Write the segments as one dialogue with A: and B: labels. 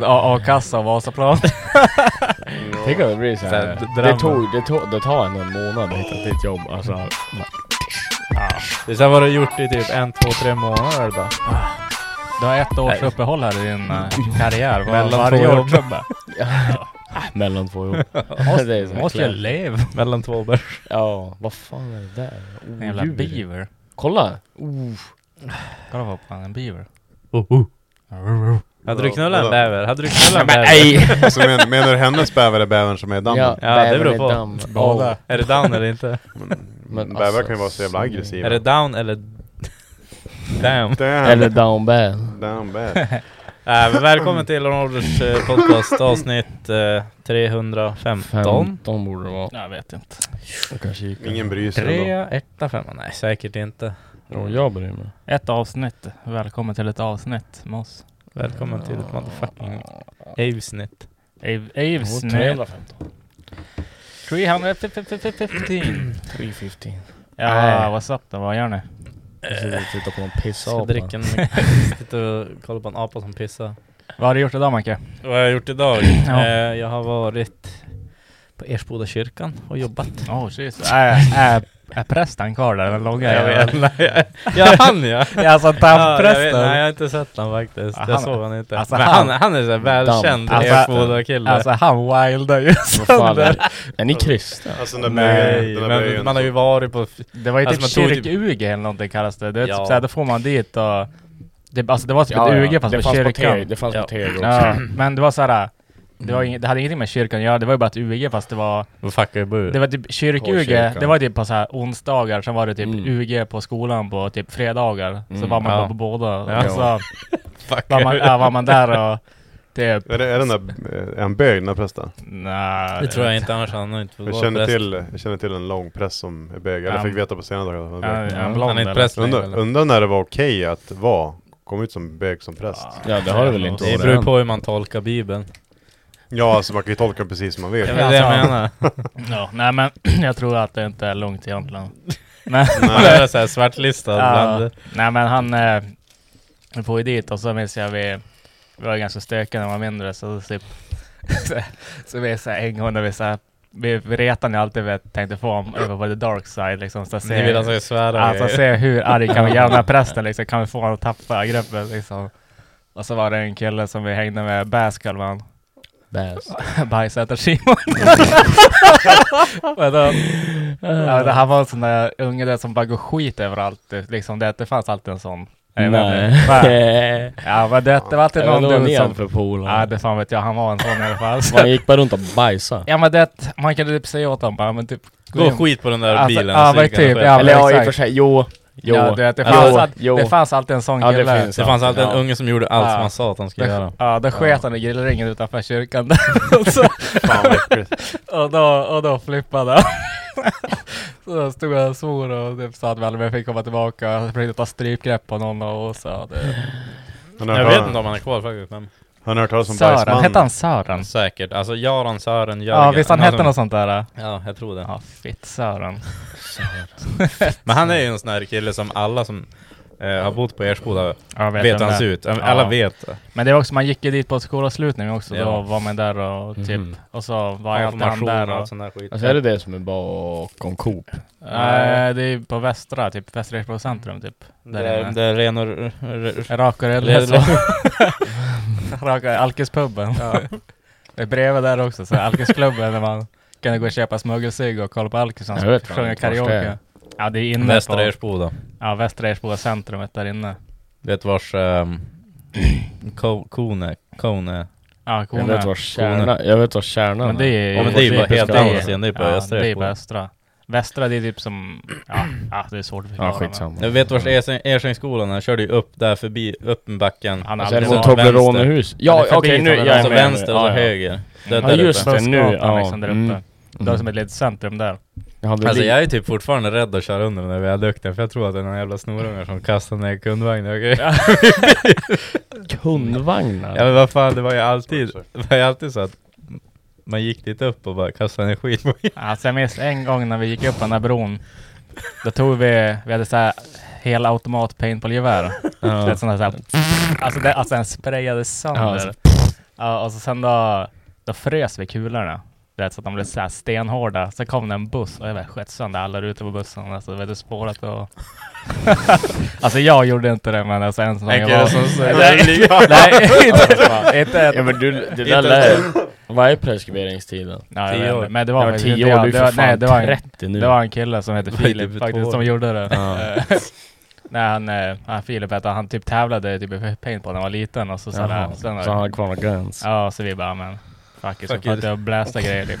A: A- A-kassa och Vasaplan.
B: Tänk om det blir så här.
A: Så här, d-
B: det,
A: drama.
B: tog, det, tog, det tar en månad att hitta till ett jobb. Alltså,
A: Det är så här vad du har gjort i typ en, två, tre månader bara. ah. Du har ett års
B: Nej.
A: uppehåll här i din eh, karriär. Vad-
B: Mellan
A: varje
B: två
A: år
B: jobb.
A: så bara,
B: mellan två jobb. Det är
A: Måste,
B: så här
A: måste jag
B: klart.
A: leva mellan två börs?
B: Ja, vad fan är det där?
A: En jävla
B: Odjur.
A: beaver.
B: Kolla!
A: Kolla vad fan, en beaver.
B: Oh, oh.
A: Hade du knullat en
C: vadå?
A: bäver? Hade du knullat en bäver?
C: Alltså, men, menar du hennes bäver är bävern som är i dammen?
B: Ja,
A: Ja, det beror
B: bäver i
A: på.
B: damm.
A: Båda.
B: Oh.
A: Är det down eller inte?
B: Men
C: Bävrar
B: alltså,
C: kan ju vara så jävla aggressiva.
A: Är det down eller... Damn.
C: Damn.
B: Eller down bad.
C: Damn bad.
A: Äh, men välkommen till Ronalders eh, podcast avsnitt eh, 315.
B: 15 borde det vara.
A: Jag vet inte.
B: Jag kanske gick
C: Ingen bryr sig ändå.
A: 3, 1, 5. Nej, säkert inte.
B: Jo, jag bryr mig.
D: Ett avsnitt. Välkommen till ett avsnitt med oss.
A: Välkommen till ett motherfucking avsnitt.
D: Ave- Aves
B: Jo,
D: med
B: 315.
D: 315.
B: 315. Nej.
D: Ja, what's up då? Ah, Vad gör ni?
B: Jag sitter och tittar på någon
A: Ska
B: pissapa.
A: dricka en... Sitter och kollar på en apa som pissar.
D: Vad har du gjort idag Macke?
A: Vad har jag gjort idag?
D: Ja.
A: Eh, jag har varit på Ersboda kyrkan och jobbat.
D: Oh shit. Är, är, är prästen kvar där? Den långa
A: jag
D: jäveln?
A: vet inte. Ja, han ja!
D: Ja,
A: Ja,
D: alltså
A: jag vet,
D: tantprästen.
A: nej jag har inte sett han faktiskt.
D: Ja,
A: jag
D: han-
A: såg han inte.
D: alltså,
A: Men han,
D: han-
A: han är så här välkänd
B: Damp.
D: Alltså,
A: Ersboda-kille.
D: alltså han wildar ju
B: Vad fan
D: sönder.
B: är, är ni kristna?
C: Alltså den där
A: Nej,
C: bögen. Den där
A: men
C: bögen.
A: man har ju varit på...
D: Det var ju typ
A: Alltså, man tog ju-
D: kyrk-UG eller någonting kallas det. det är
A: Ja.
D: typ såhär, då får man dit och... Det, alltså det var typ ett UG fast
B: det
D: på
B: fanns på
D: kyrkan.
B: Tegel- Det fanns
A: Ja.
B: på Tegel också.
D: Ja, men det var såhär... Det, var inget, det hade ingenting med kyrkan att göra, det var ju bara ett UG fast det var...
A: Då fuckar ju
D: Det
A: bur.
D: var typ
B: På
D: kyrk-UG,
B: kyrkan.
D: det var typ på så här onsdagar, sen var det typ
B: Mm.
D: UG på skolan på typ fredagar. Så
B: Mm,
D: var man
A: ja.
D: på- alltså, på båda.
A: Ja.
D: Och så var, man, ja, var man där och typ...
C: Är det, är den där, eh, en bög den där prästen?
D: Nej,
A: Det tror jag inte, annars hade han nog inte fått
C: Jag känner, till, jag känner till en lång präst som är bög. Eller
D: Ja.
C: fick veta på senare dagar att han är bög.
D: Ja,
A: Han,
D: en blond
A: han är inte
D: eller?
A: präst längre,
C: Undrar
A: eller?
C: undra när det var okej att vara, komma ut som bög som präst.
B: Ja, det har det väl inte
A: Det
B: varit
A: beror
B: än.
A: på hur man tolkar bibeln.
C: Ja, alltså man kan ju tolka det precis som man
A: Det
C: vill.
A: är väl det jag
D: Alltså,
A: menar.
D: Ja, nej men jag tror att det inte är lugnt egentligen. Nej,
A: Han är såhär svartlistad
D: ja,
A: bland...
D: nej men han... Eh, vi får ju dit och så minns jag vi... Vi var ganska stökiga när man var mindre så typ... så, så vi är såhär en gång när vi såhär... Vi, vi retade ni alltid vi tänkte få honom över på the dark side liksom. Så
A: Ni
D: ser-
A: vill alltså jag svära
D: Alltså
A: grejer.
D: se hur arg kan vi göra den här prästen liksom, kan vi få honom att tappa greppet liksom? Och så var det en kille som vi hängde med, Baskal man.
B: Bäst.
D: Bajsätar-Simon. Men då- ja, det här var en sån där unge där som bara går skit överallt. Det- Liksom det, det fanns alltid en sån. Jag vet inte.
B: Nej.
D: Va? Ja men det, det var alltid
B: Eller
D: någon
B: vad ni
D: dude
B: hade
D: som...
B: för polare?
D: Ja det fan vet jag, han var en sån i alla fall.
B: Man gick bara runt och bajsade.
D: Ja men det, man kunde typ säga åt honom bara, men typ...
A: Gå och skit på den där
D: Alltså,
A: bilen.
D: ja,
A: så gick
D: men
A: han
D: typ,
A: och
D: ja.
A: sket.
B: Eller ja, i
D: exakt.
B: och för sig. Jo. Jo.
D: Ja, du vet, det,
B: Jo,
D: fanns all,
B: jo.
D: det fanns alltid en sån
B: Ja, det
D: kille.
B: finns
A: Det fanns alltid en
B: Ja.
A: unge som gjorde allt
D: Ja.
A: som han sa att han skulle göra.
D: Ja, då sket han i grillringen utanför kyrkan där. och, så,
C: Fan vad äckligt.
D: och, då, och då flippade han. så då stod han och svor och typ sa att vi aldrig mer fick komma tillbaka. Jag försökte ta strypgrepp på någon och så. Det.
C: Har ni
A: Jag
C: hört
A: vet
C: talas-
A: inte om han är kvar faktiskt, men
C: Har ni hört talas om
D: Sören, hette
C: bajsmannen?
D: han Sören?
A: säkert. Alltså Göran, Sören, Jörgen.
D: Ja, visst han
B: Alltså-
D: hette
A: som-
D: något sånt där? äh.
A: Ja, jag tror det.
D: Ja, fitt Sören.
A: Men han är ju en sån här kille som alla som Eh, har bott på Ersboda.
D: Ja,
A: vet
D: vet vem
A: han
D: det
A: ser
D: är.
A: ut. Alla
D: Ja.
A: vet.
D: Men det var också, man gick ju dit på skolavslutningen också,
A: Ja.
D: då var man där och typ,
A: Mhm.
D: och så var alltid han
A: Information
D: där
A: och
D: och...
A: allt sånt där skit.
B: Alltså är det det som är bakom Coop?
D: Nej, det är på västra, typ västra Ekeborgs centrum typ.
E: Där-
D: inne.
E: där Renor- r-
D: Rakorella
E: Renor-
D: så. Raka- Alkispuben. Det är bredvid där också, så Alkisklubben där man kunde gå och köpa smuggelcigg och kolla på alkisarna
B: Jag vet
D: som sjunger
B: inte vart det är.
D: karaoke. Ja, det är inne
A: Västra
D: på...
A: Ersboda.
D: Ja, Västra Ersboda centrumet där inne.
A: Det vars... Um, ko, kone. Kone.
D: Ja,
B: Jag
D: Kona.
B: vet vad kärna, jag vet vad kärnan
D: Men det är
A: Ja, men det är ju bara helt
D: typiskt-
A: andra sidan, det är på
D: ja,
A: Östra
D: Det är
A: Ersboda.
D: på Östra. Västra, det är typ som... Ja, ja det är svårt att förklara.
B: Ja skitsamma.
A: Jag vet vars Ersäng- Ersängsskolan är. Han körde ju upp där förbi, upp med backen.
D: Han
B: Alltså är det
D: aldrig
B: som
D: varit-
B: Toblerone-hus?
D: Ja,
B: Ja
D: det är
B: okej
D: förbi
B: nu, jag är
A: alltså
B: med nu.
A: vänster och så
B: Ja, ja.
A: höger. Det är
B: Ja
A: där
B: just
A: uppe.
B: det, nu.
D: Bussgatan
B: Ja.
D: liksom där uppe. Det är som
B: Mm.
D: ett litet centrum där.
B: Ja, det
A: Alltså
B: blir-
A: jag är typ fortfarande rädd att köra under den där viadukten för jag tror att det är någon jävla snorungar som kastar ner kundvagnar och grejer.
B: Kundvagnar?
A: Ja men vad fan, det var ju alltid, det var ju alltid så att man gick dit upp och bara kastade ner skit på
D: Alltså jag minns en gång när vi gick upp på den här bron. Då tog vi, vi hade såhär hela automat paintballgevär.
B: Ja.
D: Ett sånt här, såhär, alltså, det, alltså den sprayade
B: Ja,
D: sönder.
B: så-
D: Ja, och så sen då, då frös vi kulorna. Du vet, så att de blev såhär stenhårda. Så kom det en buss och jag vet, sköt sönder alla rutor på bussen. Alltså vet du, spårat och... alltså jag gjorde inte det men alltså en sån
A: En
D: gång
A: kille
D: var...
A: som säger-
D: nej, nej, inte, inte
B: Ja men du, det där lär... Vad är preskriberingstiden?
D: Ja,
A: Tio
D: jag vet
A: år.
D: inte. Men det
B: Ja,
D: var faktiskt
B: tio
D: inte
B: år, du
D: jag.
B: är
D: Det
B: för
D: var,
B: fan
D: nej, det var en,
B: 30 nu.
D: det var en kille som hette
A: Vad är det för
D: Filip
A: två
D: faktiskt som
A: år?
D: gjorde det.
B: Ja.
D: Eh, nej, han, eh, han Filip hette han, han typ tävlade typ i paintball när han var liten och så
B: Jaha,
D: sådär. Sen,
B: så han har kvar några guns?
D: ja, så vi bara men fuck it, så
A: Fuck it.
D: fattade liksom jag och blästa grejer typ.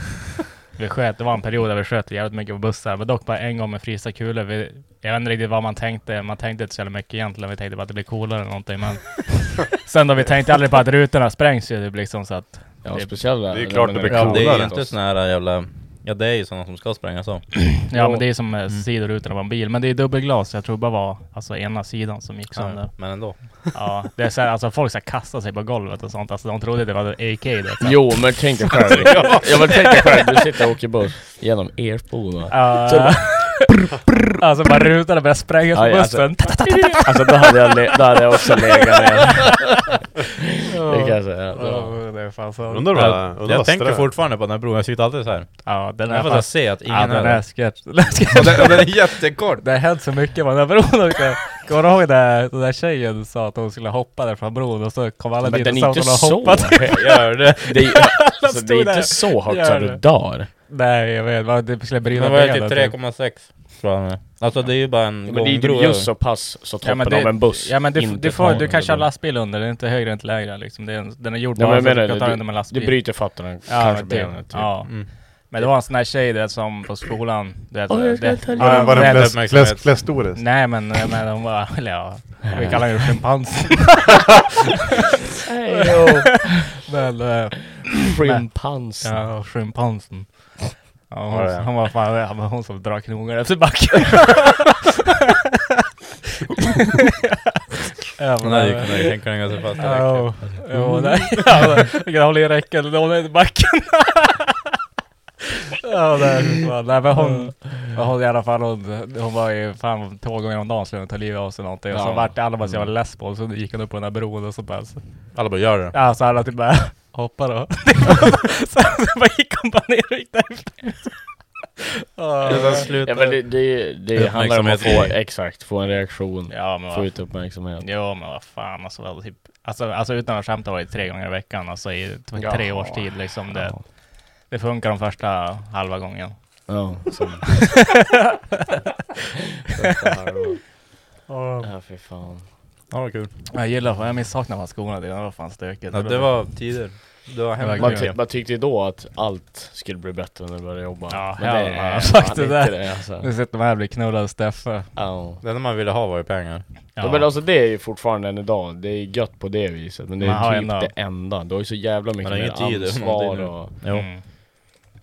D: Vi sköt, det var en period där vi sköt jävligt mycket på bussar, men dock bara en gång med frysta kulor. Vi, jag vet inte riktigt vad man tänkte, man tänkte inte så jävla mycket egentligen, vi tänkte bara att det blir coolare eller någonting men Sen då, vi tänkte aldrig på att rutorna sprängs ju typ liksom så att
B: Ja,
D: Det-
B: speciellt där.
F: det är klart
B: men
F: det blir
A: Ja, det är ju
F: coolare.
A: inte såna här jävla... Ja det är ju såna som ska sprängas om.
D: Ja men det är som mm. sidorutorna på en bil, men det är dubbelglas, så jag tror det bara var alltså ena sidan som gick sönder.
A: Men ändå.
D: Ja, det är så här, alltså folk så här kastar sig på golvet och sånt, alltså de trodde det var AK det.
B: Jo men tänk dig själv. ja men tänk dig själv, du sitter och åker buss genom Ersboda.
D: Uh,
B: Så bara-
D: alltså bara rutorna började sprängas
B: Aj,
D: på
B: alltså.
D: bussen.
B: Alltså då hade jag, le- då hade jag också legat ner. Det kan jag säga.
D: Ja, det är fan så.
F: Undrar vad undrar
A: Jag,
F: vad
A: tänker
F: strö-
A: fortfarande på den här bron, jag sitter alltid så här.
D: Ja, den är
A: Jag får bara
D: fan...
A: se att ingen
D: Ja, den
A: är
D: är
A: det.
D: sketch.
A: Och den, och den är jättekort!
D: Det har hänt så mycket på den här bron. Kommer du ihåg när den där tjejen sa att hon skulle hoppa där från bron och så kom alla
B: Men
D: dit och
B: den är
D: sa att
B: inte
D: hon har
B: så.
D: hoppat.
A: Gör det!
B: Det är, alltså, det
D: stod
B: är
D: där.
B: inte så högt
D: Gör
B: så
D: det.
B: du dör.
D: Nej, jag vet. Man det skulle brinna
A: Men vad är det
D: benet,
A: typ 3,6? Tror jag den är. Alltså det är ju bara en
B: Men det är ju
A: gångbro
B: just
A: över.
B: så pass så
D: Ja,
B: toppen
D: men det,
B: av en buss.
D: Ja men du,
B: inte
D: du, får,
B: tar
D: du kan
B: en
D: köra
B: bro.
D: lastbil under, den är inte högre, inte lägre liksom. Det är en, den är gjord
B: Ja, men jag
D: bara för att
B: menar
D: du kan ta
B: det,
D: den med
B: du,
D: lastbil.
B: du bryter fötterna,
D: ja,
B: kanske
D: typ.
B: benet. Typ.
D: Ja.
A: Mm.
D: Men det var en sån här tjej du vet, som på skolan, du vet,
B: Åh, jag
D: det-
B: ska ta den.
F: Var
D: Ja,
F: den, var
D: nej,
F: den
A: fläsk-
F: kläs- kläs- klästorisk?
D: Nej men, men hon var, eller ja, vi kallar henne schimpans.
B: Hej, jo.
D: men, eh,
B: Schimpansen.
D: ja, schimpansen. Ja,
A: Var
D: hon,
A: det?
D: hon var fan, ja, men hon som drar knogar efter backen. ja,
A: Den hade ju kunnat tänka den ganska fast direkt.
D: Ja, ja, nej. Ja, Jag kan hålla i räcket eller hålla i backen. Ja, nej, fy fan. nej men hon, hon i alla fall, hon, hon var ju fan två gånger om dagen skulle hon ta livet av sig någonting. Och så
B: Ja.
D: vart det alla bara så jag var less på och så gick hon upp på den där bron och så bara, så,
A: Alla bara gör det.
D: ja, så alla typ bara hoppa då. så, så bara gick hon bara ner och gick därifrån. Ja,
A: Det är så här, sluta.
B: Ja men det, det, det handlar om att få,
A: Uppmärksamhet.
B: exakt, få en reaktion.
D: Ja men
B: Få
D: vad
B: ut uppmärksamhet.
D: Jo men vad fan alltså, det var typ, alltså, alltså utan att skämta var det tre gånger i veckan, alltså i t- tre
B: Ja.
D: års tid liksom. Det,
B: Ja.
D: det funkar de första halva gången.
B: Ja, så. ja fy fan.
A: Ja, vad kul.
D: Jag gillar, fan- jag minns saknar fan skorna, det var fan stökigt.
A: Ja, det var tider. Det var hemskt
B: Man,
D: Verkligen.
B: ty- man tyckte ju då att allt skulle bli bättre när du började jobba.
D: Ja,
B: men det
D: jävlar,
B: är
D: sagt
B: fan
D: det
B: inte
D: där.
B: det alltså.
D: Nu sitter man här och blir knullad av Steffe.
B: Ja.
A: Det enda man ville ha var ju pengar.
B: Ja. Men alltså det är ju fortfarande än idag, det är gött på det viset men det
D: Man har
B: är typ
D: ändå-
B: det enda. Du har ju så jävla mycket
A: har
B: mer
A: ingen tid och
B: ansvar
A: någonting nu.
B: och...
A: Jo.
D: Mm.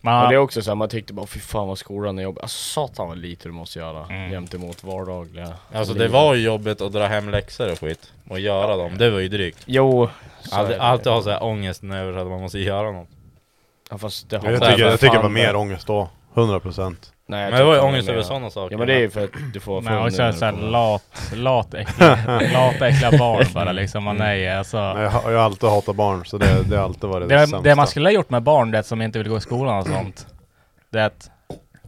B: Men det är
D: Man,
B: också såhär, man tyckte bara fy fan vad skolan är jobbig. Alltså satan vad lite du måste göra
D: Mm.
B: jämt emot vardagliga
A: Alltså det
B: livet.
A: var ju jobbigt att dra hem läxor och skit. Och göra dem, det var ju drygt.
B: Jo, så är
A: Alltid,
B: det.
A: alltid ha såhär ångesten över att man måste göra något.
B: Ja, fast det har
F: Jag
A: Så här,
F: tycker,
A: vad
F: jag tycker det var
A: fan,
F: mer
A: det-
F: ångest då. 100 procent.
B: Nej, jag
A: Men det var ju
B: tycker
A: ångest
B: mer-
A: över sådana saker.
B: Ja men det är ju för att du får
A: Men
B: full
A: också
B: när du
A: så här
B: kommer.
D: lat, lat, äckliga, lata äckliga barn bara liksom. Man är ju alltså...
G: Mm. Nej, Jag, har- jag har alltid hatat barn, så det, det har alltid varit det,
D: Det,
G: sämsta.
D: det man skulle ha gjort med barn det som inte vill gå i skolan och sånt. Det är att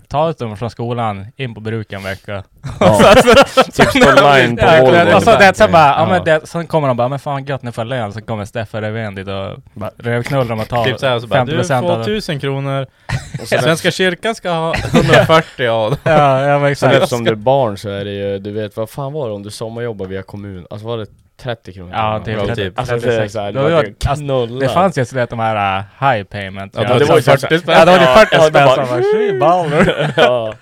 D: ta ut dem från skolan, in på bruken en vecka.
B: Ja.
D: Och sen-
B: Typ
D: sen-
B: stå line på
D: Ja,
B: Volvo.
D: Och så alltså, det, typ sen bara, ja
B: Ja.
D: men det, sen kommer de bara, men fan gött nu får jag lön. Så kommer Steffe Löfven dit och bara rövknullar dem och tar
A: Typ såhär, så bara, du
D: 50%
A: får
D: av dem.
A: 1000 kronor.
B: Och sen-
A: Svenska kyrkan ska ha 140 av dem.
D: Ja, ja men
B: Sen
D: exakt.
B: eftersom du är barn så är det ju, du vet vad fan var det om du sommarjobbar via kommun? Alltså var det 30 kronor?
D: Ja, typ.
A: Ja,
D: typ.
A: typ.
B: Alltså det är såhär,
D: Det
B: det
D: var-
B: var ju
D: alltså,
B: knulla.
D: Det fanns ju sådär de här uh, high payment.
A: Ja,
D: Ja,
A: det var ju
D: 40
A: 40
D: spänn. Ja, det var ju
B: Ja,
D: 40
B: ja, det
D: spänn.
B: var-
D: Så jag bara, "Tju, ball nu."
B: ja.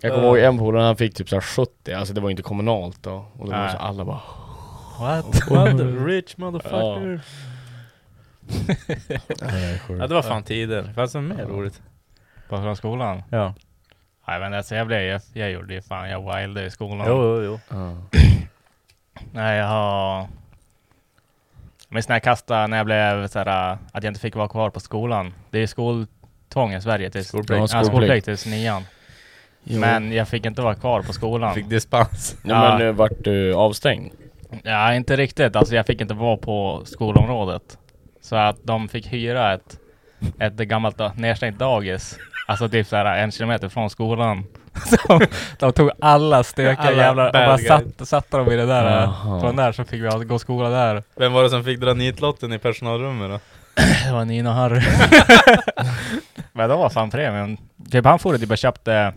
B: Jag kommer ihåg en polare, han fick typ såhär 70, alltså det var ju inte kommunalt då. Och då var det
D: Nej.
B: så alla bara
D: What?
A: Mother, rich motherfucker. Ja det var fan tider. Fanns det något mer roligt?
D: Bara från skolan?
A: Ja.
D: Nej men alltså jag blev jag, jag gjorde ju fan, jag wildade i skolan.
A: Jo, jo, jo.
B: ja.
D: Nej jag har... Jag minns när jag kastade, när jag blev såhär, äh, att jag inte fick vara kvar på skolan. Det är ju skoltvång i Sverige tills...
A: Skolplikt.
D: Ja,
B: Ja, skolplikt.
D: skolplikt tills nian. Men jag fick inte vara kvar på skolan.
A: Fick dispens.
B: Ja, men
A: eh,
B: nu vart du avstängd?
D: Ja, inte riktigt. Alltså jag fick inte vara på skolområdet. Så att de fick hyra ett, ett gammalt da- nedstängt dagis. Alltså typ såhär en kilometer från skolan. Så de tog alla stökiga
A: Alla
D: jävlar och
A: bad
D: bara
A: guys.
D: satt, satte dem i det där.
B: Jaha.
D: Från där så fick vi alltså gå skola där.
A: Vem var det som fick dra nitlotten i personalrummet då?
D: Det var Nina och Harry. Men det var fan premium. Typ han for dit och bara köpte,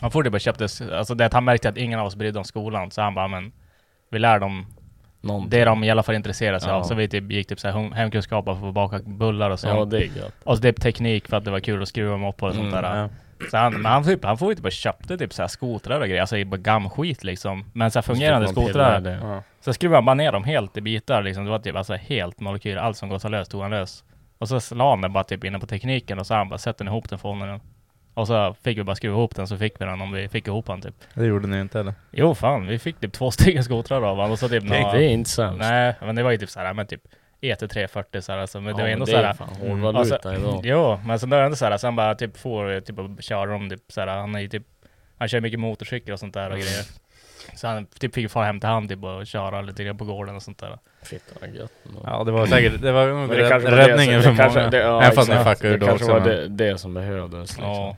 D: han for dit och bara köpte, alltså det att han märkte att ingen av oss brydde om skolan. Så han bara, men vi lär dem
B: Någonting.
D: Det de i alla fall intresserar sig av.
B: Ja.
D: Så vi typ, gick typ så här hem- hemkunskap och för att baka bullar och sånt.
B: Ja det är gött.
D: Och så typ teknik för att det var kul att skruva moppar och sånt
B: Mm,
D: där. Så han, men han, typ, han får ju typ och köpte typ så här skotrar och grejer, alltså i bara gammskit liksom. Men så här fungerande
B: Så typ fick man
D: skotrar.
B: pilla i det.
D: Så skruvade han bara ner dem helt i bitar liksom. Det var typ alltså helt molekyler, allt som går att ta lös tog han lös. Och så la han den bara typ inne på tekniken och så han bara sätt den ihop den för honom. nu." Och så fick vi bara skruva ihop den så fick vi den om vi fick ihop den typ.
A: Det gjorde ni inte eller?
D: Jo fan, vi fick typ två stycken skotrar av honom och så typ
B: Det
D: några-
B: är inte sämst.
D: Nej, men det var ju typ såhär, men typ ET340 såhär, alltså, men det
B: Ja,
D: var ändå Mm.
B: är
D: såhär.
B: fan
D: Alltså,
B: Hårdvaluta idag.
D: Jo, men sen var det ändå såhär, sen bara typ får eh, typ och kör om typ såhär, han är ju typ, han kör mycket motorcykel och sånt där och
B: Mm.
D: grejer. Så han typ fick fara hem till han typ och köra lite grann på gården och sånt där.
B: Shit vad gött. ändå.
A: Ja det var säkert, det var nog
B: Men det kanske var det
A: räddningen
B: som-
A: för
B: det kanske-
A: många.
B: det- ja,
A: Även fast ni
B: exakt.
A: fuckade ur då
B: Det kanske
A: också.
B: var
A: men-
B: det, det som behövdes liksom.
D: Ja.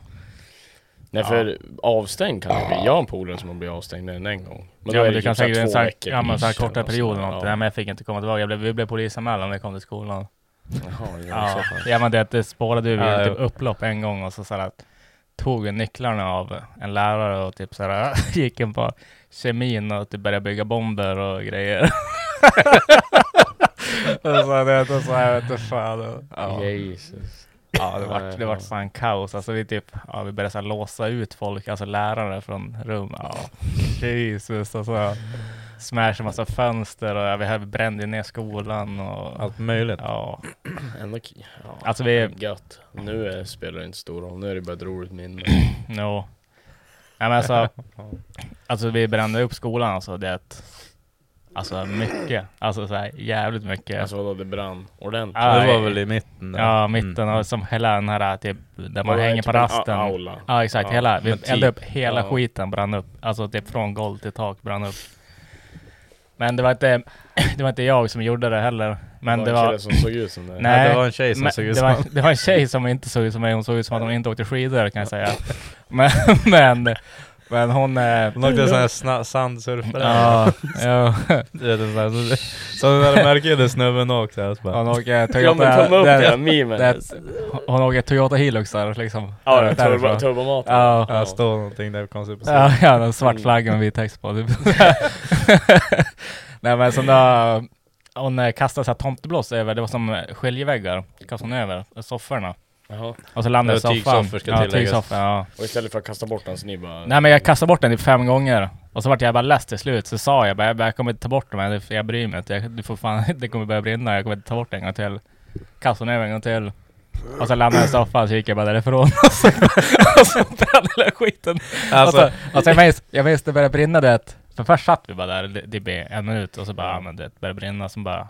B: Nej för avstängd kan det bli. Jag har en polare som har blivit avstängd en, en gång.
D: Men
B: då
D: ja,
B: är
D: men det
B: typ
D: kan säkert
B: här
D: en
B: två
D: sån här,
B: veckor alltså.
D: ja, men sån här
B: ish eller
D: kortare
B: något
D: period
B: sånt
D: eller
B: där.
D: något. Nej men jag fick inte komma tillbaka, jag blev, vi blev polisanmälda när jag kom till skolan.
B: Jaha, det var
D: Ja,
B: så fan.
D: ja men det, det spårade ur
A: Ja,
D: ja, typ
A: jo.
D: upplopp en gång och så, så här, att tog vi nycklarna av en lärare och typ så här, gick in på kemin och typ började bygga bomber och grejer. och så det och så här, vet du fan. Ja,
B: Jesus.
D: ja det vart det vart fan kaos. Alltså vi typ, ja, vi började så här, låsa ut folk, alltså lärare från rum. Ja, Jesus alltså. Smash en massa fönster och ja, vi här brände ner skolan och
A: Allt möjligt.
D: ja.
B: Ändå k- ja,
D: Alltså, vi-
B: Gött. Nu är, spelar det inte stor roll. Nu är det bara ett roligt minne.
D: No. Nej men alltså, alltså vi brände upp skolan alltså det att, alltså mycket, alltså så här, jävligt mycket.
B: Alltså vadå, det brann ordentligt.
D: Ja,
A: det var
D: i-
A: väl i mitten där. Mm.
D: ja mitten och som hela den här typ, där man
B: Vadå,
D: hänger
B: typ
D: på
B: en a-
D: rasten.
B: Aula.
D: Ja exakt,
B: Ja,
D: hela, vi
A: men typ.
D: eldade upp hela
B: Ja.
D: skiten brann upp. Alltså typ från golv till tak brann upp. Men det var inte, det var inte jag som gjorde det heller. Men det
B: en
D: var,
B: kille som såg ut som det.
D: Nej.
A: det var en tjej som
D: men
A: såg ut
D: det,
A: som
D: var,
A: han.
D: det var en tjej som inte såg ut som mig, hon såg ut som att hon inte åkte skidor kan jag säga. Men, men, men hon... eh,
A: Hon åkte en sån här sna- sandsurfare.
D: Ja, ja.
A: Du vet en sån här. Så den där märkade snubben åkte här. Så bara,
D: Hon åker
B: Ja men ta
D: Toyota...
B: med upp den här
D: det-
B: memen.
D: det- Hon åker Toyota Hilux där liksom.
B: Ja, det
D: Där-
B: är
D: därifrån.
B: turbo- turbomat.
D: Ja.
A: här står någonting där konstigt på sidan.
D: Ja, ja, en svart flagga
A: Mm.
D: med vit text på. Typ. Nej men sen då, hon eh, kastade så här tomteblås över, det var som eh, skiljeväggar, kastade hon över sofforna.
B: Jaha.
D: Och så landade
A: Det var
D: soffan.
A: tygsoffor, ska
D: ja,
A: tilläggas.
D: tygsoffor, ja.
B: Och istället för att kasta bort den så ni bara...
D: Nej men jag kastade bort den typ fem gånger. Och så vart jag bara less till slut, så sa jag bara jag, bara, jag kommer inte ta bort den här, jag bryr mig inte. Jag, du får fan, det kommer börja brinna, jag kommer inte ta bort den en gång till. Kastade den över en gång till. Och så landade jag i soffan, så gick jag bara därifrån. Och så, och så brann hela skiten.
A: Alltså,
D: och så, och så jag, minns, jag minns det började brinna det. För först satt vi bara där, det, det blev en minut, och så bara, ja men det började brinna, så bara...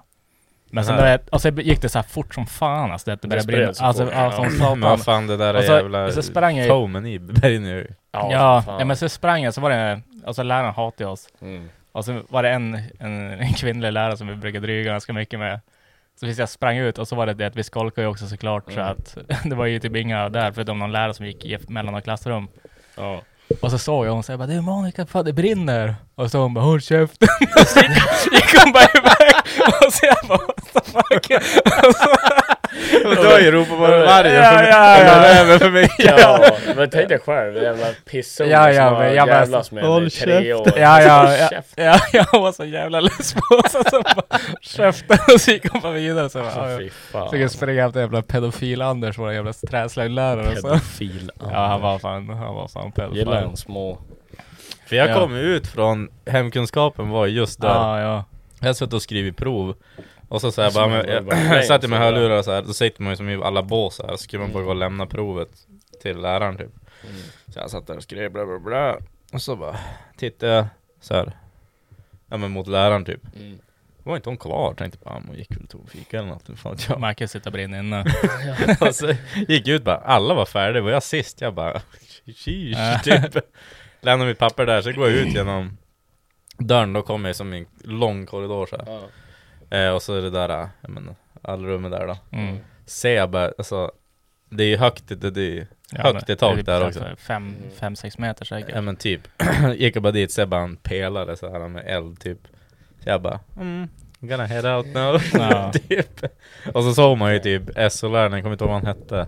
H: Men sen började, och så gick det så här fort som fan alltså, det började
A: Det
H: brinna.
A: spreds så
H: Alltså,
A: fort.
H: ja, som
A: Ja.
H: satan.
A: Men vad fan, det där
D: Alltså,
H: och så,
A: jävla
H: och så sprang jag
A: foamen i brinner ju.
H: Ja,
A: Ja,
H: ja,
A: fan.
H: men så sprang jag, så var det, alltså läraren hatade oss.
A: Mm.
H: Och så var det en, en, en kvinnlig lärare som vi brukade dryga ganska mycket med. Så precis jag sprang ut och så var det det att vi skolkade ju också såklart så
A: Mm.
H: att det var ju typ inga där förutom någon lärare som gick i- mellan några klassrum. Och så såg jag hon säga bara du Monica, fan det brinner. Och så hon bara håll käften. Och så gick, gick hon bara iväg. Och så jag bara what the fuck. Och så-
A: Och då ropar man vargen
H: Ja,
A: för-
H: ja,
A: om man
H: ja.
A: är över för mycket.
B: Ja, men tänk dig själv, en jävla pissung
H: Ja, ja,
B: som har
H: men jag bara-
B: jävlas med
A: Håll
B: i tre år.
A: käften.
H: Ja, ja,
B: Håll
H: ja,
B: käften.
H: ja, jag var så jävla less på oss. Alltså, bara, käften och så gick hon bara vidare. Så, bara, ja,
B: Alltså,
H: ja.
B: fy fan.
H: så jag springa efter jävla pedofil-Anders, vår jävla träslöjdlärare. så.
B: Pedofil.
H: Ja, han var fan, han var fan pedofil.
B: Gillar han små.
A: För jag
H: Ja.
A: kom ut från hemkunskapen var just där.
H: Ja, ja.
A: Jag satt och skrivit prov och så, så här,
B: Som
A: bara,
B: man
A: men,
B: Alltså, var
A: jag,
B: bara
A: jag
B: blank,
A: satt i med
B: så där.
A: hörlurar och så här, då sitter man ju som i alla bås så här, så skulle man bara gå och lämna provet till läraren typ.
B: Mm.
A: Så jag satt där och skrev bla bla bla, och så bara tittade jag så här, ja men mot läraren typ.
B: Mm.
A: Var inte hon kvar? Tänkte bara, "Ah, hon gick väl och tog en fika eller något, fan vet jag.
H: Marcus sitter och brinner inne.
A: Och så gick jag ut bara, alla var färdiga, var jag sist? Jag bara, sheesh, typ. Lämnade mitt papper där, så går jag ut genom dörren, då kommer jag som i en lång korridor så här.
B: Ja.
A: Eh, och så är det där, eh, jag menar, allrummet där då.
H: Mm.
A: Ser jag bara, alltså, det är ju högt, det, det är ju högt i tak där också.
H: Fem, fem, sex meter säkert.
A: Ja men typ, gick jag bara dit, ser bara en pelare så här med eld typ. Så jag bara, mm, I'm gonna head out now.
H: Ja.
A: typ. Och så såg man ju typ SO-läraren, jag kommer inte ihåg vad han hette.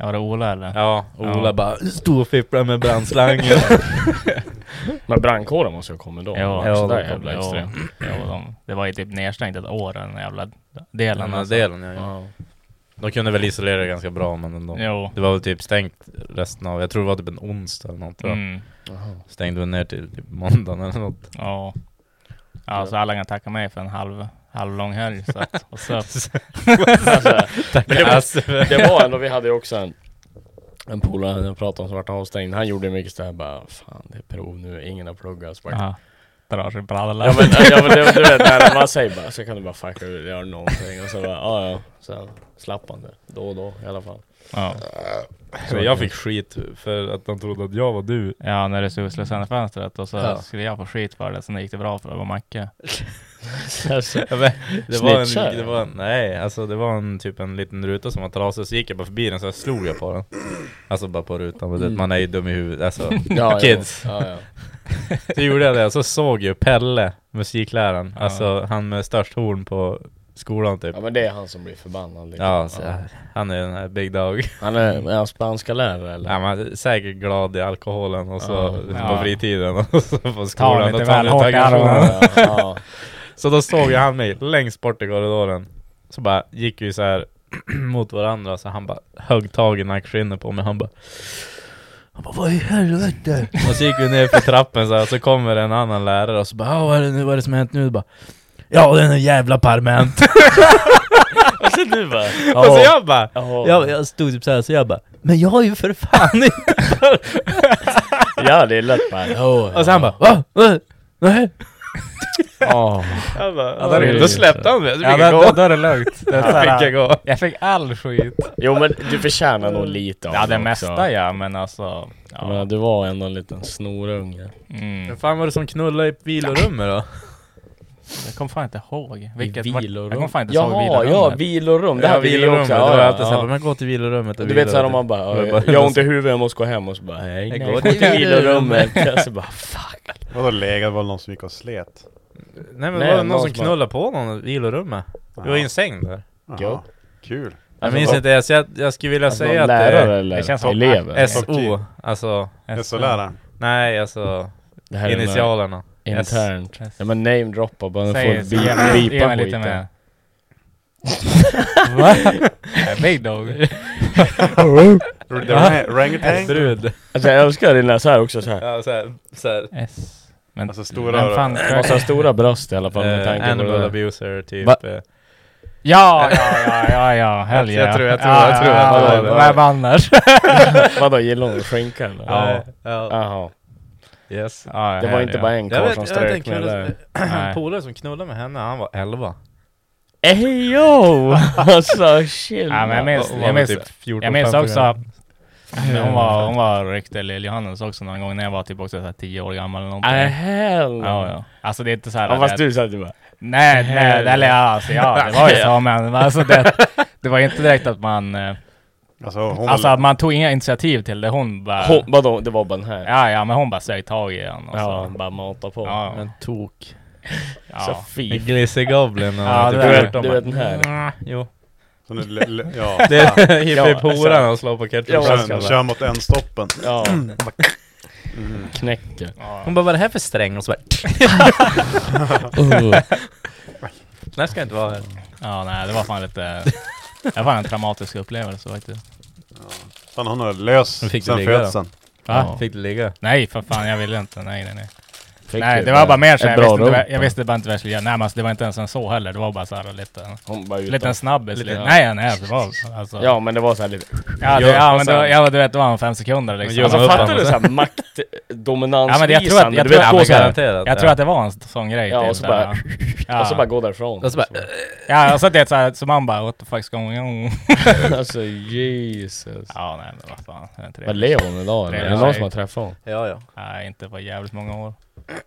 H: Ja, var det Ola eller?
A: Ja, Ola
H: Ja.
A: bara, stod och fipplade med brandslangen.
B: Men brandkåren måste ju ha kommit då.
H: Ja,
A: Ja,
B: så där
A: de kom.
B: jävla
H: jo,
B: extremt.
H: jo, de, det var ju typ nedstängt ett år, den jävla delen.
A: Den här
H: Alltså.
A: delen, ja, ja.
B: Ja.
A: De kunde väl isolera det ganska bra men ändå.
B: Mm.
H: Jo.
A: Det var väl typ stängt resten av, jag tror det var typ en onsdag eller något. tror jag.
H: Mm.
B: Jaha.
A: Stängde väl ner till typ måndagen eller något.
H: Ja. Ja, så alla kan tacka mig för en halv, halv lång helg. Så att, och så,
B: Alltså,
A: Tack
B: det var-
A: Aspe.
B: Det var ändå, vi hade ju också en, en polare, jag pratade om som vart avstängd. Han gjorde mycket sådär bara, fan det är prov nu, ingen har pluggat. Så bara,
H: ja, drar sig brallor.
B: Ja men, ja, men det, du vet, när man säger bara så kan du bara fucka ur, gör någonting och så bara ja ja. Sen slapp han det, då och då i alla fall.
H: ja.
A: Men jag fick skit för att de trodde att jag var du.
H: ja, när det stod slå sönder fönstret och så
B: Ja.
H: skulle jag få skit för det. Sen gick det bra för det var Macke.
B: Alltså,
A: Ja, men Det var,
B: Snitchar.
A: en, det var en, nej alltså det var en typ en liten ruta som var trasig, så gick jag bara förbi den så jag slog jag på den. Alltså bara på rutan, men du vet, man är ju dum i huvudet alltså.
B: ja,
A: Kids.
B: Ja, ja.
A: Så gjorde jag det, och så såg jag Pelle, musikläraren, alltså han med störst horn på skolan typ.
B: ja men det är han som blir förbannad liksom.
A: Ja, så, han är den här Big Dog.
B: Han är, är han spanska lärare eller?
A: Ja, man är säkert glad i alkoholen och så
H: Ja.
A: på fritiden och så på
H: Ta
A: skolan.
H: lite
A: Då
H: väl
A: tar
H: hårt i
A: han
H: armen.
A: taggarna.
B: Ja, ja,
A: Så då såg jag han mig längst bort i korridoren. Så bara gick vi så här mot varandra, så han bara högg tag i nackskinnet på mig. Han bara han bara, vad i helvete? Och så gick vi ner för trappen så här, så kommer en annan lärare och så bara, "Ah, vad är det nu, vad är det som har hänt nu? Och bara, ja det är en jävla parment!
B: Alltså du bara,
A: och så jag bara,
B: ja,
A: jag, jag stod typ såhär, så jag bara, men jag har ju för fan inte
B: ja det är lätt bara. Oh,
A: Och så han bara va? Va? Nej?
B: ja.
A: Jag bara,
H: Ja, där är det
A: då
H: ju
A: släppte han mig, så fick
H: Ja,
A: jag
H: då, då,
A: gå.
H: då är det lugnt. Det är så
A: Fick jag
H: här,
A: gå.
H: jag fick all skit.
B: Jo men du förtjänar nog lite av
H: Ja, det
B: också.
H: mesta ja, men alltså.
B: Jag
H: Ja.
B: menar, du var ändå en liten snorunge.
H: Mm.
A: Vem fan var det som knullade i vilorummet då?
H: Jag kommer fan inte ihåg. Vilket,
B: I
H: vart-
B: vilorum.
H: jag kommer fan inte ihåg
B: Jaha, ja,
H: vilorummet.
B: vilorum. Det här vill jag också.
A: Det
B: Ja,
A: var
B: ja,
A: alltid
B: ja.
A: såhär, men gå till vilorummet och
B: Du vet såhär om
A: vidare."
B: man bara,
A: Jag bara-
B: jag, jag har ont i huvudet, jag måste gå hem och så bara nej,
A: Jag
B: nej,
A: går
B: gå
A: till
B: till vilorummet. Jag så bara fuck.
D: Vadå läge? Det var någon som gick och slet?
A: Nej men
B: Nej,
A: var det någon
B: någon
A: som
B: som
A: knullade på någon i vilorummet? Det var ju en säng där.
B: Jo.
D: Jaha. Kul.
A: Jag
B: Alltså,
A: minns
B: vad-
A: inte ens, jag, jag skulle vilja
B: Alltså,
A: säga att
B: lärare
A: det
B: eller
H: det känns som
B: elever?
A: är
H: att-
A: SO, alltså
D: SO-läraren.
A: Nej alltså
B: det här är en,
A: initialerna
B: eh, Internt.
H: S.
B: Ja men name droppa bara, nu får
H: Säg,
B: du
H: så
B: bi-
H: ge mig- ge
B: bipa
H: mig lite
B: skiten.
H: mer. Va? Big dog.
D: Det var Rangatang?
A: Eh, Brud
B: Alltså jag älskar dina såhär också såhär.
A: Ja såhär, såhär
H: S. Men
D: Alltså stora
H: vem fan
D: öron.
B: Måste ha stora bröst i alla fall med
A: eh,
B: tanke på
A: Animal
B: det där.
A: abuser typ
B: Va?
A: eh.
H: Ja, ja, ja, ja, ja, hell
A: Jag
H: yeah.
A: tror- jag tror- jag tror att
H: ja,
B: det
H: ja,
B: var det.
H: Vem annars?
B: Vadå, gillar hon skinka eller?
A: Ja, ja,
B: Jaha.
A: yes
H: Ja,
B: Det var
H: hell
B: inte
H: yeah.
B: bara en
A: Jag
B: karl
A: vet,
B: som
A: jag vet en
B: strök med
A: kille,
B: det.
A: som- en
H: Nej.
A: polare som knullade med henne, han var 11
B: Ey yo! Eh, Alltså chill.
A: Ja, men jag minns,
I: Hon var
A: jag minns,
I: typ 14,
A: jag minns
I: 15
A: också,
I: gram.
A: hon var, hon var ryckte lill Johannes också någon gång när jag var typ också så här 10 år gammal eller någonting.
B: Eh. Ähä!
A: Ja, ja. Alltså det är inte så här...
B: Ja, fast
A: att-
B: du satt ju bara...
A: Nej, nej,
B: Helvete.
A: eller ja, alltså, ja, det var ju så
B: Ja.
A: men men alltså det, det var ju inte direkt att man... eh,
D: Alltså, hon
A: Alltså
D: var...
A: att man tog inga initiativ till det, hon bara...
B: Hon, vadå, det var bara den här?
A: Ja, ja, men hon bara sög tag i en och
B: Ja,
A: så...
B: bara mata på.
A: Ja, ja.
I: En tok.
B: Så
A: Ja.
B: fy
I: Glissig Goblin.
A: Ja,
I: Ja, typ
A: det
I: 14
A: där-
B: du, vet, du
I: bara,
B: vet den här?
I: "Mm, Jo.
D: Hon är le, le, ja.
I: Det är hippie-horan
B: exakt.
I: och slår på
B: Ja,
D: Kör,
I: ketchupflaskan.
D: kör mot en stoppen.
B: Ja. Knäcker.
I: Hon bara, vad är det här för sträng? Och så bara, den här ska inte vara här.
A: "Oh." Ja, nej, det var fan lite... Det var fan en traumatisk upplevelse faktiskt.
D: Fan hon är lös
I: Men fick du
D: sen
I: ligga då?
D: födseln.
A: Va?
I: Fick det ligga?
A: Nej, för fan, jag ville inte. Nej, nej, nej.
B: Fick
A: nej,
B: ju
A: det var bara mer så här,
B: ett
A: jag,
B: bra
A: visste inte,
B: rum.
A: vad- jag visste bara inte vad jag skulle göra. Nej, men alltså, det var inte ens en så heller. Det var bara så här lite...
B: Hon bara ut
A: Lite en
B: och-
A: snabbis.
B: Lite-
A: Lite, nej, nej, det var alltså...
B: Ja men det var såhär lite...
A: Ja, det,
B: Gör-
A: ja
B: och
A: men
B: sen-
A: då, ja, du vet, det var en fem sekunder liksom.
I: Gömma
B: Alltså
I: upp
B: fattar
I: honom.
B: du
A: Ja,
B: såhär
A: men jag tror att-
B: maktdominansvisande?
A: jag
B: Du
A: tror
B: vet
A: att-
B: gå
A: ja,
B: såhär...
I: Garanterat.
A: Jag tror att det var en sån grej.
B: Ja,
A: typ
B: och så
A: där,
B: bara-
A: ja.
B: Och så bara gå därifrån.
I: Och så bara, "Äh."
A: Ja, och så att det är såhär, så man bara what the fuck's going on?
B: alltså Jesus.
A: Ja, nej men vad fan. Det är inte
B: Vad
A: det.
B: lever hon idag eller? Är det
A: Ja,
B: någon
A: nej.
B: som har träffat honom?
I: Ja, ja.
A: Nej, inte på jävligt många år.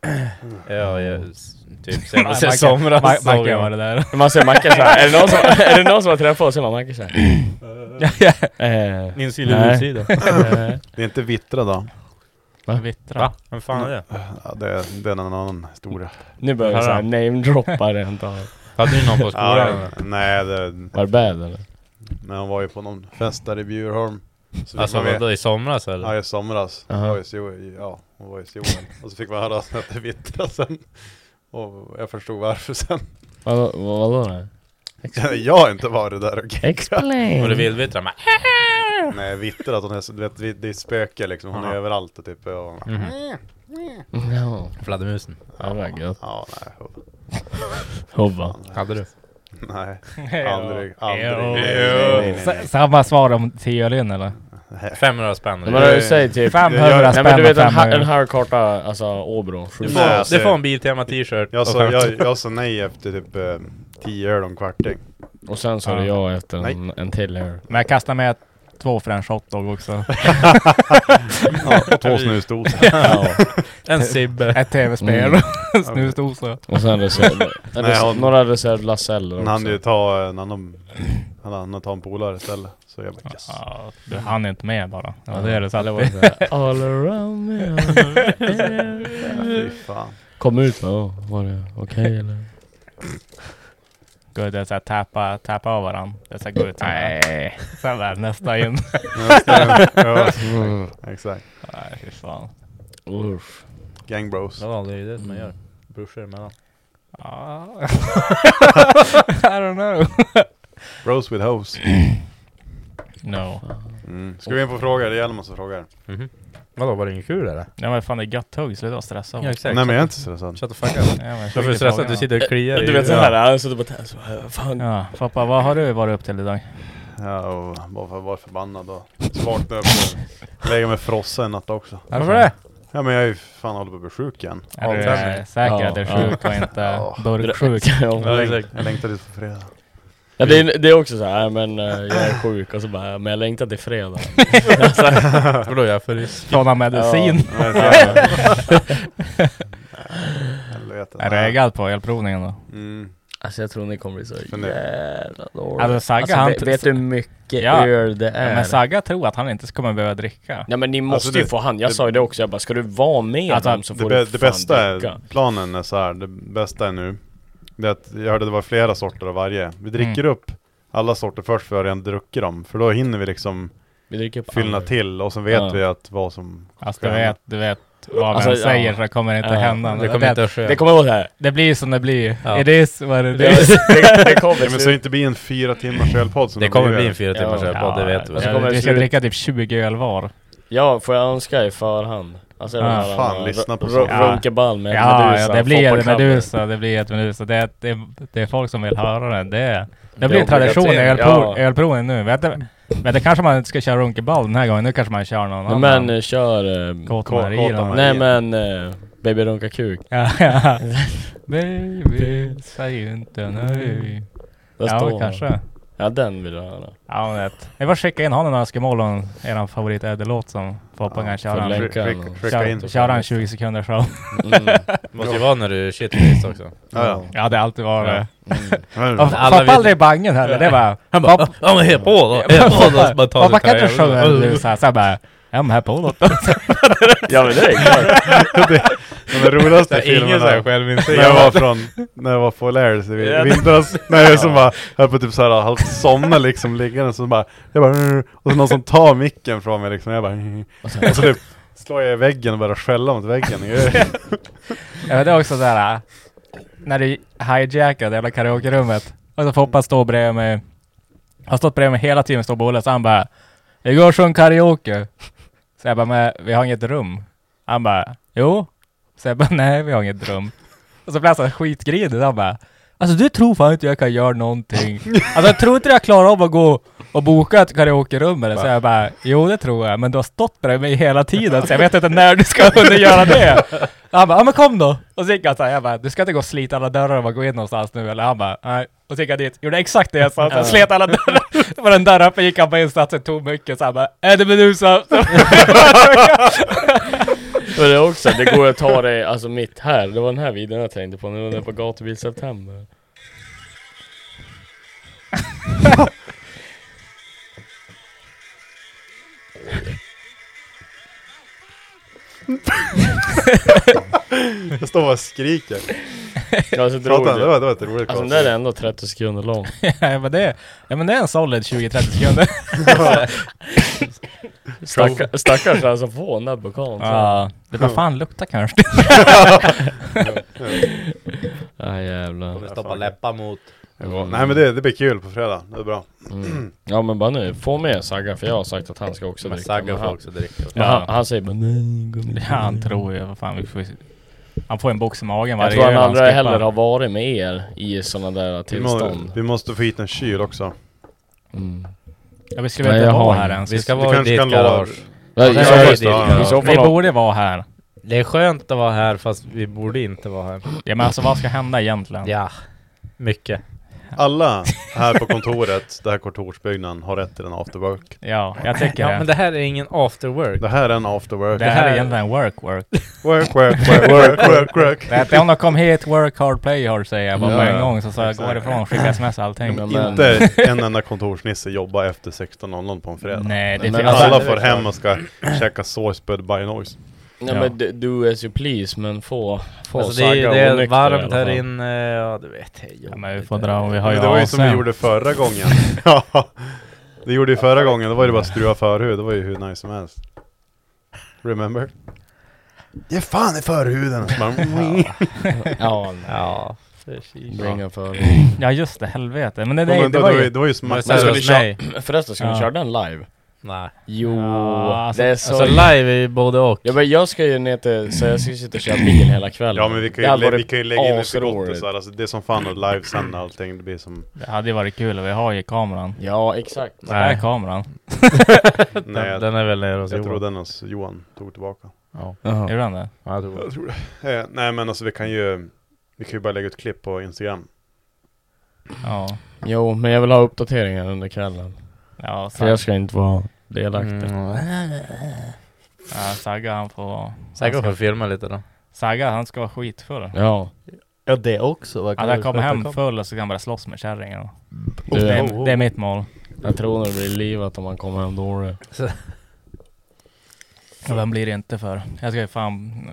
A: Mm.
I: Ja, ja. s- Typ
A: Nej,
I: senaste
A: Macke- Ma-
I: somras såg
A: Macke var
I: jag.
A: det där.
B: Man ser Macke såhär, är det någon som, är det någon som har träffat oss? Så är man Macke såhär... eh,
I: Insida
B: Nej.
I: och utsida.
B: eh,
D: Det är inte vittra då.
B: Va?
A: Vittra.
I: Vem fan är det?
D: Ja, det, är- det är en annan historia.
B: Nu börjar vi såhär namedroppa rent av.
I: Hade du någon på skolan?
D: Ja, nej, det,
B: Var det bad eller?
D: när hon var ju på någon fest där i Bjurholm. Så fick
I: Alltså
D: man veta-
I: vadå, i somras eller?
D: Ja, i somras. Hon
B: Aha.
D: var ju så- i- Ja, hon var ju så Joel. Och så fick man höra att hon hette Vittra sen. Och jag förstod varför sen.
B: Vadå? Vadå då?
D: Jag har inte varit där och geggat.
I: Var det
B: Explain!
I: vildvittra? Men-
D: Nej, Vittra, att hon är så, du vet, vi- det är ett spöke liksom. Hon är överallt och typ. Och,
I: Mhm.
B: Ja,
I: Fladdermusen.
B: det var gött.
D: ja, nej. och-
B: Hobba.
I: Hade du?
D: Nej, aldrig. Aldrig.
A: Jo.
D: Nej, nej, nej,
A: Sa- Samma svar om tio ölen eller?
I: 500 spänn.
B: Men du säger typ...
A: 500
B: Nej
A: spänn
B: men du
A: och
B: vet en, ha-
A: 500.
B: en halv karta, alltså Åbro. Sju.
D: Du
I: Du
D: får- Nej,
I: får,
D: alltså-
I: du får en Biltema t-shirt
D: Jag
I: och
D: sa,
I: fem-
D: jag, jag sa nej efter typ eh, tio öl och en kvarting.
B: Och sen så är det jag efter en,
D: Nej.
B: en till här.
A: Men jag kastar med två french hotdog också.
D: Ja, och två snusdosor.
B: Ja.
I: en Sibbe.
A: Ett
B: Mm.
A: tv-spel. Snusdosa.
B: Och sen reserv, en
D: Nej,
B: res-
D: hon-
B: några reserv Laseller
D: Han
B: också.
D: hann ju ta en annan, han hann ta en polare istället. Så jag bara yes.
A: Ja, du hann inte med bara. Ja, det är det sant.
B: Eller var det såhär, All around me. all around
D: Fy
B: me."
D: fan.
B: Kom ut med, "Åh, var det okej eller?
A: Gud, det är såhär tappa, tappa av varandra. Det är såhär gå ut sen bara- Sen bara nästa in.
D: Ja,
B: Mm.
D: exakt.
A: Nej, fy fan.
B: Usch.
D: Gang bros.
I: Ja det är ju det man gör. Brorsor emellan.
A: Ja. I don't know.
D: Bros with hoes.
A: No.
D: Mm. Ska vi in på frågor? Det är Hjelm som frågar.
I: Vadå var det ingen kul eller?
A: Ja men fan det är gött hugg, sluta vara stressad.
I: exakt.
D: Nej men jag är inte stressad.
I: Shut the fuck up.
A: Ja, men
I: Varför är
A: skit
I: du
A: i
I: stressad?
A: frågorna.
I: Du sitter och kliar i-
B: Du vet såhär, han sitter på tän så här, fan.
A: Ja, pappa vad har du varit upp till idag?
D: Ja, och bara för att vara förbannad och så vaknade jag på lägga mig frossa en natt också.
I: Varför det?
D: Ja men jag är ju fan håller på att bli sjuk igen.
A: Är du
I: Avtändning.
A: eh, säker
B: Ja,
A: att du
B: ja.
A: är sjuk och inte
D: Ja.
A: burksjuk?
B: Ja.
D: Jag,
I: Ja,
D: läng-
I: exakt.
D: jag längtar dit på fredag.
B: Ja, det, är, det är också såhär, men eh, jag är sjuk och så bara, men jag längtar till fredag.
I: Vadå jag är för ryss?
A: Från har medicin?
D: Nej, fan. Helvete.
A: Är du eggad på elprovningen då?
D: Mm.
B: Alltså jag tror ni kommer bli så
D: Men det-
B: jävla dåliga.
A: Alltså, Sagga,
B: alltså,
A: han-
B: vet, vet du hur mycket
A: Ja.
B: öl det är?
A: Ja, men Saga tror att han inte kommer behöva dricka.
B: Nej men ni måste
D: Alltså,
B: ju
D: det-
B: få han, jag
D: det-
B: sa ju det också, jag bara ska du vara med
A: Alltså,
B: dem så
D: Det,
B: får du
D: bä- det
B: fan
D: bästa
B: dricka.
D: är, planen är så här, det bästa är nu, det är att jag hörde det var flera sorter av varje. Vi dricker
B: Mm.
D: upp alla sorter först för att redan druckit dem, för då hinner vi liksom
B: Vi dricker på
D: fyllna
B: andra.
D: till och sen vet
B: Ja.
D: vi att vad som...
A: Alltså du vet, du vet vad
B: Alltså,
A: man
B: ja.
A: säger så kommer det inte
B: Ja,
A: hända.
I: Det kommer inte att ske.
B: Det kommer vara såhär.
A: det blir som det blir.
I: Ja.
A: It is what it
B: Det,
A: is.
B: det, det
D: Ja,
B: kommer
D: men så
B: slut.
D: inte blir en fyra timmars ölpodd som
I: Det
D: det
I: kommer bli
D: blir.
I: en fyra timmars
B: Ja.
I: ölpodd, det vet
B: Och så
I: du.
A: Ja,
B: kommer det
A: vi ska
B: slut.
A: dricka typ 20 öl var.
B: Ja, får jag önska i förhand? Alltså jag
A: Ja,
B: vill höra
D: fan,
B: någon
D: lyssna på
B: ru-
D: sånt.
A: Ja.
B: Runkeball med
A: Ja, ja, det blir
B: Foppa
A: ett
B: Cover.
A: Medusa, det blir ett Medusa. Det, är- det, är- det är folk som vill höra det. Det, det blir
B: är
A: en tradition i
B: obligatoriskt.
A: ölpro,
B: Ja.
A: ölproven nu. Vet du, men det kanske man inte ska köra runkeball den här gången. Nu kanske man kör någon
B: Nej,
A: annan.
B: Men eh, kör... eh,
A: Kåta
D: Kå-
A: Maria.
D: Kåta
A: eller något.
D: Maria.
B: Nej men... eh, Baby runka kuk.
A: Ja, ja. Baby, säg inte nej.
B: Där
A: ja,
B: står
A: kanske.
B: han. Ja den vill jag höra.
A: Ja, jag vet. Jag får skicka in honom några önskemål om er favorit ädellåt som Foppa kan köra.
B: förlänga.
A: en-
B: Länka
D: Skick-
B: och-
D: Skicka in.
A: köra- Köra en 20 sekunder show.
B: Mm.
J: Måste ju vara när du shitface också.
D: Ja,
A: Ja, det har alltid varit...
B: Mm.
D: ja.
A: Ja.
J: Alla
A: Foppa
J: vet-
A: aldrig bangen heller. Det var...
J: Han bara ja men hej på då! Hej på då! Så bara tar
A: Foppa
J: sig
A: kan inte
J: tröjan.
A: sjunga en blues här. Så jag bara... Ja men här på då.
B: Ja men det är klart.
D: Den
J: Det
D: roligaste
J: är Ingen
D: filmen
J: så här
D: där. När
J: självinsikt.
D: jag var från, när jag var på O'Learys i
J: Ja.
D: vintras, när jag som bara höll på typ såhär, halvt somna liksom liggande, så bara, jag bara, "Mm", och så någon som tar micken från mig liksom, jag bara, "Mm". och så typ slår jag i väggen och börjar skälla mot väggen.
A: Ja, men det är också såhär... äh, När du hijackade jävla karaokerummet. Och så Foppa står bredvid mig. Har stått bredvid mig hela tiden, står bollen. Så han bara... Igår sjöng karaoke. Så jag bara, men vi har inget rum. Han bara, jo. Så jag bara, nej vi har inget rum. Och så blev han så här skitgrinig. Han bara, alltså du tror fan inte jag kan göra någonting. Alltså jag tror inte jag klarar av att gå och boka ett karaokerum eller så jag bara, jo det tror jag. Men du har stått bredvid mig hela tiden så jag vet inte när du ska kunna göra det. Han bara, ja men kom då! Och så gick han såhär, jag bara, du ska inte gå och slita alla dörrar och bara gå in någonstans nu eller? Han bara, nej. Och så gick han dit, gjorde exakt det jag sa, så han slet alla dörrar. Det var en dörr uppe, gick han bara in, satte sig tom mycket, så han bara, är det Medusa?
B: Men det är också, det går att ta det alltså mitt här. Det var den här videon jag tänkte på när jag var på gatubil september.
D: Jag står bara och skriker.
B: Alltså drog
D: Prata, det
B: jag.
D: var, det var ett roligt
B: Alltså den där är ändå 30 sekunder lång.
A: ja, men det, ja men det är en solid 20-30 sekunder.
B: Stacka, stackars alltså, han som får den där pokalen. Ja
A: Ja, det bara fan luktar kanske.
B: jävlar.
J: Stoppa läppar mot... Mm.
D: Ja, Nej men det, det blir kul på fredag, det är bra.
B: Mm. Ja men bara nu, få med Sagga för jag har sagt att han ska också dricka.
J: Sagga
B: men
J: får
B: han,
J: också dricka.
B: men han, han säger bara nej gummi."
A: Ja, han tror ju, vad fan vi får Han får en box i magen
B: Jag
A: varje
B: tror han
A: gång
B: aldrig
A: skippar.
B: heller har varit med er i sådana där
D: Vi, må,
B: tillstånd.
D: vi måste få hit en kyl också.
B: Mm.
A: Ja, vi skulle
B: Nej,
A: väl inte
B: jag
A: vara
B: har
A: här
B: ingen.
A: ens.
J: Vi ska
D: Vi
J: vara i
D: kanske
J: ditt
D: kan lova-
J: garage.
B: Nej,
J: Ja,
B: i
J: det
B: så
J: är
B: fall-
J: riktigt
B: I så
A: Vi
B: fall har-
A: borde vara här.
J: Det är skönt att vara här fast vi borde inte vara här.
A: Ja men alltså vad ska hända egentligen?
J: Ja. Mycket.
D: Alla här på kontoret, den här kontorsbyggnaden, har rätt till en afterwork.
A: Ja, jag tycker
J: Ja
A: det.
J: men det här är ingen after work.
D: Det här är en afterwork.
A: Det här är
J: här-
A: egentligen work, work.
D: Work, work, work, work, work, work.
A: Det är att om de kom hit, work hard, play hard säger jag bara på
B: Ja,
A: en
B: ja.
A: gång. Så sa jag gå
D: Exakt.
A: härifrån, skicka sms och allting.
B: Ja, men-
D: Inte en enda kontorsnisse jobbar efter 16.00 på en fredag.
A: Nej, det
B: Men
A: finns...
D: Alla
A: Alltså,
D: får hem och ska käka såsbud by noise.
B: Nej
A: Ja.
B: men d- do as you please men få, få
J: Alltså det, är,
B: Sagga
J: det är
B: onykter i alla
J: varmt här
B: fall.
J: inne, ja du vet. det är jobbigt.
A: ja, men vi får dra och vi har
D: Men
A: ju
D: det var ju som vi
A: AC.
D: gjorde förra gången. ja. Det gjorde ju förra gången, då var det bara att skruva förhud, det var ju hur nice som helst. Remember? Ge fan i förhuden! Så bara,
B: Ja, nej.
J: Ja.
B: Bringa för...
A: Ja just det, helvete. Men det,
D: Ja,
A: det,
D: men
A: det
D: då-
A: var
D: då-
A: ju...
D: Det var ju
J: Men
D: smart.
J: så här
B: ska
J: hos
B: vi köra-
J: mig?
B: Förresten, ska
A: Ja.
B: ni köra den live?
J: Nej.
B: Jo,
A: Ja, alltså-
B: det är så...
J: Alltså live är ju både och.
B: ja, men jag ska ju ner till... Så jag ska sitta och köra bil hela kvällen.
D: Ja men vi kan
B: Det
D: ju,
B: hade
D: lä-
B: varit
D: vi kan ju lägga in lite gott och
B: asroligt.
D: så här. Alltså, det är som fan att livesända allting, det blir som...
A: Det hade ju varit kul och vi har ju kameran.
B: Ja, exakt.
A: Så här är kameran.
D: Nej, jag,
J: Den är väl nere hos
D: jag tror
J: Johan?
D: den hos Johan tog tillbaka.
A: Gjorde han det?
J: Ja, jag tror det.
D: Jag tror det. Eh, nej men alltså vi kan ju... Vi kan ju bara lägga ut klipp på Instagram.
A: Ja.
B: Jo, men jag vill ha uppdateringar under kvällen.
A: Ja,
B: För jag
A: Sag,
B: ska inte vara delaktig.
A: ja, Sagga han får...
J: Säkert får filma lite då.
A: Sagga han ska vara skitfull.
B: Ja.
J: Ja det också. Vad
A: Han där kommer hem full och så kan han börja slåss med kärringen.
J: Oh,
B: Du,
A: Det är, det är mitt mål.
B: Jag tror nog det blir livat om man kommer hem dålig.
A: Och vem blir det inte för? Jag ska ju fan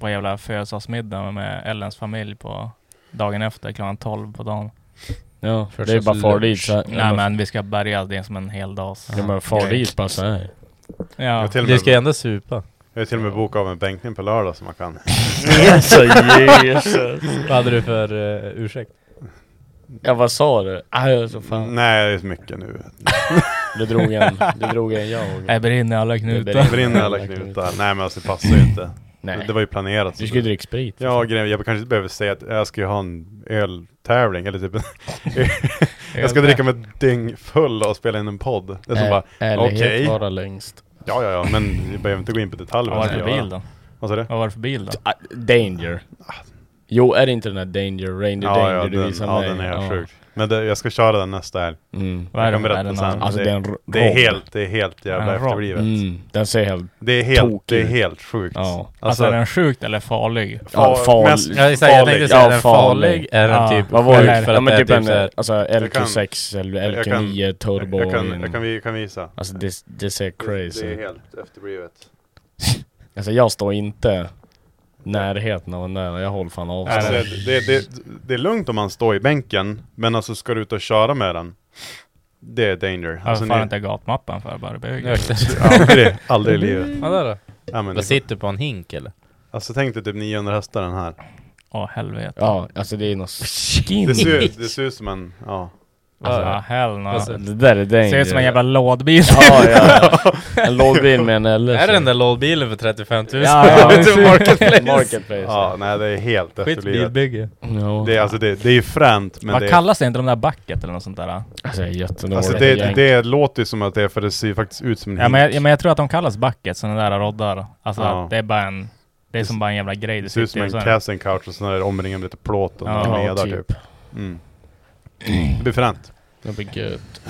A: på jävla födelsedagsmiddag med Ellens familj på dagen efter klockan 12 på dagen.
B: Ja,
J: Första
B: det är bara far
J: lunch.
B: dit så här-
A: Nej men vi ska bärga det som en hel dag.
B: Ja men far dit bara såhär.
D: Jag
A: Ja.
D: har till och
J: Du ska ju
D: med,
J: ändå supa.
D: jag har till och med bokat av en bänkning på lördag som man kan.
B: Alltså Jesus.
J: Vad hade du för eh, ursäkt?
B: Ja vad sa du? Aj, jag är så fan.
D: Nej det är så mycket nu.
B: Du drog en, du drog en jag.
A: Jag brinner i alla knutar.
D: Det brinner alla knutar. Nej men alltså det passar ju inte.
B: Nej.
D: Det var ju planerat.
B: Du ska ju dricka sprit.
D: Ja grejen, jag kanske inte behöver säga att jag ska ju ha en öltävling eller typ Jag ska dricka mig dyng full och spela in en podd. Det är som bara,
B: Ä- ärlighet
D: okej.
B: vara längst.
D: ja ja ja men vi behöver inte gå in på detaljer.
A: Vad var det för bil då?
D: Vad sa du?
A: Vad var det för bil då?
B: Ah, danger. Jo, är det inte den där Danger Ranger
D: Ja,
B: Danger
D: ja,
B: du
D: den,
B: visade
D: ja
B: mig?
D: den är helt sjukt. Men det, jag ska köra den nästa helg.
B: Mm.
A: Vad är
D: Jag kan
A: det- vad är
D: berätta
A: det
D: sen.
A: någon-
B: Alltså
D: det,
B: den r-
D: det är
B: roll.
D: helt, det är helt jävla
A: Den roll.
D: efterblivet.
B: Mm. Den ser helt...
D: Det är helt, det är
B: Tokig.
D: helt sjukt.
B: Ja.
A: Alltså är
D: Alltså,
A: den sjukt eller farlig?
B: Ja,
D: Ja,
B: farlig.
D: mest-
K: Ja, exakt, jag tänkte
D: Farlig.
K: säga
B: Ja,
K: den
B: farlig.
K: farlig är den
A: Ja.
K: typ
B: Ah. Vad var
K: sjuk
B: det?
K: för
B: Ja
K: att
B: men
K: det är
B: typ en...
K: så här-
B: Alltså LK6 eller
D: jag kan-
B: LK9 Turbo.
D: jag, kan,
B: in-
D: jag, kan, vi- jag kan visa.
B: Alltså det, det ser
D: Det, det
B: crazy
D: är helt efterblivet.
B: Alltså jag står inte i närheten av den där, jag håller fan avstånd.
D: Alltså, det, det, det, det är lugnt om man står i bänken, men alltså ska du ut och köra med den, det är danger.
A: Varför
D: Alltså,
A: fan
D: ni,
A: inte gatmappen för bara bygga?
K: Ökte.
D: aldrig, aldrig i livet.
K: Vad är det?
D: Ja, men,
K: Vad sitter på en hink eller?
D: alltså tänk dig typ 900 hästar den här.
A: Åh helvete.
B: Ja, alltså det är något skin.
D: Det ser, ut- det ser ut som en, ja.
A: Alltså
K: Ja.
A: hell no.
K: Alltså,
B: Det där är danger.
A: Ser ut som en jävla lådbil.
B: Ja, ja, ja. En lådbil med en LS.
K: Är det den där lådbilen för 35 000?
B: Ja, ja.
K: Marketplace.
B: Marketplace.
D: ja. Nej det är helt efterblivet.
K: Skitbilbygge.
B: Ja.
D: Det är, alltså, det, det är ju fränt, men
A: Vad
D: det är
A: kallas det? Inte de där bucket eller något sånt där?
B: Alltså jag är jättedålig.
D: Alltså det, det, låter ju som att det är för det ser ju faktiskt ut som en
A: Ja
D: hink.
A: men, jag, ja, men jag tror att de kallas bucket, sådana där roddar. Alltså
D: Ja.
A: att det är bara en... Det är som bara en jävla grej du
D: det ser ut som
A: sitter i.
D: en
A: och så-
D: casting couch och sen är det omringad med lite plåt och
A: Ja,
D: några
B: ja,
D: medar
B: typ.
D: typ. Mm. Det blir fränt.
B: Det blir gött.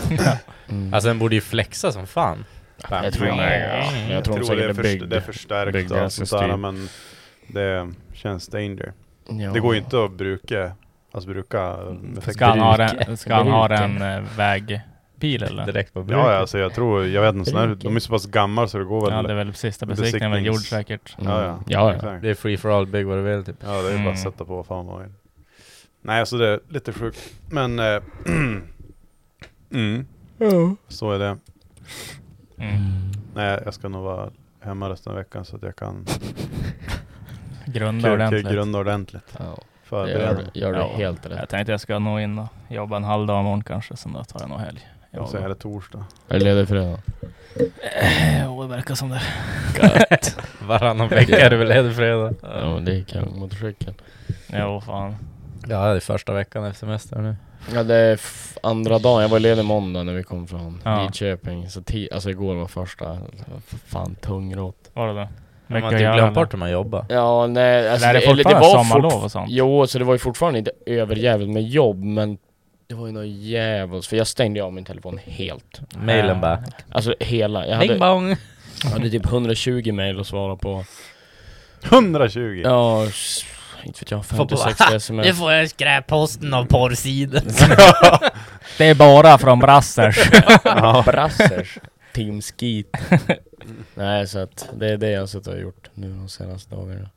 K: Alltså den borde ju flexa som fan.
B: Mm. Jag tror, jag, jag tror, de
D: Jag tror det är,
B: säkert
D: för,
B: det är byggd.
D: det är förstärkt
B: byggd
D: och
B: alltså
D: sånt där,
B: styr.
D: men det känns danger.
B: Ja.
D: Det går ju inte att bruka, alltså bruka eh,
A: Ska
D: effekter.
A: han ha
B: Bruk.
A: den- ska han ha
B: Bruk.
A: en eh, vägbil eller?
K: Direkt på bruket.
D: Ja, ja, alltså jag tror, jag vet inte, såna här, de är så pass gamla så det går väl.
A: Ja
D: Ja,
A: det är väl sista besiktningen väl gjord
D: Besiktnings-
A: säkert.
B: Mm.
D: ja, ja.
B: ja, ja.
D: Exakt.
K: Det är free for all, bygg vad du vill typ.
D: ja, det är ju bara
A: Mm.
D: att sätta på vad fan man vill. Nej, alltså det är lite sjukt, men... Eh, mm, så är det.
A: Mm.
D: Nej, jag ska nog vara hemma resten av veckan så att jag kan
A: Grunda
D: kuka
A: ordentligt.
D: grunda ordentligt.
B: ja. Det
D: Förbereda
B: gör,
D: mig.
B: du- gör du
A: Ja.
B: helt
A: Jag
B: rätt.
A: tänkte jag ska nog in och jobba en halv dag imorgon kanske, sen då tar jag nog helg.
D: Och så är
A: Jag,
D: det torsdag.
B: Är du ledig fredag?
A: jo, det verkar som det.
K: Varannan vecka är det väl ledig fredag?
B: Ja, men det är kan motorcykeln.
A: Jo, fan.
K: Ja, det är första veckan efter semestern nu.
B: Ja, det är f- andra dagen. Jag var ledig måndag när vi kom från
A: Ja.
B: Lidköping. Så ti- alltså igår var första. Fan tungrått.
A: Var det det?
K: Men man
A: Mycket att
K: inte
A: göra,
K: glömt
A: eller?
K: bort hur man jobbar.
B: Ja, nej. Alltså,
A: Nej, det är
B: eller
A: fortfarande
B: var
A: sommarlov
B: fortf-
A: och sånt.
B: Jo, så det var ju fortfarande inte överjävligt med jobb, men det var ju något jävligt. För jag stängde ju av min telefon helt.
K: Mailen bara.
B: Alltså hela. Jag
K: Bing
B: hade,
K: bong!
B: jag hade typ 120 mail att svara på.
D: 120!
B: Ja, s- inte vet jag. 50-60 sms.
K: får jag skräpposten av porrsidor.
A: Det är bara från Brassers.
B: Brassers Team Skeet Nej så att det är det jag har suttit och gjort nu de senaste dagarna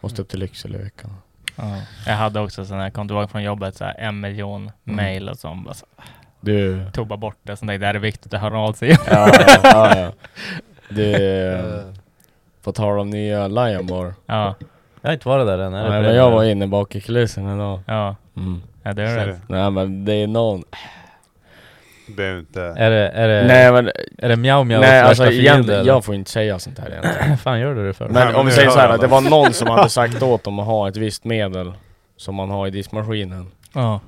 B: Måste upp till Lycksele i veckan
A: ja. Jag hade också sån här, jag kom tillbaka från jobbet, så här, en miljon
K: Mm.
A: mail och sånt. Bara så,
B: Du
A: tog bara bort det, sen tänkte jag det är viktigt att höra av sig.
B: Ja, ja, ja. Du eh, På tal om nya Lion Bar
A: Ja,
K: Jag har inte varit där än. är det
B: Nej men
K: fredag?
B: jag var inne bak i kulisserna idag
A: ja.
B: mm.
A: ja det
D: Ser
A: är
D: du?
A: det.
B: Nej men det är någon
D: Du behöver inte...
K: Är det, är det,
B: Nej men
K: Eh, är det mjau mjau
B: Nej
K: värsta
B: alltså
K: fiende,
B: egentligen,
K: eller?
B: jag får inte säga sånt här egentligen
K: Vad fan gör du det för?
B: Men
D: men
B: om vi
D: nu
B: säger
D: hör
B: såhär,
D: alla.
B: det var någon som hade sagt åt dem att ha ett visst medel Som man har i diskmaskinen
A: Ja.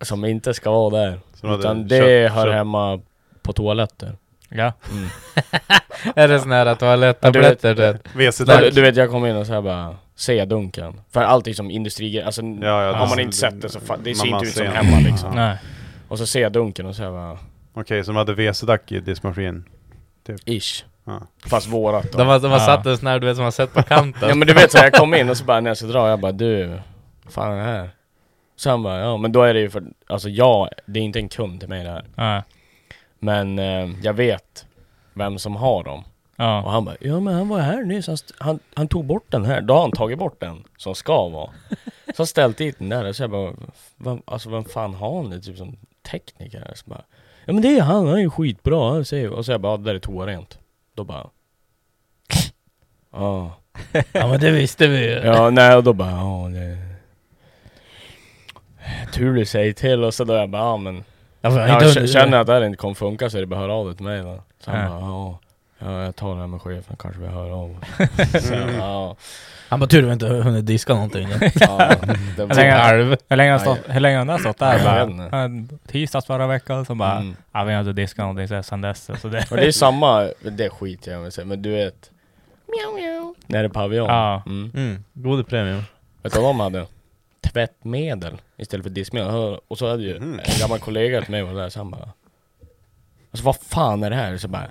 B: Som inte ska vara där
D: Som hade
B: Utan
D: köpt-
B: det hör
D: köpt-
B: hemma på toaletter.
A: Ja.
K: Är det sån här toalettabletter? det?
B: Du,
D: WC-tack.
B: du vet, jag kom in och så här bara, se dunken. För allting som industrigrejer, alltså
D: ja,
B: har
D: alltså,
B: man inte sett det så fa- det ser
D: man
B: inte ut som
D: ser-
B: hemma liksom.
D: Ja.
A: Nej.
B: Och så se dunken och så här bara,
D: Okej, så de hade WC-dack i diskmaskinen?
B: ish.
D: Ja.
B: Fast vårat
K: De
B: då.
K: har, de har
A: Ja.
K: satt en sån här du vet som man sett på kanten.
B: Ja men du vet så här, jag kom in och så bara, när jag ska dra, jag bara du, vad fan är det här? Så han bara, ja men då är det ju för, alltså jag, det är inte en kund till mig det här.
A: Ja.
B: Men eh, jag vet vem som har dem. Och
A: Ja.
B: han bara, ja men han var här nyss, han, st- han, han tog bort den här, då har han tagit bort den som ska vara. Så han ställt dit den där, så jag bara, vem, alltså vem fan har han det? Typ som tekniker här. Så bara, ja men det är han, han är ju skitbra, han säger, och så jag bara, ja, det där är toarent. Då bara, ja.
K: ja men det visste vi ju.
B: Ja, nej och då bara, ja det... Tur du säger till, och så då jag bara, ja men Ja, jag känner att det här inte kommer funka så är det bara att höra av dig till mig då. Så han
A: Ja.
B: bara, ja, ja, jag tar det här med chefen, kanske vi hör av oss." Så, ja,
K: Han bara typ tur vi inte hunnit diska någonting.
B: ja, det
A: Hur länge,
B: var,
A: hur länge har han stått- hur länge har den där stått där?
B: Jag vet
A: Bara,
B: inte.
A: ja, tisdags förra veckan, så bara
B: Mm.
A: ja, vi har inte diskat någonting så- sen dess. Så det,
B: och det är samma, det skiter jag i om jag säger, men du vet När det är paviljon
A: Ja.
B: mm.
K: Mm, god premium.
B: Vet du vad de hade? Tvättmedel istället för diskmedel. Och så hade ju
D: Mhm.
B: en gammal kollega till mig var där, så han bara Alltså vad fan är det här? Så bara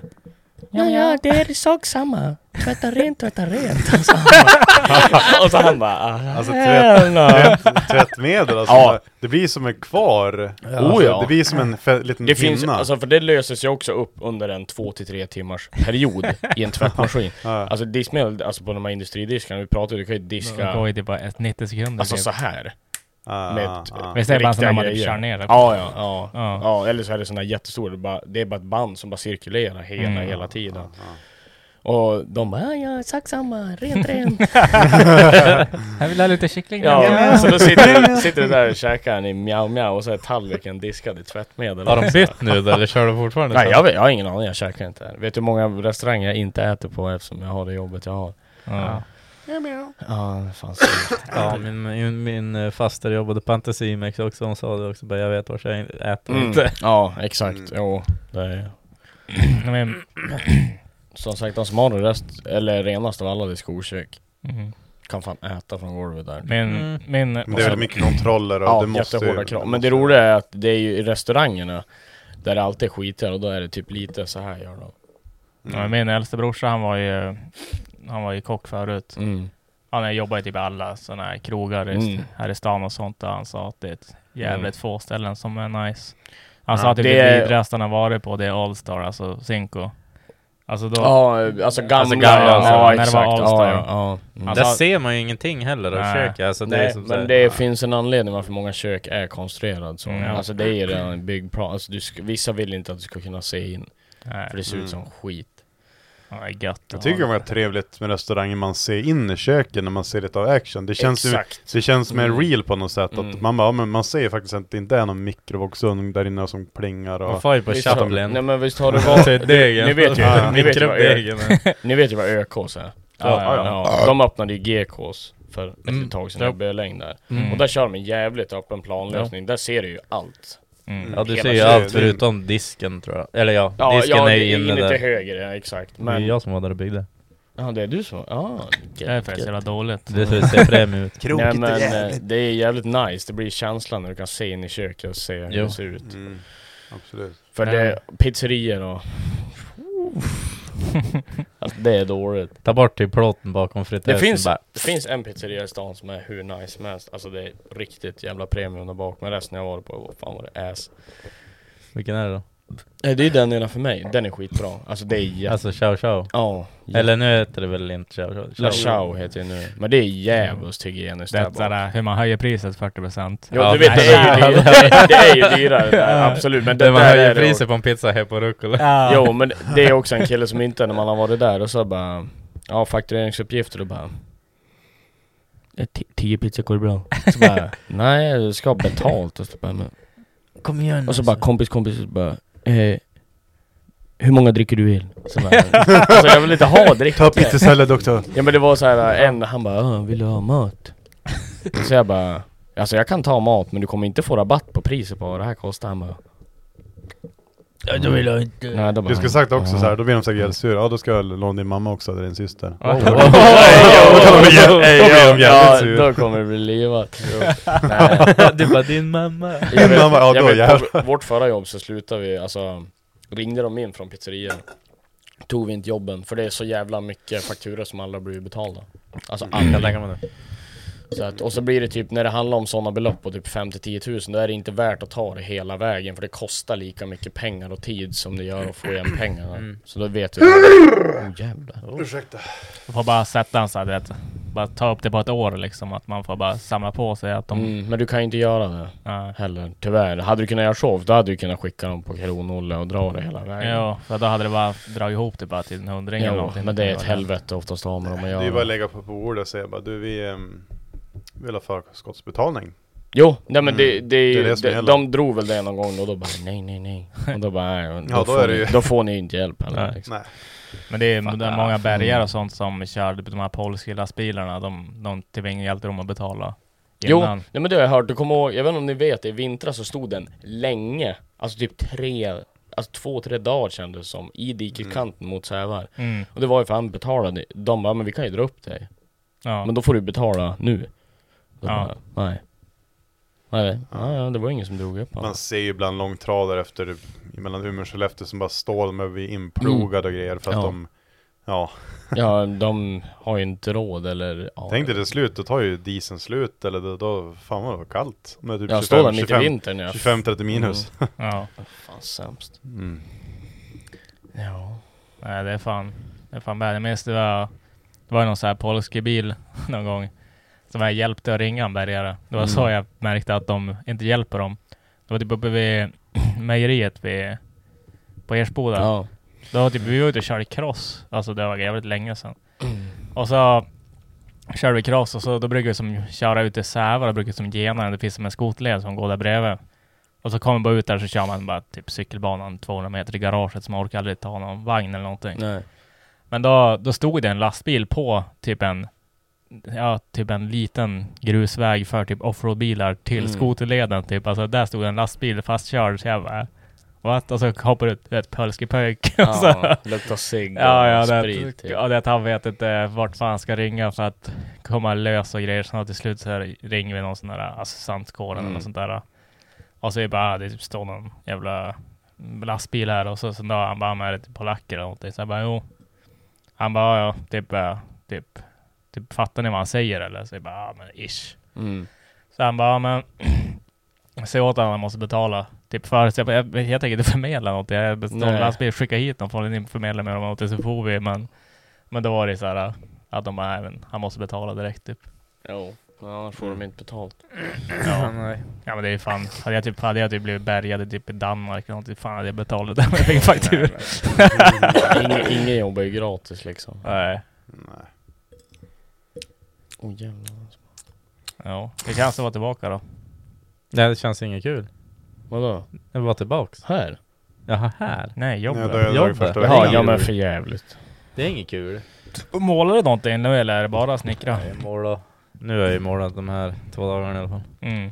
B: Ja, ja, det är sak samma. Tvätta rent, tvätta rent. Och så han bara, och så han bara ah,
D: Alltså,
B: hell no.
D: Tvätt, tvättmedel alltså,
B: Ja.
D: det blir som en kvar. Ja,
B: Oh, ja.
D: Det blir som en fe- liten
B: Det
D: hinna.
B: finns, alltså för det löser sig också upp under en två till tre timmars period i en tvättmaskin.
D: Ja.
B: Alltså diskmedel, alltså på de här industridiskarna vi pratade, du kan ju
H: Det går
B: diska
H: ju typ bara ett 90 sekunder.
B: Alltså
H: typ.
B: så här
D: Ah,
B: med
D: ah, ah.
H: Vi säger bara
B: riktiga
H: sådana man typ
B: grejer.
H: kör ner det.
B: Ja, ja, ja, ja.
H: Ja.
B: eller så är det sådana jättestora, det är bara, det är bara ett band som bara cirkulerar hela,
H: Mm.
B: hela tiden. Och de bara, "Ah, ja, sak samma, rent, rent.
H: Jag vill ha lite kyckling.
B: ja,
H: där.
A: alltså,
B: så då sitter du, sitter du där och käkar en i mjau mjau och så är tallriken diskad i tvättmedel. Alltså.
A: Har de bytt nu eller kör de fortfarande
B: Nej
A: så?
B: jag, vet, jag har ingen aning, jag käkar inte här. Vet du hur många restauranger jag inte äter på eftersom jag har det jobbet jag har?
H: Ja.
B: Ja, det fanns
A: Ja, min, min, min eh, faster jobbade på Anticimex också, hon sa det också, bara, jag vet vart jag äter
B: mm.
A: inte.
B: Ja, exakt. Jo, det är
H: Men,
B: Som sagt, de som har det rest, eller renast av alla, det är skolkök.
H: mm.
B: Kan fan äta från golvet där.
H: Min,
A: Mm.
H: min,
D: Men det är väl mycket kontroller och
B: ja,
D: det måste ju-
B: jättehårda krav. Men det roliga är att det är ju i restaurangerna där det alltid är skiter och då är det typ lite så här gör de.
H: ja, min äldste brorsa han var ju, han var ju kock förut.
B: Mm.
H: Han jobbade ju typ i alla sådana här krogar i-
B: Mm.
H: här i stan och sånt. Och han sa att det är ett jävligt få ställen som är nice. Han
B: Ja,
H: sa att typ
B: det
H: det
B: är-
H: vidrigaste han har varit på det är Allstar, alltså Zinco. Alltså då...
B: Ja, alltså gamla.
A: Alltså gamla,
B: ja,
A: alltså,
B: ja,
H: när det var
B: exakt.
H: All-Star.
B: Ja, ja, ja. Mm.
A: Där
H: Alltså-
A: ser man ju ingenting heller av
H: Nej.
A: köket. Alltså, det är
B: Nej,
A: som så här-
B: men det finns en anledning varför många kök är konstruerade så.
H: Mm, ja.
B: Alltså det är ju redan en byggplan. Alltså, du sk- vissa vill inte att du ska kunna se in,
H: Nej,
B: för det ser ut
D: Mm.
B: som skit.
H: ja, det är gött.
D: Jag tycker det var trevligt med restauranger man ser in i köken när man ser lite av action. Det känns, ju,
B: Exakt.
D: det känns mer
B: Mm.
D: real på något sätt.
B: Mm.
D: Att man bara, ja, men man ser faktiskt att det inte är någon mikrovågsugn där inne som plingar
A: Man
D: och...
A: får ju på
B: Visst har-
A: Chaplin.
B: Nej men visst har det varit...
A: degen.
B: ni vet ju-
A: Ja,
B: ni vet ju vad ö-
A: mikrodegen är.
B: Ni vet ju vad ÖKs är?
H: Ja, ja,
B: ja. De öppnade ju GKs för ett
A: Mm.
B: tag sedan
A: Ja.
B: i Böläng där.
H: Mm.
B: Och där kör de en jävligt öppen planlösning. Där ser du ju allt.
H: Mm.
A: Ja, du
B: Hela
A: ser ju
B: köket.
A: allt förutom disken tror jag. Eller ja,
B: Ja,
A: disken
B: ja,
A: är
B: det
A: ju inne
B: till
A: där.
B: höger, ja, exakt.
A: Det är
B: Men...
A: jag som var där och byggde.
B: Ja, det är du som... Ja.
H: Det är faktiskt jävla dåligt.
A: Det ser- ser premium ut.
B: Nej men eh, det är jävligt nice, det blir känslan när du kan se in i köket och se hur
A: Jo. Mm.
B: det ser ut.
D: Mm. Absolut.
B: För
H: Ja.
B: det, pizzerior och... alltså det är dåligt.
A: Ta bort typ plåten bakom
B: Det
A: fritösen
B: finns,
A: bara.
B: det finns en pizzeria i stan som är hur nice som helst. Alltså det är riktigt jävla premium där bak. Men resten jag varit på, vad fan var det ass.
A: Vilken är det då?
B: Nej det är den ena för mig, den är skitbra. Alltså det är jävla...
A: Alltså chow chow.
B: Ja.
A: Eller nu heter det väl inte chow chow?
B: La Chao heter det nu. Men det är djävulskt hygieniskt
H: Det
B: där
H: är
B: bak.
H: sådär, hur man höjer priset 40%.
B: Jo
A: Ja,
B: du vet,
A: men-
B: det är ju dyrare, det är ju dyrare där, absolut. Men det
A: Där man
B: där är
A: höjer
B: det också.
A: priset på en pizza här på rucola.
B: Jo men det är också en kille som inte när man har varit där och så bara Ja faktureringsuppgifter och bara "Eh, ti- Tio pizzor går det bra? Så bara Nej du ska ha betalt och så bara, men.
A: Kom igen
B: Och så bara kompis kompis och så bara eh, Hur många dricker du öl? Så bara, alltså jag vill inte ha drick
D: Ta pizzasallad också.
B: Ja men det var så här en han bara "Ah, vill du ha mat? Så jag bara Alltså jag kan ta mat men du kommer inte få rabatt på priset på vad det här kostar han bara
A: Ja, då vill jag inte.
B: Nej, då bara,
D: Du ska sagt också
B: "Ah."
D: så här, då blir de säkert jättesura. Ja, då ska jag låna din mamma också, eller din syster.
B: Ja,
D: de jävligt
B: ja,
D: sur.
B: då kommer det bli livat.
A: Du bara din mamma.
B: Jag vet,
D: Innan var- ja,
B: jag
D: då
B: vet, på
D: jävlar.
B: vårt förra jobb så slutade vi, alltså ringde de in från pizzerian Tog vi inte jobben, för det är så jävla mycket fakturor som aldrig blir betalda. Alltså aldrig. Så att, och så blir det typ, när det handlar om sådana belopp på typ 5-10 tusen, då är det inte värt att ta det hela vägen, för det kostar lika mycket pengar och tid som det gör att få igen pengarna. Så då vet du... Oh, jävlar.
D: Ursäkta.
H: Man får bara sätta en såhär, du vet. Bara ta upp det på ett år liksom. Att man får bara samla på sig att de...
B: Mm, men du kan ju inte göra det.
H: Ja.
B: heller, tyvärr. Hade du kunnat göra show, då hade du kunnat skicka dem på kronolle och dra det hela vägen.
H: Jo, för då hade det bara dragit ihop det bara till en hundring eller
B: Jo,
H: någonting.
B: men det är ett helvete oftast har med dem att
D: Det är ju bara att
B: göra.
D: lägga på bordet och säga bara, du vi ehm, vill ha förskottsbetalning.
B: Jo, nej men det,
D: Mm,
B: det, är
D: det
B: ju,
D: är det som
B: de,
D: gäller.
B: de drog väl det någon gång och då bara nej, nej, nej. Och då bara nej, och då,
D: Ja, då
B: får
D: är det
B: ni,
D: ju-
B: då får ni ju inte hjälp heller.
H: Nej.
B: Liksom.
D: Nej.
H: Men det är
B: Fan,
H: de-
B: ja.
H: många bärgare
B: Mm.
H: och sånt som kör de här polska lastbilarna. De, de tvingar hjälpte dem att betala
B: Jo,
H: innan.
B: nej men det har jag hört. Du kommer ihåg, jag vet inte om ni vet, i vintras så stod den länge, alltså typ tre, alltså två, tre dagar kändes det som, i dikeskanten mot Sävar.
H: Mm,
B: Och det var ju för han betalade, de bara men vi kan ju dra upp dig.
H: ja.
B: Men då får du betala nu. Då
H: Ja.
B: bara, Nej. Nej, nej, ja, det var ingen som drog upp honom.
D: Man ser ju ibland långtradare efter, typ mellan Umeå och Skellefteå som bara står med vid inplogade och grejer för att
B: Mm. Ja.
D: de, ja,
B: Ja, de har ju inte råd eller... Ja,
D: tänk dig det typ slut, då tar ju dieseln slut eller då, då fan vad det var kallt. Om det är typ
B: Jag
D: 25,
B: står där mitt i
D: 25,
B: vintern ja. Mm.
D: 25-30 minus.
H: Ja.
B: Fan sämst.
D: Mm.
B: Ja.
H: Nej, det är fan, det är fan värre. Jag minns det var, det var någon sån här polsk bil någon gång som jag hjälpte att ringa en bärgare. Det var så
B: Mm.
H: jag märkte att de inte hjälper dem. Det var typ uppe vid mejeriet vid, på Ersboda.
B: Ja.
H: Då var typ vi var ute och körde cross. Alltså det var jävligt länge sedan. Och så körde vi cross och så då brukar vi som köra ut i Sävar och brukar vi som gena den. Det finns som en skotled som går där bredvid. Och så kommer man bara ut där så kör man bara typ cykelbanan 200 meter i garaget så man orkar aldrig ta någon vagn eller någonting.
B: Nej.
H: Men då, då stod det en lastbil på typ en, ja, typ en liten grusväg för typ offroadbilar till
B: Mm.
H: skoterleden typ. Alltså där stod en lastbil fastkörd så jag bara What? Och så hoppar ut ett polskepöjk. och så
B: Ja, luktar cigg och
H: Ja, ja, det,
B: sprit. typ.
H: ja, det att han vet inte vart fan han ska ringa för att komma lös och grejer. Så till slut så här ringer vi någon sån där assistanskåren eller
B: Mm.
H: något sånt där. Och så är det bara, ah, det typ står någon jävla lastbil här och så, så då han bara, med lite typ polacker eller någonting. Så jag bara, jo. Han bara, ja, typ, eh, typ, typ, fattar ni vad han säger eller? Så jag bara, ah, men ish.
B: Mm.
H: Så han bara, ja, men se åt honom, han måste betala. Typ för, så jag, bara, jag, jag tänker inte förmedla något. Jag beställde en
B: Nej.
H: lastbil, skicka hit dem, får ni förmedla med dem något så får vi. Men, men då var det så här att de bara, nej, men han måste betala direkt typ.
B: Jo. Ja, annars får de inte betalt.
H: Ja, nej. ja men det är fan, hade jag typ, hade jag typ blivit bärgad i typ i Danmark eller någonting, fan hade jag betalat den jag fick faktura.
B: Inge, ingen jobbar ju gratis liksom.
H: Nej.
D: Nej.
B: Åh jävlar.
H: Ja, det känns att vara tillbaka då.
A: Nej det känns inget kul.
B: Vadå?
A: Jag vill vara tillbaks.
B: Här?
A: Jaha, här.
H: Nej,
D: Nej,
H: jobbet.
D: då har jag dragit
A: Jobbet.
D: första
A: Jaha,
D: veckan.
A: ja, men
B: för jävligt.
A: Det är inget kul.
H: Målar du någonting nu eller är det bara snickra?
A: Jag målar. Nu har jag ju målat de här två dagarna i alla fall.
H: Mm.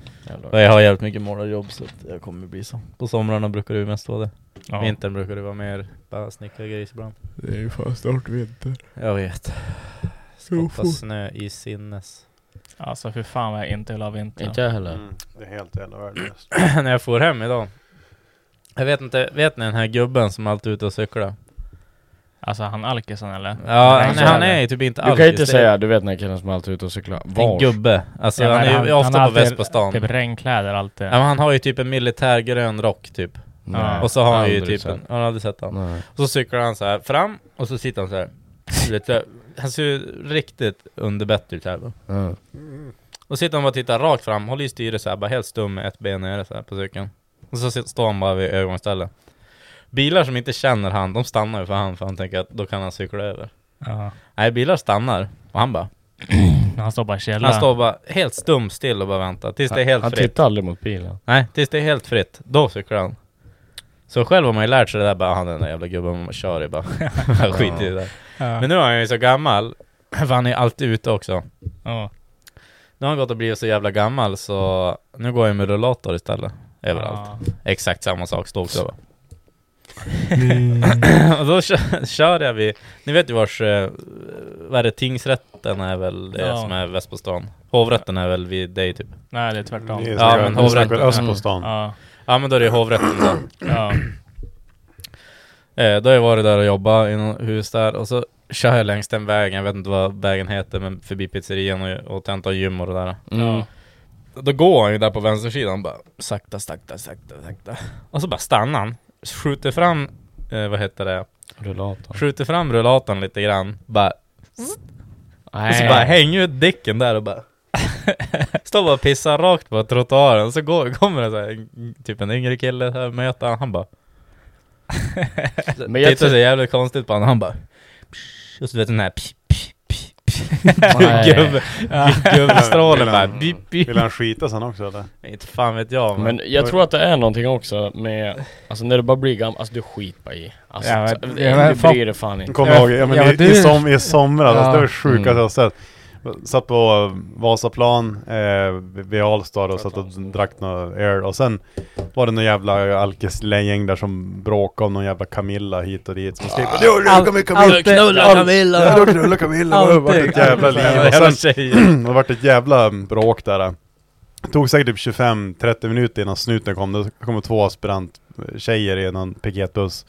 A: Och jag har jävligt mycket målarjobb så att jag kommer bli så. På somrarna brukar det ju mest vara det.
H: Ja.
A: Vintern brukar det vara mer bara snickra gris ibland.
H: Det är ju fan snart vinter.
A: Jag vet. Skotta snö i sinnes.
H: Alltså för fan vad jag inte vill ha vinter.
B: Inte jag heller.
D: Mm. Det är helt jävla värdelöst.
A: När jag får hem idag. Jag vet inte, vet ni den här gubben som alltid är ute och cyklar?
H: Alltså han alkisen eller?
A: Ja,
H: Nej,
A: han,
H: så
A: han
H: är det.
A: är ju typ inte
B: Du kan ju
A: alkis,
B: inte
A: det är-
B: säga, du vet den här killen som alltid är ute och cyklar.
A: En
B: Var?
A: gubbe. Alltså
H: Ja,
A: han
H: men
A: är
H: han-
A: ju ofta
H: han
A: på
H: alltid-
A: Västbastan.
H: Typ regnkläder alltid.
A: Ja, men han har ju typ en militärgrön rock typ.
H: Ja.
A: Och så har han ju
B: aldrig
A: typ
B: sett.
A: en, har aldrig sett han.
B: Nej.
A: Och så cyklar han så här fram och så sitter han så här. Lite, han ser ju riktigt underbett ut här. va.
H: Mm.
B: Ja.
A: Och sitter han bara och tittar rakt fram, håller i styret så här, bara helt stum med ett ben nere så här på cykeln. Och så sit- står han bara vid övergångsstället. Bilar som inte känner han, de stannar ju för han för han tänker att då kan han cykla över.
H: Ja.
A: Nej, bilar stannar. Och han bara,
H: Han står bara i källaren.
A: han står bara helt stum still och bara väntar tills det är helt
B: Han
A: fritt.
B: tittar aldrig mot bilen.
A: Nej, tills det är helt fritt. Då cyklar han. Så själv har man ju lärt sig det där bara, han den där jävla gubben man kör i bara. Han skiter i det där.
H: Ja.
A: Men nu är han ju så gammal, för han är ju alltid ute också.
H: Ja.
A: Nu har han gått och blivit så jävla gammal så nu går jag med rullator istället. Överallt.
H: Ja.
A: Exakt samma sak står också va?
H: Mm.
A: och då kör, kör jag vid, ni vet ju vars, eh, vad är det, tingsrätten är väl det
H: Ja.
A: som är väst på stan? Hovrätten är väl vid dig typ?
H: Nej det är
D: Det
H: tvärtom.
D: är
A: Ja,
D: säkert-
A: men
D: det är säkert
A: hovrätten.
B: Mm.
D: öst på stan.
H: Ja.
A: Ja men då är det hovrätten då.
H: Ja.
A: Eh, då har jag varit där och jobbat i något hus där och så kör jag längs den vägen, jag vet inte vad vägen heter men förbi pizzerian och, och Tentan gym och det där.
B: Mm.
A: Då går han ju där på vänstersidan bara sakta, sakta, sakta, sakta. Och så bara stannar han, skjuter fram, eh, vad heter det,
B: Rullatorn.
A: skjuter fram rullatorn lite grann, bara, och så
B: Nej.
A: bara hänger ut dicken där och bara Står bara och pissar rakt på trottoaren, så går, kommer det så här, en- typ en yngre kille, så här, möter han, han bara
B: Men jag
A: Tittar så
B: tror...
A: jävligt konstigt på honom, han bara "Psh", Och så vet du den här psh, psh, psh, psh.
B: Nej.
A: Gubbe- Gubbstrålen bara bip, bip.
D: Vill han skita sen också eller?
A: Inte fan vet jag men,
B: Men jag tror att det är någonting också med, alltså när du bara blir gammal, alltså du skiter bara i. Alltså,
H: Ja, men-
B: så-
H: ja, men
B: du
H: fan-
B: bryr dig fan inte.
D: Kommer
H: Ja,
D: ihåg, ja, men
H: ja,
D: i,
H: du-
D: i, som, i somras, alltså,
H: Ja.
D: det var det sjukaste jag har sett. Satt på Vasaplan eh, vid Alstad och satt och drack några öl och sen var det någon jävla alkislejgäng där som bråkade om någon jävla Camilla hit och dit som skrek Du
A: Allt- alltid-
D: allt-
A: Camilla!
D: Ja, du knullar Camilla! Det vart ett jävla liv och sen
A: tjejer.
D: det vart ett jävla bråk där. Det tog säkert typ 25-30 minuter innan snuten kom. Det kom två aspiranttjejer i någon piketbuss.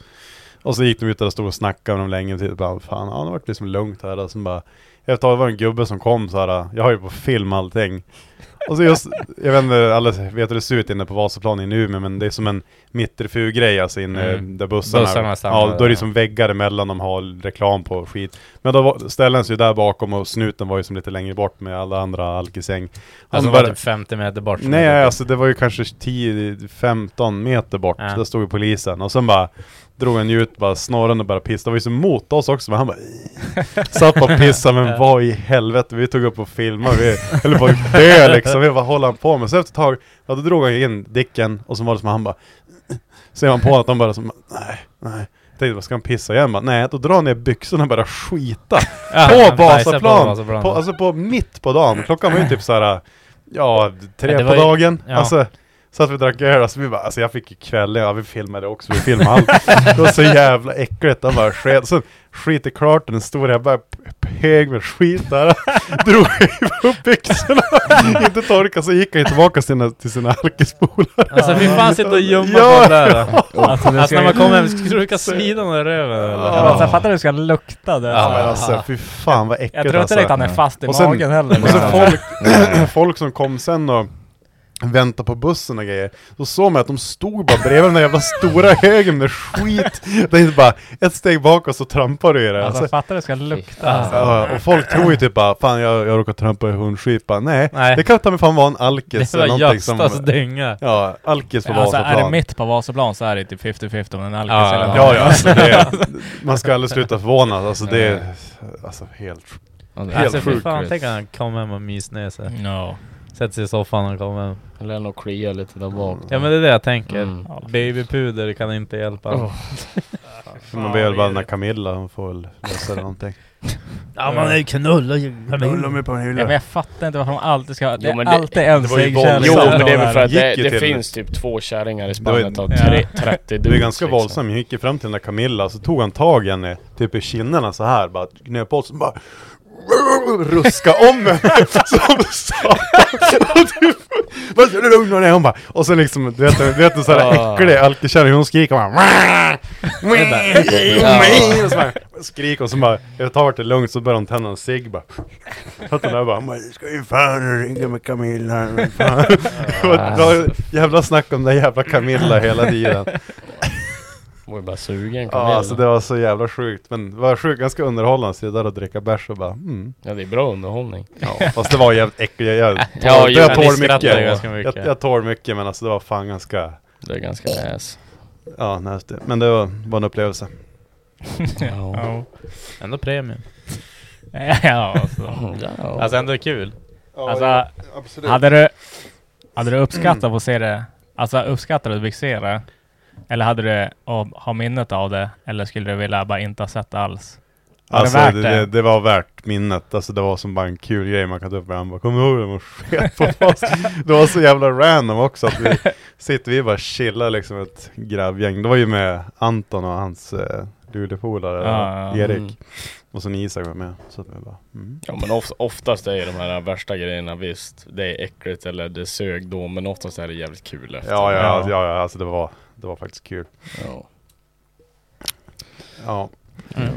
D: Och så gick de ut där och stod och snackade med dem länge. Och typ bara, fan, ja, det vart liksom lugnt här. Och sen bara, efter ett tag var det en gubbe som kom så här. jag har ju på film allting. Och så just, jag vet inte, alla vet hur det ser ut inne på Vasaplan inne i Umeå, men det är som en mitterfur-grej alltså inne
A: Mm.
D: där bussarna...
A: Bussarna stannar
D: ja, då är
A: där,
D: det som väggar emellan de har reklam på och skit. Men då var, ställdes ju där bakom och snuten var ju som lite längre bort med alla andra alkisäng. Han
A: Alltså de var
D: bara-
A: typ 50 meter bort. från
D: Nej
A: det.
D: alltså det var ju kanske 10-15 meter bort,
A: Ja.
D: där stod ju polisen. Och sen bara drog han ju ut bara snorren och började pissa. Det var ju så mot oss också, men han bara Satt bara och pissade, men vad i helvete, vi tog upp och filmade, vi höll på att dö liksom. Vi bara håller han på med? Så efter ett tag, ja, då drog han ju in dicken och så var det som han bara Ser man på att han bara som, nej, nej. Jag tänkte, vad ska han pissa igen? Bara, nej, då drar han ner byxorna och börjar skita
A: Ja,
D: på
A: han bajsade på
D: Vasaplan!
A: Vasaplan.
D: På, alltså på mitt på dagen. Klockan var ju typ så här. ja, tre
A: Ja, det
D: på
A: var ju-
D: dagen.
A: ja.
D: Alltså, satt vi och drack öl, alltså vi bara, alltså jag fick ju kväll, ja vi filmade också, vi filmade allt. Det var så jävla äckligt, han bara sket, sen skit i klart den stora, jag bara p- hög med skit där. Drog upp byxorna, inte torka, så gick han ju tillbaka till sina, till sina alkispolare.
A: Alltså fy fan sitta och gömma
D: Ja.
A: på den där. Alltså,
H: du ska-
A: när man kommer hem, ska du ska svida någon i röven eller?
D: Ja.
H: Men så fattar du hur det ska lukta det.
D: Ja men alltså fy fan vad äckligt
H: jag tror inte
D: alltså.
H: direkt han är fast i
D: Och sen-
H: magen heller.
D: Och så
H: liksom.
D: folk, folk som kom sen och väntade på bussen och grejer, då såg man att de stod bara bredvid den där jävla stora högen med skit. Det är inte bara ett steg bak och så trampar du i det.
H: Alltså
D: Alltså,
H: fattar du hur det ska lukta. Alltså.
D: ja, och folk tror ju typ bara, fan jag, jag råkar trampa i hundskit. Bara, Nej,
A: Nej.
D: det kan ta mig fan vara en alkis
A: Det
D: eller
A: var
D: någonting som...
A: Göstas dänga.
D: Ja, alkis på
H: Alltså är det
D: Vasaplan.
H: mitt på Vasaplan så är det typ 50-50 om en alkis
A: Ja,
H: eller
D: Ja, ja, alltså det är, man ska aldrig sluta förvånas. Alltså det är alltså, helt
B: Helt
A: Alltså fy
D: sjukt, Mm.
A: fan, tänk att han kom hem och mysnösar.
H: No.
A: Sätter sig i soffan och kommer hem.
B: Eller nog klia lite där bak.
A: Ja men det är det jag tänker.
B: Mm.
A: Babypuder kan inte hjälpa.
B: Oh.
D: För man ber väl bara den här Camilla, hon får väl lösa det någonting.
A: Ja man är ju knulla ju.
D: på en
H: Ja, men jag fattar inte varför de alltid ska... Det
B: Jo, men
H: är
B: det-
H: alltid en
D: det var ju
H: seg
D: våldsamt.
B: Jo
D: Liksom.
B: men det är väl för att
D: Gick
B: det,
D: ju
B: det
D: till-
B: finns typ två kärringar i
D: var
B: spannet
D: inte-
B: av
H: Ja.
B: tre, liksom. 30
D: Du är ganska våldsam, hon gick ju fram till den där Camilla och så tog han tag i henne typ i kinderna så här bara knöp åt så bara Ruska om henne som satan! Och du- Vad ska du lugna ner? Hon bara Och sen liksom, du vet, du vet en sån här
B: Ah.
D: äcklig alkikärring, hon skriker bara Och så bara Skriker och så bara, efter ett tag vart det lugnt så börjar hon tända en cigg bara Satt hon där och bara "Man, Ska ju fan ringa med Camilla men fan." Det var ett bra jävla snack om den där jävla Camilla hela tiden
B: Var ju bara sugen kom
D: Ja,
B: igen.
D: alltså det var så jävla sjukt. Men det var sjukt, ganska underhållande. Så det där att dricka bärs och bara mm.
B: Ja det är bra underhållning.
D: Fast det var jävligt äckligt. Jag, jag,
B: Ja,
D: jag, jag
B: jo,
D: tål
B: ni skrattar ju
D: mycket.
A: ganska
D: Jag,
A: mycket.
D: jag tål mycket men alltså det var fan ganska...
B: Det är ganska ass.
D: Ja, nej, det- men det var, var en upplevelse.
B: Ja.
A: Ändå premium.
H: Ja, alltså.
B: Ja.
A: Alltså ändå kul.
H: Alltså,
D: absolut.
H: hade du... Hade du uppskattat att se det? Alltså uppskattar du att du fick se det? Eller hade du att ha minnet av det? Eller skulle du vilja bara inte ha sett det alls? Var
D: Alltså,
H: det
D: det,
H: värt
D: det,
H: det?
D: det, var värt minnet. Alltså det var som bara en kul grej man kan ta upp med bara Kommer du ihåg när man sket på oss? Det var så jävla random också att vi sitter vi bara chillar liksom ett grabbgäng. Det var ju med Anton och hans eh, Luleåpolare
H: Ja, ja,
D: Erik.
B: mm.
D: Och sen Isak var med. Så att vi bara, mm.
B: Ja men of, oftast är ju de här värsta grejerna visst, det är äckligt eller det sög då men oftast är det jävligt kul efter.
D: ja, ja, ja. ja, ja, alltså det var, det var faktiskt kul.
B: Ja. Mm.
D: Ja.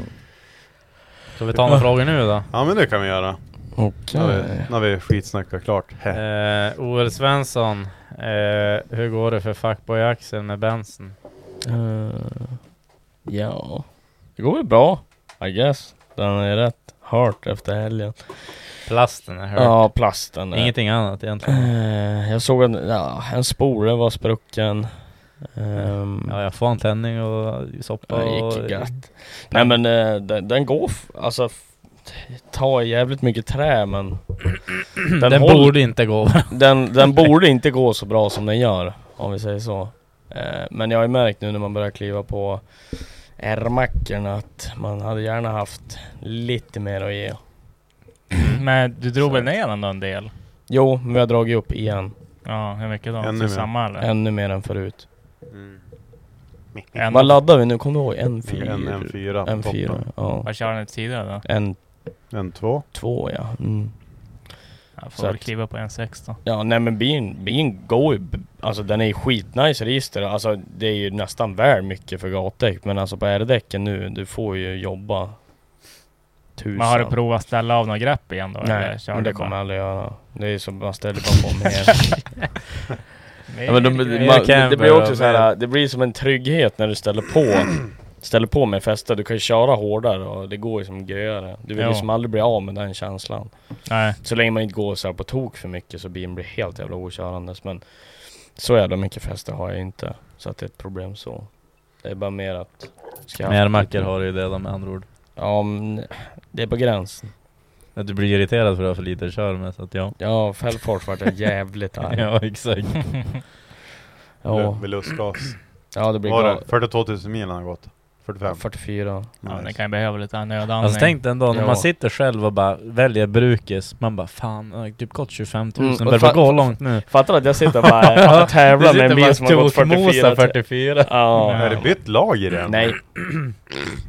A: Ska vi ta några frågor nu då?
D: ja, men det kan vi göra.
B: Okej.
D: När vi, när vi skitsnackar klart. Heh.
A: Eh, Oel Svensson. Eh, hur går det för fuckboy-axeln med Benson?
B: Eh, ja, det går väl bra. I guess. Den är rätt hört efter helgen.
A: Plasten är hört.
B: Ja, plasten. där.
A: Ingenting annat egentligen.
B: Eh, jag såg en, ja, en spore var sprucken. Ehm,
A: Ja, jag får en tändning och soppa
B: Det
A: och...
B: gick gött. Nej men eh, den, den går, f- alltså f- tar jävligt mycket trä men
A: Den,
B: håll-
A: borde inte gå.
B: den, den borde inte gå så bra som den gör, om vi säger så. Eh, Men jag har ju märkt nu när man börjar kliva på R-macken att man hade gärna haft lite mer att ge.
H: Men du drog väl ner den då en del?
B: Jo, men vi har dragit upp igen.
H: Ja, hur mycket då?
D: Ännu
H: Typ
D: mer. Mm.
H: samma eller?
B: Ännu mer än förut.
H: En.
B: Vad laddar vi nu? Kommer du ihåg? En fyra?
D: En, en fyra. på
B: En fyra,
D: toppen.
B: ja.
H: Vad körde ni tidigare då?
B: En
D: En två.
B: två, ja. Mm.
H: Jag får
B: Så
H: väl
B: att-
H: kliva på en sex då.
B: Ja, nej men bin, bin går ju... Alltså den är ju skitnice i register. Alltså det är ju nästan väl mycket för gatdäck. Men alltså på R-däcken nu, du får ju jobba tusen.
H: Men har du provat att ställa av någon grepp igen då?
B: Nej,
H: eller kör
B: men det
H: du bara-
B: kommer jag aldrig göra. Det är ju som man ställer bara på mer. ja, men de,
A: Mer
B: man, det- det
A: camber
B: blir också
A: och
B: så här, det blir som en trygghet när du ställer på. Ställer på med fäste. Du kan ju köra hårdare och det går ju som göare. Du vill
H: Ja.
B: ju som aldrig bli av med den känslan.
H: Nej.
B: Så länge man inte går så här på tok för mycket så bilen blir helt jävla okörandes men så jävla mycket fäste har jag inte så att det är ett problem så. Det är bara mer att... Ska jag-
A: Mer mackor har du ju det då med andra ord.
B: Ja men det är på gränsen.
A: Att du blir irriterad för att ha för lite kör med så att ja.
B: Ja, fällfart vart jag jävligt arg. ja.
A: Ja exakt.
B: Ja.
D: Med lustgas.
B: det blir
D: Var
B: bra.
D: det 42 000 mil han har gått? 45?
B: 44.
H: Ja, det
D: Nice.
H: kan ju behöva lite nödandning.
A: Alltså tänk dig en dag när
B: Ja.
A: man sitter själv och bara väljer brukes, man bara fan, jag har typ gått 25 000,
B: Mm, och
A: börjar
B: fa-
A: gå långt nu.
B: Fattar du att jag sitter och bara och tävlar med en bil som har gått 44.
A: 44.
D: Är
B: Ja.
D: det bytt lag i den?
B: Nej.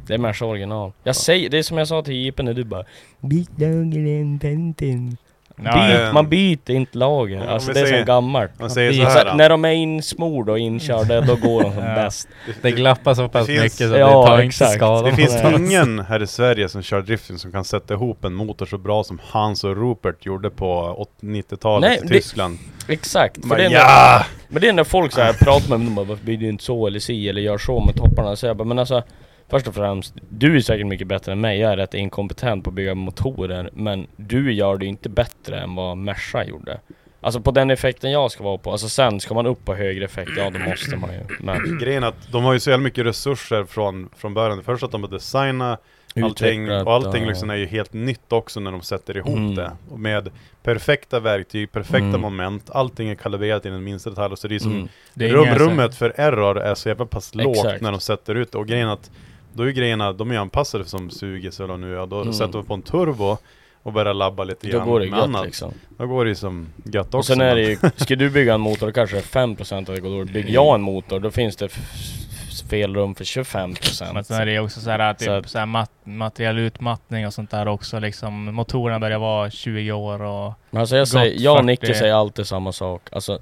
B: Det är Merca original. Jag säger, det är som jag sa till jeepen när du bara Byt lagen, Bentin.
H: Ja,
D: Bil.
H: ja.
B: Byt, man byter inte lager.
D: Om
B: Alltså
D: vi
B: det är
D: säger-
B: som gammalt.
D: Man säger så
A: Ja,
B: Så
D: här.
B: att när de är insmord och inkörda, då går de som
H: Ja.
B: bäst.
A: Det glappar så pass
D: Det finns-
A: mycket så
B: Ja,
A: det tar
B: exakt.
A: inte skada.
D: Det finns
B: Nej.
D: ingen här i Sverige som kör drifting som kan sätta ihop en motor så bra som Hans och Rupert gjorde på åt- 90-talet
B: Nej,
D: i
B: det-
D: Tyskland.
B: Exakt. För
D: Men
B: det är när,
D: ja!
B: men det är när folk så här pratar med mig, de bara varför blir du inte så eller si eller gör så med topparna? Så jag bara, men alltså Först och främst, du är säkert mycket bättre än mig. Jag är rätt inkompetent på att bygga motorer. Men du gör det ju inte bättre än vad Merca gjorde. Alltså på den effekten jag ska vara på. Alltså sen ska man upp på högre effekt, ja då måste man ju. Men
D: Grejen är att de har ju så jävla mycket resurser från, från början. Först att de har designat allting
B: Utvecklat,
D: och allting
B: ja.
D: liksom är ju helt nytt också när de sätter ihop
B: Mm.
D: det. Och med perfekta verktyg, perfekta
B: Mm.
D: moment, allting är kalibrerat i den minsta detalj. Så det är som
B: mm,
H: det är
D: Rum,
H: ingen-
D: rummet för error är så jävla pass lågt
B: Exakt.
D: när de sätter ut det. och grejen är att då är ju grejerna, de är ju anpassade som sugis eller vad nu är. då
B: Mm.
D: sätter de på en turbo och börjar labba lite
B: då
D: grann
B: går det
D: med
B: gött liksom.
D: Då går det ju som gött också.
B: Och sen är
D: men-
B: det ju, ska du bygga en motor då kanske det är 5% av det går dåligt. Bygger jag en motor då finns det f- f- felrum för 25%.
H: Men sen är det ju också så här att
B: Så
H: typ
B: att-
H: så här mat, materiell utmattning och sånt där också liksom. Motorerna börjar vara 20 år och...
B: Men alltså jag,
H: Gott
B: säger, jag och
H: 40.
B: Nicke säger alltid samma sak. Alltså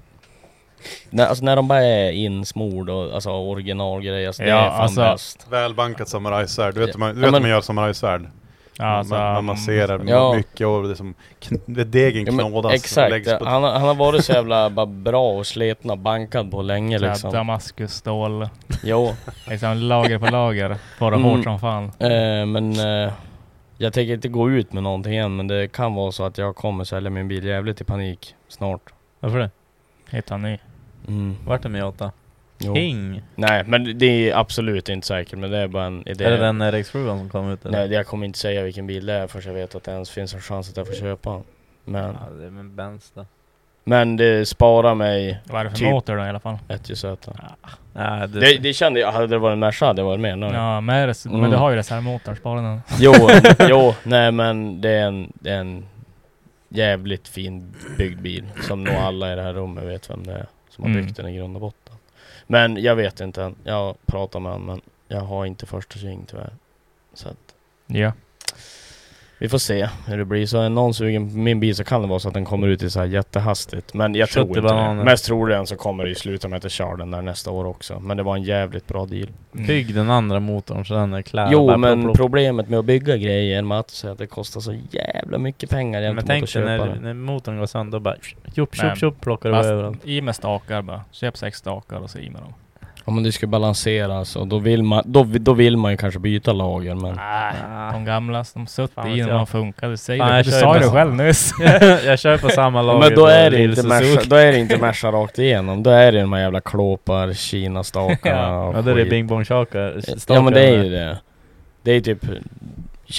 B: när, alltså när de bara är insmord och alltså originalgrejer, alltså det
H: Ja,
B: är fan
H: alltså-
B: bäst.
D: Välbankat samurajsvärd, du vet hur man,
B: Ja,
D: du vet hur
B: men-
D: man gör samurajsvärd?
H: Ja, alltså,
D: man, man masserar
B: Ja.
D: mycket och det är som, kn- det är degen
B: Ja, men
D: knådas och
B: exakt,
D: läggs på
B: han, har- han har varit så jävla bara bra och slitna, bankad på länge
H: så här
B: liksom.
H: Damaskusstål.
B: Jo,
H: Liksom lager på lager. Bara
B: Mm.
H: hårt som fan.
B: eh, men eh, jag tänker inte gå ut med någonting än men det kan vara så att jag kommer sälja min bil jävligt i panik snart.
A: Varför det?
H: Hitta ny.
B: Mm.
A: Vart är Miata?
B: Jo.
A: King!
B: Nej, men det är absolut inte säkert, men det är bara en idé.
A: Är det den RX7 an som kom ut eller?
B: Nej, jag kommer inte säga vilken bil det är förrän jag vet att det ens finns en chans att jag får köpa den. Men,
A: Ja, det är min Benz då.
B: men det sparar mig
H: Vad är det för
B: Typ.
H: motor då i alla fall?
B: ett JZ.
A: Nej, det,
B: Det, det kände jag, hade det varit en Merca hade jag varit med nu.
H: Ja, Merc, men
B: Mm.
H: du har ju reservmotorn. Spara den.
B: Jo, jo, nej men det är en, det är en jävligt fin byggd bil. Som nog alla i det här rummet vet vem det är som har
H: Mm.
B: byggt den i grund och botten. Men jag vet inte än. Jag pratar med honom men jag har inte första sving tyvärr. Så att
H: Ja.
B: Vi får se hur det blir. Så är någon sugen på min bil så kan det vara så att den kommer ut i så här jättehastigt. Men jag tror inte det.
A: Köttbananer.
B: Mest troligen så kommer det ju sluta med att jag kör den där nästa år också. Men det var en jävligt bra deal.
H: Mm.
A: Bygg den andra motorn så den är klar.
B: jo,
A: Bara
B: men
A: plopp, plopp.
B: problemet med att bygga grejer Mats är att det kostar så jävla mycket
A: Men
B: pengar gentemot att
A: tänk dig
B: köpa
A: när,
B: den.
A: när motorn går sönder, då bara tjopp
H: Nej.
A: tjopp tjopp plockar du
H: Fast
A: överallt.
H: i med stakar bara. Köp sex stakar och så i med dem.
B: Ja men det ska balanseras och då vill man, då, vi- då vill man ju kanske byta lager men...
H: Nej, Ah,
A: Ah.
H: de gamla som sutt
A: Fan
H: i
A: vet
H: när
A: jag.
H: de funkade. Du, säger
A: Fan,
H: det.
A: jag
H: du
A: kör
H: sa
A: ju
H: det
A: bara-
H: själv nyss.
A: jag kör på samma lager
B: men då
A: på
B: är, det
A: Lil
B: inte
A: Suzuki.
B: Merca, då är det inte Merca rakt igenom. Då är det de här jävla klåpar, Kina-stakarna och
A: Ja, då är det
B: skit.
A: bing bong shaka.
B: Ja men det är ju det. Det är typ...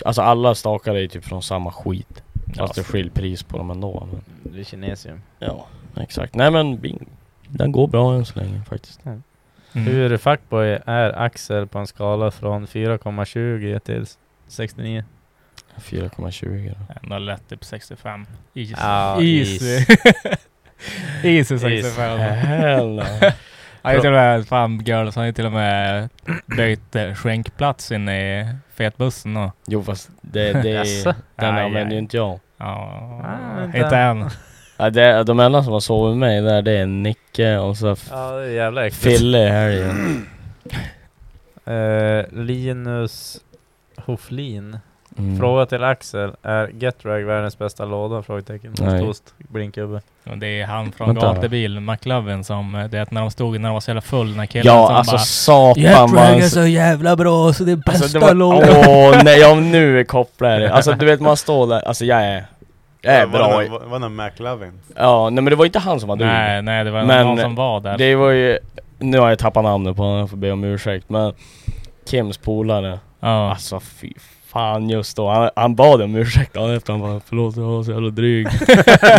B: Alltså alla stakar är ju typ från samma skit. Fast det skiljer pris på dem ändå. Men.
A: Det är kinesium.
B: Ja, exakt. Nej men Bing. Den går bra än så länge faktiskt.
H: Mm.
A: Hur fuckboy är Axel på en skala från 4,20 till 69?
B: 4,20 då.
A: Ändå lätt typ 65. Easy.
L: Ja,
A: Easy. Easy 65.
B: Hell
A: Ja, jag till och med, fan girls har ju till och med bytt eh, skänkplats inne i fetbussen och...
B: Jo fast det, det
L: Jaså?
B: den
A: Aj,
B: använder
A: aj.
B: ju inte jag.
A: Ja,
L: Ah, vänta.
A: inte än.
B: Ja, det, de enda som har sovit med mig där det är Nicke och så f-
L: Ja, det är jävla äckligt.
B: Fille i helgen.
L: Eh, Linus Hoflin.
B: Mm.
L: Fråga till Axel. Är Getrag världens bästa låda? Frågetecken.
B: Nej.
L: Ostost, blinkgubbe.
A: Och det är han från
B: Vänta.
A: Gatebil, McLovin, som... eh, Det är att när de stod, när de var så jävla full, när killen
B: Ja
A: som
B: alltså
A: bara...
B: satan vad han...
A: jävla bra så det är bästa
B: Alltså det var... Åh nej, om nu kopplar jag det. Alltså du vet man står där, alltså jag är... Jag är bra i...
D: Vad är McLovin?
B: Ja, nej men det var inte han som var dum.
A: Nej, nej, det var
B: Men
A: någon som var där.
B: Det var ju... Nu har jag tappat namnet på honom, jag får be om ursäkt men... Kims polare.
A: ja.
B: Alltså fy fan just då. Han, han bad om ursäkt dagen efter. Han bara förlåt jag var så jävla dryg.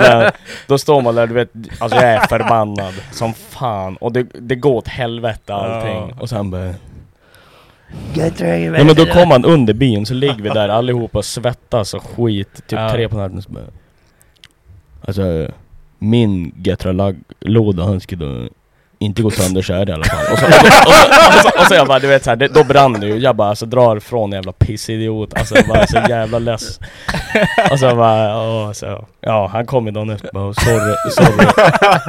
B: Men då står man där du vet, alltså jag är förbannad som fan. Och det, det går åt helvete allting. Och sen bara... Nej men då kom han under byn så ligger vi där allihopa och svettas och skit. Typ
A: Ja.
B: tre på natten så bara... Alltså min Getralag-låda han skulle inte gå sönder så här i alla fall. Och så, och så, och så, och så, och så jag bara, du vet så här, det, då brann det ju. Jag bara alltså drar från jävla pissidiot. Alltså jag bara så jävla less. Och så bara, åh, så, ja han kom ju dagen efter bara, "Åh, sorry, sorry.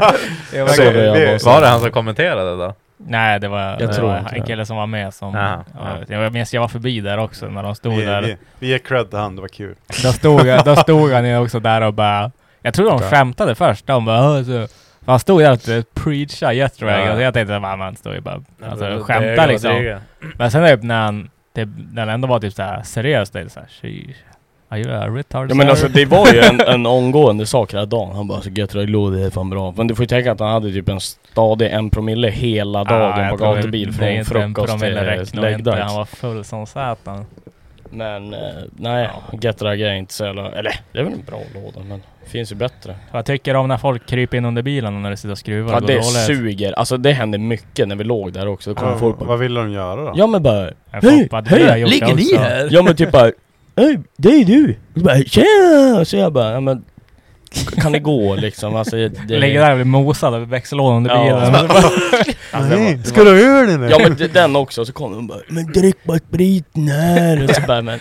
L: Okej,
B: Så det jag bara så-
L: var Alltså, det han som kommenterade då?
A: Nej, det var, det
B: tror
A: var
B: inte
A: en
B: det.
A: kille som var med som...
L: Aha,
A: ja,
L: ja.
A: Jag minns jag var förbi där också när de stod
D: Vi,
A: där.
D: vi, vi ger cred till han, det var kul.
A: Då stod, jag- då stod han ju också där och bara... Jag tror de skämtade först. De bara... "Åh, Så, för han stod där och typ preachade Jetrag.
L: Ja.
A: Och jag tänkte att man står ju bara... Alltså
L: Dega,
A: skämtar liksom.
L: dega.
A: Men sen typ när han... Typ, när han ändå var typ såhär seriös. Det är såhär... "Sheesh, Are you a retard?
B: Ja men
A: sir?"
B: alltså det var ju en, en omgående sak hela dagen. Han bara alltså Getralag-låda är fan bra. Men du får ju tänka att han hade typ en stadig en promille hela dagen
A: jag
B: på
A: tror
B: gatubil
A: det-
B: från
A: det är inte en
B: frukost
H: eh,
A: promille räknar
B: till
A: nog inte.
B: läggdags.
A: Han var full som satan.
B: Men eh, nej, Getrag är inte så jävla... Eller det är väl en bra låda men finns ju bättre.
A: Vad tycker du om när folk kryper in under bilen och när du sitter och skruvar?
B: Ja
A: och går
B: det
A: dåligt?
B: suger. Alltså det hände mycket när vi låg där också. Då kom folk
D: Vad,
B: bara,
D: vad ville de göra då?
B: Ja men bara...
A: Jag
B: Hej!
A: fattar att vi har
B: Hej!
A: gjort det
B: Ligger ni
A: också.
B: här? Ja men typ bara... Hej! Det är du! Och bara tjena! Så jag bara, ja men... Kan det gå liksom? Alltså det...
A: Ligger där och blir mosad av växellådan under
B: Ja.
A: bilen. Alltså,
D: Nej, ska du ha öl eller?
B: Ja men det- den också, så kom hon bara 'Men drick bara spriten här' och så bara men...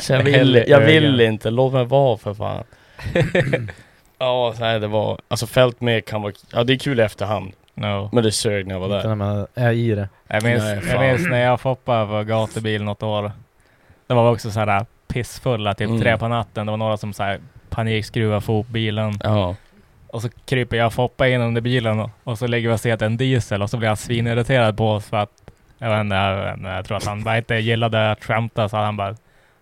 B: Så jag vill, jag vill inte, låt mig vara för fan. Ja, nej det var... Alltså fält med kan vara... Ja det är kul i efterhand,
A: No.
B: men det sög när jag var
L: Inte
B: där.
L: när man är i det.
A: Jag minns,
B: Nej,
A: jag
B: fan.
A: minns när jag och Foppa var gatubil något år. De var också såhär pissfulla, typ
B: Mm.
A: tre på natten. Det var några som såhär panikskruvade få upp bilen.
B: Ja.
A: Och så kryper jag och Foppa in under bilen och, och så lägger vi oss i att en diesel och så blir han svinirriterad på oss för att jag vet inte, jag, vet inte, jag tror att han bara inte gillade att skämta så han bara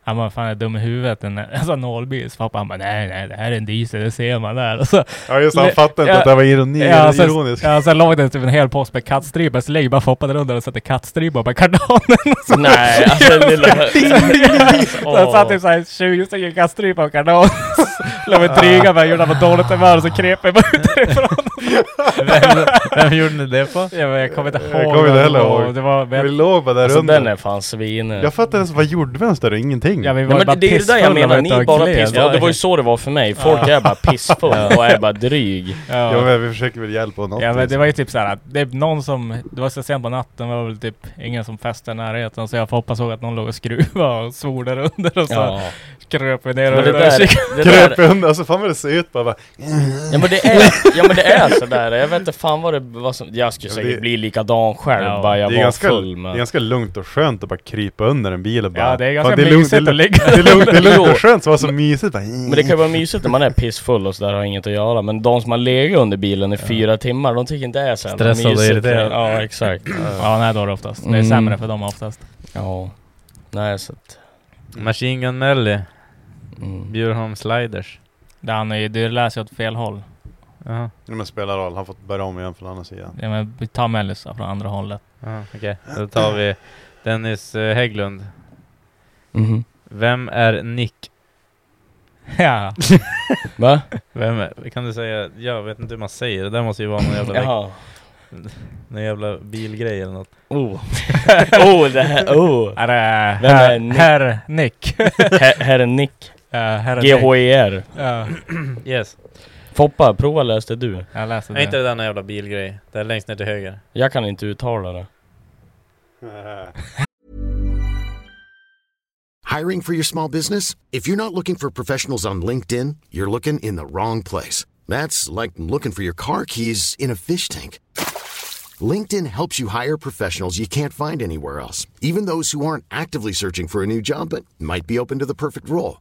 A: han bara fan är dum i huvudet en alltså, nollbil. Så Foppa han bara nej nej det här är en diesel, det ser man där. Och så,
D: Ja just det, han
A: Le-
D: fattade inte
A: Ja.
D: att det var ironi,
A: ja, så,
D: ironiskt.
A: ja, sen låg det typ en hel påse med kattstrypor så lägger bara Foppa där under och sätter kattstrypor på kardanen.
B: Nej, alltså det lilla...
A: Så han satt typ såhär 20 stycken kattstrypor på kardanen. Låg med dryga med gjorde han på dåligt humör och så krep jag bara ut därifrån.
L: Vem, vem gjorde ni det på?
A: Ja, men jag kommer inte
D: Jag
A: ihåg.
D: kommer inte
A: vad det
D: heller
A: var.
D: ihåg.
A: Det var,
D: Vi
A: men,
D: låg bara där
B: Alltså
D: under.
B: den är fan svinig.
D: Jag fattar ens, vad gjorde vi ens där? Ingenting.
A: ja, vi var
B: Nej,
A: ju bara
B: men det är det där jag
A: pissfulla,
B: menar,
A: vet
B: ni
A: du, och
B: är bara
A: gled.
B: pissfulla. Ja, det var ju så det var för mig. Folk är bara pissfulla och är bara dryg.
A: Ja.
D: Ja, men vi försöker väl hjälpa honom.
A: Ja men det var ju typ såhär, det är någon som, det var så sent på natten, det var väl typ ingen som festade i närheten så jag får hoppas ihåg att någon låg och skruvade och svor där under och så
B: Ja.
A: kröp vi ner
B: Men det
A: under och
B: där,
A: kikade.
B: det där
D: Kröp undan, alltså fan vad det ser ut bara. bara
B: Ja men det är, ja, men det är sådär, jag vet inte fan vad det vad som, Jag skulle
D: Ja,
B: säkert
D: det-
B: bli likadan själv
A: Ja,
B: bara jag
D: det,
B: var
D: är ganska,
B: full
D: det är ganska lugnt och skönt att bara krypa under en bil och bara...
A: Ja det är
D: Fan,
A: ganska
D: lugnt-
A: mysigt
D: det är
A: att
D: lugnt-
A: ligga.
D: Det är lugnt, det är lugnt
B: Jo.
D: och skönt, så var så mysigt bara,
B: Men det kan ju vara mysigt när man är pissfull och sådär och har inget att göra Men de som har legat under bilen i fyra timmar, de tycker inte det är så jävla
L: Stressade och
B: mysigt.
L: irriterade.
B: Ja exakt
A: Ja nej då är det oftast, det är
B: Mm.
A: sämre för dem oftast.
B: Ja Nej så att
L: Machine Gun Melly,
B: mm.
L: Bjurholm Sliders.
A: Det, han är, ju- det läser ju åt fel håll.
L: Jaha,
D: Nej men spelar roll, han får börja om igen från andra sidan.
A: Ja, men vi tar Mellis från andra hållet.
L: jaha, okej. Då tar vi Dennis eh, Hägglund.
B: Mhm.
L: Vem är Nick?
A: Ja.
B: Va?
L: Vem är, kan du säga? Jag vet inte hur man säger det. Det måste ju vara någon jävla...
B: Jaha
A: Någon jävla bilgrej eller något.
B: Oh. oh, det här, oh.
H: Är det
B: Vem är
H: herr
B: Nick?
H: herr Nick?
B: Här, här är Nick.
H: Ja, herr Nick.
B: GHER.
H: Ja,
A: Yes.
B: Foppa, prova läste du.
H: jag läste
A: Är inte
H: det.
A: det där någon jävla bilgrej? Det är längst ner till höger.
B: Jag kan inte uttala det.
K: Hiring for your small business? If you're not looking for professionals on LinkedIn, you're looking in the wrong place. That's like looking for your car keys in a fish tank. LinkedIn helps you hire professionals you can't find anywhere else, even those who aren't actively searching for a new job but might be open to the perfect role.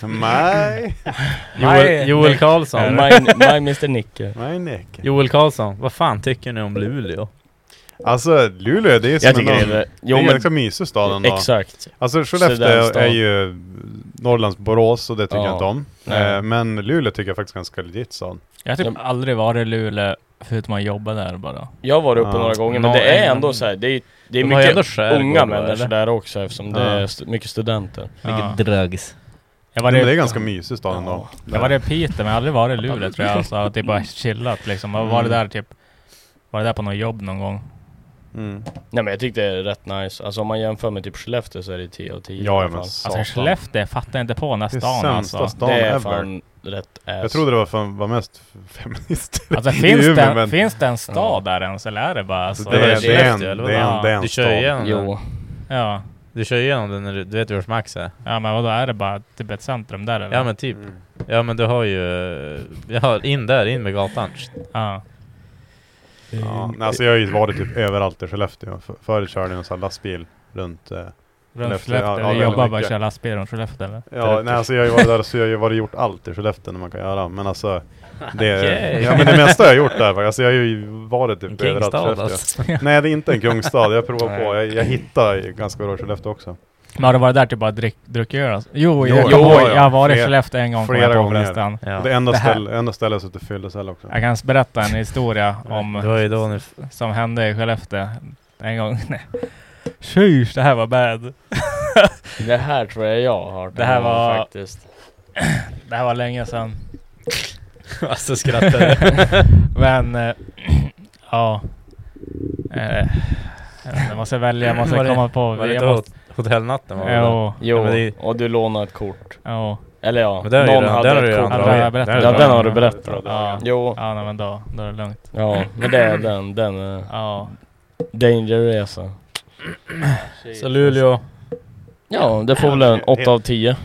D: My,
A: Joel, Joel
B: Ja,
A: Karlsson.
B: my, my Mr Nick.
D: my neck.
A: Joel Karlsson, vad fan tycker ni om Luleå?
D: Alltså Luleå, det är som
B: Jag tycker det
D: en,
B: är...
D: det
B: Jo
D: är en
B: men
D: ganska mysig stad ändå.
B: exakt.
D: Alltså Skellefteå
B: Studentstad.
D: är ju Norrlands Borås och det tycker
B: Ja.
D: jag inte om.
B: Nej.
D: Eh, Men Luleå tycker jag faktiskt är ganska legit stad.
H: Jag har typ aldrig varit i Luleå förutom att jobba där bara.
B: Jag har varit uppe
D: Ja.
B: några gånger men
A: Nå-
B: det är
A: en-
B: ändå så här, det är, det är
A: De har ju ändå
B: mycket
A: skärgård
B: unga
A: då,
B: människor
A: eller?
B: där också eftersom det
D: Ja.
B: är st- mycket studenter.
H: Ja.
A: Drugs.
H: Jag
D: Men
H: var
D: det
H: i-
D: är ganska mysig stad ändå.
H: Jag var i Piteå men jag har aldrig varit i Luleå tror jag. Alltså, jag har typ bara chillat liksom. Jag har varit där typ... Var där på något jobb någon gång.
D: Mm.
B: Nej men jag tyckte det är rätt nice. Alltså om man jämför med typ Skellefteå så är det 10 av 10
D: Ja,
B: i alla
D: ja, men
B: fall.
D: s-
H: Alltså
D: Satan.
H: Skellefteå fattar jag inte på den här
D: Det är
H: stan
D: sämsta
H: alltså.
D: stan
B: Det är
D: ever.
B: fan rätt ass.
D: Jag trodde det var, fan, var mest feminister
H: Alltså
D: i
H: finns
D: Umeå,
H: det,
D: men
H: finns det en stad där ens eller är det bara alltså,
D: det, är, det, är en, det,
A: Skellefteå,
D: är en,
A: eller
D: det är en, det är en
A: Du kör
D: stad.
A: igenom den.
B: Jo.
H: Ja.
A: Du kör igenom den när du, du vet ju vart Max är?
H: ja men vadå är det bara typ ett centrum där eller?
A: Ja men typ.
D: Mm.
A: Ja men du har ju... Jag har in där, in med gatan.
H: Ja.
D: Ja, nej, alltså jag har ju varit typ överallt i Skellefteå. För- Förut körde jag en sån här lastbil runt... eh,
H: Runt
D: Skellefteå, ja,
H: Skellefteå.
D: ja,
H: Vi
D: väldigt
H: jobbar bara och
D: mycket.
H: kör lastbil runt Skellefteå eller?
D: Ja, nej alltså jag har ju varit där så jag har ju varit och gjort allt i Skellefteå när man kan göra. Men alltså... Det,
A: Okej.
D: ja, men det mesta jag har gjort där faktiskt. Alltså jag har ju varit typ överallt i
A: Kingstad
D: Skellefteå.
A: alltså.
D: Nej det är inte en kungsstad, jag provar
A: Nej.
D: på. Jag, jag hittar ju ganska bra i Skellefteå också.
H: Men har du varit där typ bara drick- druckit öl alltså? Jo,
D: Jo,
H: jag,
D: jo,
H: kommer ihåg,
D: ja.
H: jag har varit i
D: Flera-
H: Skellefteå en gång kom
D: flera
H: jag på
D: gånger.
H: förresten.
A: Ja.
D: Det enda
H: Det här-
D: stället, enda stället jag suttit fyllecell också.
H: Jag kan berätta en historia om
A: Det var ju då ni...
H: som hände i Skellefteå en gång. Nej. Tjus, det här var bad.
B: Det här tror jag jag har hört.
H: Det här var-
B: Faktiskt.
H: Det här var länge sedan.
A: alltså skrattade.
H: Men, eh, ja. Eh, jag vet inte, måste jag välja, måste
A: Var
H: jag
A: det-
H: komma på.
A: Var det
H: jag
A: inte
H: måste,
A: hot- hotellnatten? Var det där?
H: jo,
B: Jo,
A: Ja, men det-
B: och du lånade ett kort.
H: jo.
B: Eller ja,
A: Men den,
B: någon
A: har
B: hade
A: den har du
B: ett
A: redan
B: kort.
H: Ja,
A: dragit.
H: den har jag berättat.
A: har du
B: Ja,
A: dragit.
B: den har du berättat.
H: Ja,
B: Jo,
H: ja nej, men då, då är det lugnt.
B: ja, men det är den, den är
H: Ja.
B: Danger Resa.
A: Så Luleå,
B: Ja, det får väl en 8 av 10.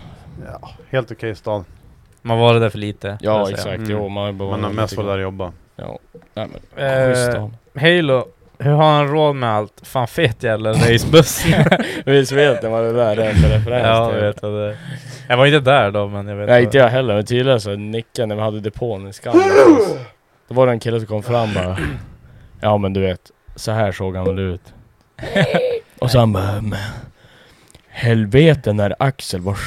D: Ja, helt okej stad.
A: man var där för lite. kan jag
B: Ja,
A: säga.
B: exakt.
D: Mm.
B: Jo, man har ju bara
D: Man har
B: varit
D: mest
B: lite
D: varit där och jobbat.
B: grann. Nej, men,
A: Eh,
B: schysst av honom.
A: Halo, hur har han råd med allt? Fan fet jävla racebuss.
B: Visst vet ni vad det där är för referens
A: ja,
B: till?
A: jag vet vad det är. Jag var inte där då, men jag vet
B: typ? Nej,
A: vad-
B: inte jag heller. Men tydligen så nickade när vi hade depån i Skallen. Då var det en kille som kom fram bara. Ja men du vet, så här såg han väl ut. Och så han bara. "Mm, Helvete när Axel var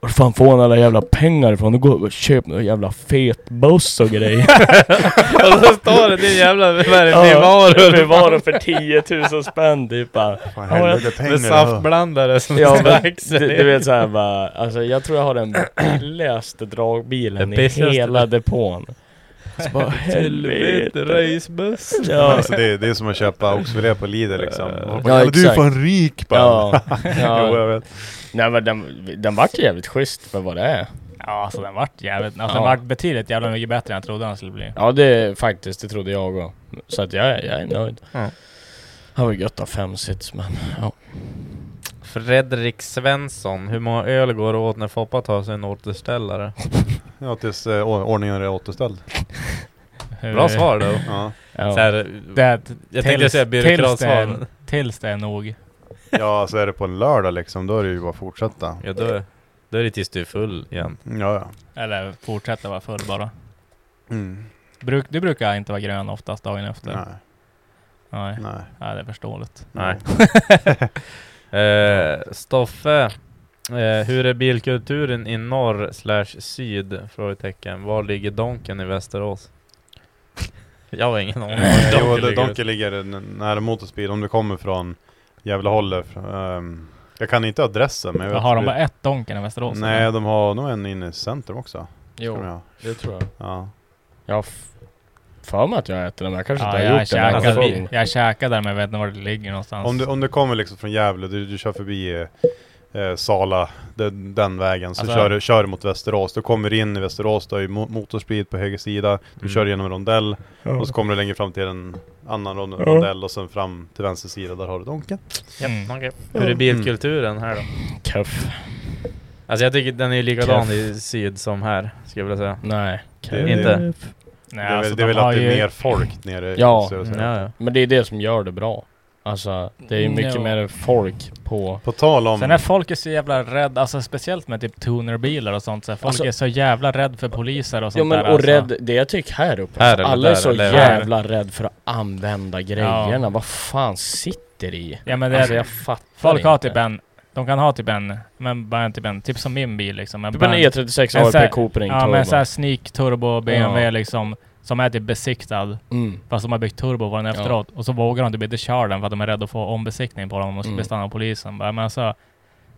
B: var fan får han alla jävla pengar ifrån? Då går och köper någon jävla fet buss och grejer.
A: Och så står det din jävla... Vad är det?
B: Ja,
A: Nivaro?
B: Nivaro för 10 000 spänn typ bara.
D: Fan
B: Ja,
D: helvete pengar.
A: Med saftblandare som
B: Ja,
A: står
B: men,
A: Axel
B: du,
A: i.
B: du vet såhär bara, alltså jag tror jag har den billigaste dragbilen
A: Den
B: i
A: billigaste.
B: hela depån. Så bara helvete.
A: racebuss.
B: Ja.
D: Alltså det, är- det är som att köpa oxfilé på Lidl liksom. Och bara,
B: Ja,
D: "Men du är
B: exakt.
D: fan rik bara.
B: Ja. ja.
D: jo, jag vet.
B: Nej men den, den vart ju jävligt schysst för vad det är.
H: Ja, alltså den vart jävligt... Alltså den
B: Ja.
H: vart betydligt jävla mycket bättre än jag trodde den skulle bli.
B: Ja det faktiskt, det trodde jag också. Så att jag, är- jag är nöjd.
H: Ja.
B: Han var gött att ha fem sits men ja.
A: Fredrik Svensson, hur många öl går det åt när Foppa tar sig en återställare?
D: Ja, tills eh, å- ordningen är återställd.
A: Bra svar då.
D: Ja.
B: Ja.
A: Så här,
H: Det är,
A: jag tänkte säga
H: tills, det
A: byråkratsvar.
H: är, tills det är nog.
D: ja, så är det på en lördag liksom, då är det ju bara att fortsätta.
A: Ja, då, är- då är det tills du är full igen.
D: Ja, ja.
H: Eller fortsätta vara full bara.
D: Mm.
H: Bruk, du brukar inte vara grön oftast dagen efter.
D: Nej,
H: Nej.
D: nej.
H: Nej, det är förståeligt.
A: Nej. Eh, Stoffe, eh, hur är bilkulturen i norr slash syd? Frågetecken. Var ligger Donken i Västerås? Jag har ingen aning.
H: Eh,
D: Jo,
A: Donken
D: det-
A: ligger-
D: Donken ligger n- nära Motorspid om du kommer från Gävlehållet. Um, jag kan inte adressen men jag vet
H: har de
D: hur-
H: bara ett Donken i Västerås?
D: Nej, de har nog en inne i centrum också. tror
B: Jo,
D: jag.
B: det tror jag.
D: Ja.
B: Jag har f- för mig att jag äter den men jag kanske
H: Ja,
B: inte har
H: jag,
B: gjort det.
H: käkade,
B: men jag
A: käkar-
B: tror-
H: jag käkade där men jag vet inte var det ligger någonstans.
D: Om, du, om du kommer liksom från Gävle, du, du kör förbi eh, eh, Sala, den, den vägen, så
H: Alltså-
D: kör, du, kör du mot Västerås. Du kommer in i Västerås, du har ju mo- motorsprit på höger sida, du
A: Mm.
D: kör genom en rondell och så kommer du längre fram till en annan rond- rondell och sen fram till vänster sida, där har du Donken.
H: Mm.
A: Okej. Hur är bilkulturen här då?
B: Keff.
A: Alltså jag tycker den är ju likadan i syd som här, skulle jag vilja säga.
B: Nej.
D: Det-
B: Inte.
A: Inte?
H: Nej,
D: det är, väl-
H: alltså,
D: det är
H: de
D: väl att
H: har
D: det är
H: ju-
D: mer folk nere i
B: Ja,
D: södra Sverige.
A: Ja, ja.
B: Men det är det som gör det bra. Alltså det är ju mycket
H: Jo.
B: mer folk på...
D: På tal om...
H: Sen är folk ju så jävla rädda, alltså speciellt med typ tunerbilar och sånt. Så här, folk
B: Alltså-
H: är så jävla rädda för poliser och sånt
B: Ja men
H: där.
B: och
H: alltså.
B: rädd, det jag tycker här uppe,
A: Här
B: alltså,
A: eller
B: alla är
A: där
B: så
A: eller-
B: jävla rädda för att använda grejerna. Vad fan sitter i?
H: Ja men det
B: alltså
H: är,
B: jag fattar
H: folk har
B: inte.
H: typ en, de kan ha typ en, men bara typ en, typ som min bil liksom. Men
B: Typ
H: bara
B: en E36
H: en så här-
B: ARP Cooper Ring
H: Ja
B: Turbo.
H: men en sån här sneak turbo BMW
B: Ja.
H: liksom. Som är typ besiktad.
B: mm.
H: Fast de har byggt turbo på den efteråt. Och så vågar de typ inte köra den för att de är rädda att få ombesiktning på dem om de skulle
B: Mm.
H: bli stannade av polisen. Bara, Men alltså,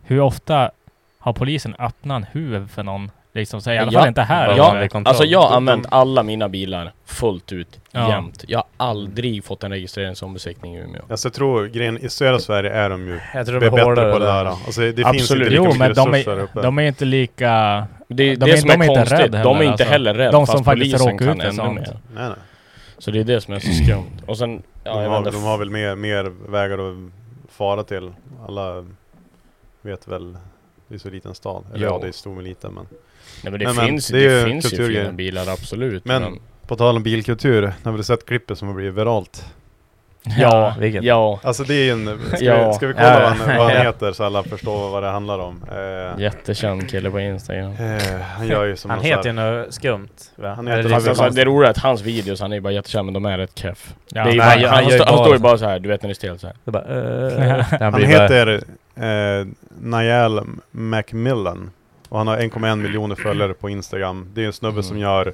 H: hur ofta har polisen öppnat en huv för någon? Liksom, så i alla
B: Ja.
H: fall inte här.
B: Ja.
H: eller?
A: Kontroll.
B: Alltså jag har
D: De-
B: använt alla mina bilar fullt ut
H: Ja.
B: jämt. Jag har aldrig fått en registreringsombesiktning i Umeå.
D: Alltså jag tror grejen, i södra Sverige är de ju
A: Jag tror
D: be-
A: de
D: bättre
A: är
D: på
A: hårdare
D: det
A: där.
D: där. Alltså det finns
B: Absolut.
D: inte lika
H: Jo,
D: mycket
H: men de
D: resurser där
H: är,
D: uppe.
H: de är inte lika...
B: Det är
H: De
B: det
H: är-
B: som
H: de
B: är,
H: är inte
B: konstigt.
H: rädda
B: de är
H: heller,
B: inte
H: alltså.
B: heller rädda.
H: De
B: fast
H: som faktiskt
B: polisen
H: råkar
B: kan
H: ut för
B: ännu
H: sånt. Mm.
B: mer.
D: Nej, nej.
B: Så det är det som är så skumt. Och sen... Ja,
D: de,
B: jag
D: har,
B: vet
D: de
B: inte.
D: har väl mer, mer vägar att fara till. Alla vet väl, det är så liten stad. Eller ja,
B: Jo.
D: det är stor men liten men.
B: Nej, men det
D: Nej, men
B: finns,
D: det är
B: det
D: ju
B: finns ju
D: kulturgrej.
B: fina bilar absolut.
D: Men- På tal om bilkultur, har du sett klippet som har blivit viralt?
B: ja,
A: vilket?
B: ja.
D: Alltså det är ju en... Ska,
B: Ja.
D: vi, ska vi kolla
A: Ja.
D: vad han, vad
A: Ja.
D: han heter så alla förstår vad det handlar om? Eh,
B: Jättekänd kille på Instagram.
D: eh, han gör ju som
A: Han
D: någon så
A: heter ju
D: här-
A: något skumt va?
D: Han
A: Eller liksom- det är
D: heter- han-
A: så
B: Alltså,
D: konstigt.
B: det roliga är att hans videos, han är bara jättekänd men de är rätt keff.
H: Ja,
B: det är
H: nej,
B: bara, han,
A: han gör ju
B: stå, han
A: bara-
B: står ju bara så här, du vet när det är stelt så här.
A: Det är bara, eh, han
D: Han
A: blir bara-
D: heter eh, Niall Macmillan och han har 1,1 miljoner följare på Instagram. Det är en snubbe som gör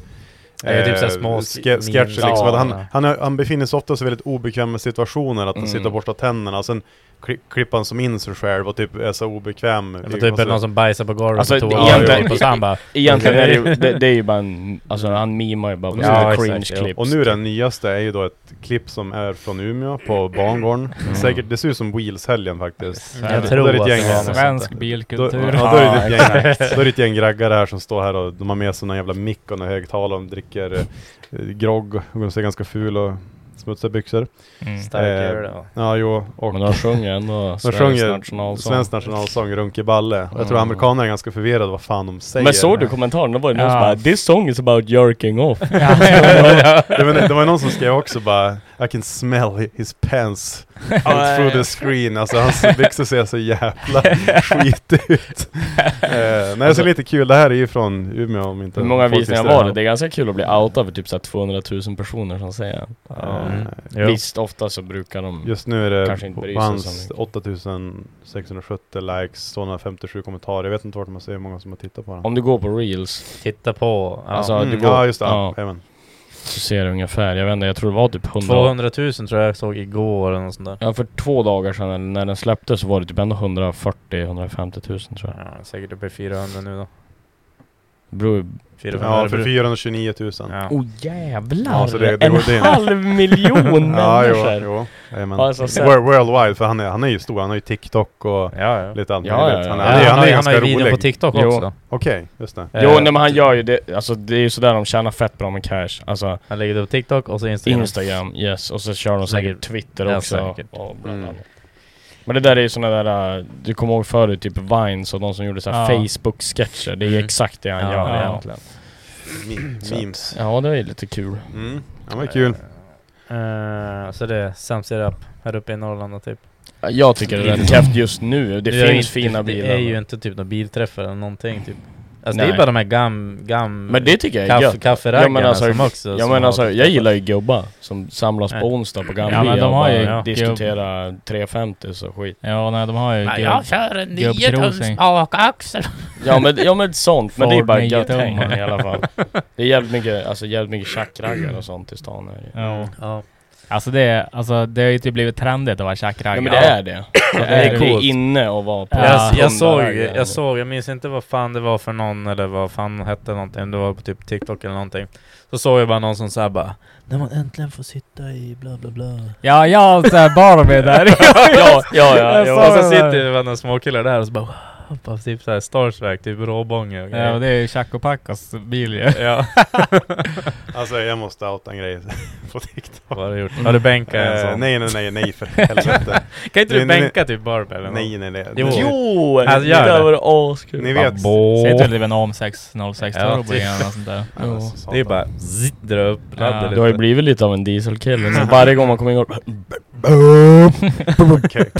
A: Mm.
D: eh,
A: Ja, det är typ så här små
D: ske-
A: sk-
D: sketcher liksom.
A: memes. Ja.
D: han, han, är, han befinner sig oftast i väldigt obekväma situationer, att han
B: Mm.
D: sitter och borstar tänderna och sen kli- klipper han som in sig själv och typ är så obekväm.
A: Det var typ någon som bajsade på golvet
B: Alltså,
A: på toa
D: det-
A: och
D: egentligen-
A: gick på samba.
B: Egentligen är det, ju- det, det är ju bara en, alltså han mimar ju bara på
D: Ja,
B: ja,
A: exakt,
B: cringe
A: ja.
B: klipp.
D: och nu den nyaste är ju då ett klipp som är från Umeå på bangården.
A: Mm.
D: Säkert, det ser ut som Wheels-helgen faktiskt.
H: Jag
D: Där-
A: tror
D: där är ett
A: att
D: gäng-
A: det var något
H: Svensk
D: Då,
H: bilkultur.
D: ja, då är det ett gäng, då är det ett gäng raggare här som står här och de har med sig någon jävla mick och någon högtalare och de dricker eh, grogg och de ser ganska ful och smutsiga byxor.
H: Mm.
A: Stark
D: Eh,
A: öl, ja.
D: Ja, jo, och
B: Men alltså, de sjunger ändå
D: de
B: Sveriges
D: sjunger
B: nationalsång.
D: svensk nationalsång, Runkeballe. Och jag tror
B: Mm.
D: amerikaner är ganska förvirrade vad fan de säger.
B: Men såg du kommentaren? Då var det någon som
H: Ja.
B: bara 'This song is about jerking off'
D: det, var, det var någon som skrev också bara I can smell his pants out through the screen. Alltså hans byxor ser så jävla skit ut. Eh, nej, så lite kul. Det här är ju från Umeå om inte
B: Alltså, Hur många
D: folk
B: visningar
D: visste
B: var det? Det är ganska kul att bli outad för typ såhär 200 000 personer som säger
D: Ja.
B: Mm.
A: Jo.
B: Visst, ofta så brukar de...
D: Just nu är det
B: Kanske inte
D: på
B: bryr
D: på
B: sig
D: hans
B: så
D: 8670 likes, 257 kommentarer. Jag vet inte vart man ser hur många som har tittat på den.
B: Om du går på reels
A: Titta på. Ja.
B: Alltså,
D: mm,
B: det går-
D: ja just det,
B: ja.
D: ja. jajamän.
B: så ser du ungefär, jag vet inte, jag tror det var typ 100...
A: 200 000 tror jag jag såg igår eller något sånt där.
B: Ja för två dagar sedan eller när den släpptes så var det typ ändå 140-150 000 tror jag.
A: Ja, säkert uppe i 400 nu då.
B: Bror...
D: Ja, för 429 000.
B: Oh jävlar!
D: Ja, så det- det
B: en
D: går in.
B: halv miljon
D: Ja, jo,
B: människor!
D: jo. Jajamän.
B: Alltså, sen-
D: World- Worldwide, för han är, han är ju stor. Han har ju TikTok och lite allt
B: Ja, ja,
D: möjligt. Han är,
B: ja.
D: han är,
B: Ja, han
D: han
B: har
D: är
B: ju-
D: ganska
B: han har ju
D: rolig.
B: video på TikTok Jo. också.
D: Okej, just det.
B: Jo, nej men han gör ju det, alltså det är ju sådär de tjänar fett bra med cash. Alltså,
A: han lägger det på TikTok och så Instagram.
B: Instagram, yes. Och så kör de säkert
A: Säkert.
B: Twitter
A: Ja,
B: också.
A: säkert.
B: Och bland
D: Mm.
B: annat. Men det där är ju sådana där, äh, du kommer ihåg förut, typ Vines och de som gjorde såhär
A: Ja.
B: Facebook-sketcher. Det är ju
A: Mm.
B: exakt det han
A: Ja,
B: gör
A: ja.
B: egentligen.
D: Me-
B: Så att-
D: memes.
B: Ja, det är ju lite kul.
D: Mm. Ja, men kul.
A: Eh, så det är Samsir Up här uppe i Norrland och typ.
B: Jag tycker det är rätt käft just nu. Det
A: är
B: finns
A: ju
B: fina
A: det,
B: bilar.
A: Det är ju inte typ några bilträffar eller någonting typ. Alltså det
B: Nej.
A: är bara de här gam... gam
B: Men det tycker jag är
A: kaff-
B: gött.
A: Kafferaggarna
B: men alltså,
A: som också...
B: Ja
A: som
B: men
A: har-
B: alltså, jag gillar ju gubbar som samlas på
A: Nej.
B: onsdag på Gamla
H: Ja, men
B: Bia
H: de
B: och
H: har ju
B: bara
H: gubb-
B: diskuterar 350 och skit.
H: Ja, nej, de har ju... gubb- gubbcruising.
M: akaxel.
B: Ja men, ja men sånt, men det är
H: Ford
B: bara
H: med
B: gött
H: gitarr.
B: häng i alla fall. Det är jävligt mycket, alltså jävligt mycket tjackraggar och sånt i stan här ju.
H: Ja.
A: Ja.
H: Alltså det, är- alltså det har ju typ blivit trendigt att vara tjackragg.
B: Ja men det är det. Alltså, Det är, det är inne och vara på
A: Jag, jag, såg,
B: hundraraggar.
A: jag såg, jag minns inte vad fan det var för någon eller vad fan hette någonting, det var på typ TikTok eller någonting. Så såg jag bara någon som såhär bara När man äntligen får sitta i bla bla bla.
H: Ja, jag har en sån här Barbie där.
A: ja, ja, ja.
H: Jag
A: ja.
H: sa
A: Och så
H: det
A: sitter
H: där.
A: det några småkillar där och så bara wow, bara typ såhär starstruck, typ råbånge och
H: Ja,
A: grejer.
H: och det är ju Chaco Pacos bil ju.
A: Ja.
D: Alltså jag måste outa en grej på TikTok.
A: Vad har du gjort? Har du bänkat en
D: Eh,
A: sån?
D: Nej nej nej, nej för helvete.
A: Kan inte
D: Det
A: du
D: är- nej,
A: bänka typ Barbie eller något?
D: Nej nej nej.
A: Jo!
B: Jo!
A: Alltså,
B: det
A: gör
B: där
A: det.
B: var det askul.
D: Ni vet.
H: Säg
A: Abbo.
H: till typ en OM6 06
A: Ja,
H: Turbo
A: typ.
H: igen eller sånt där.
D: Ja, alltså, satan.
A: Det är bara zitt, dra upp
H: Ja.
A: ladda
B: Du har ju
A: lite.
B: blivit lite av en dieselkille, så varje gång man kommer igång...
D: Okej,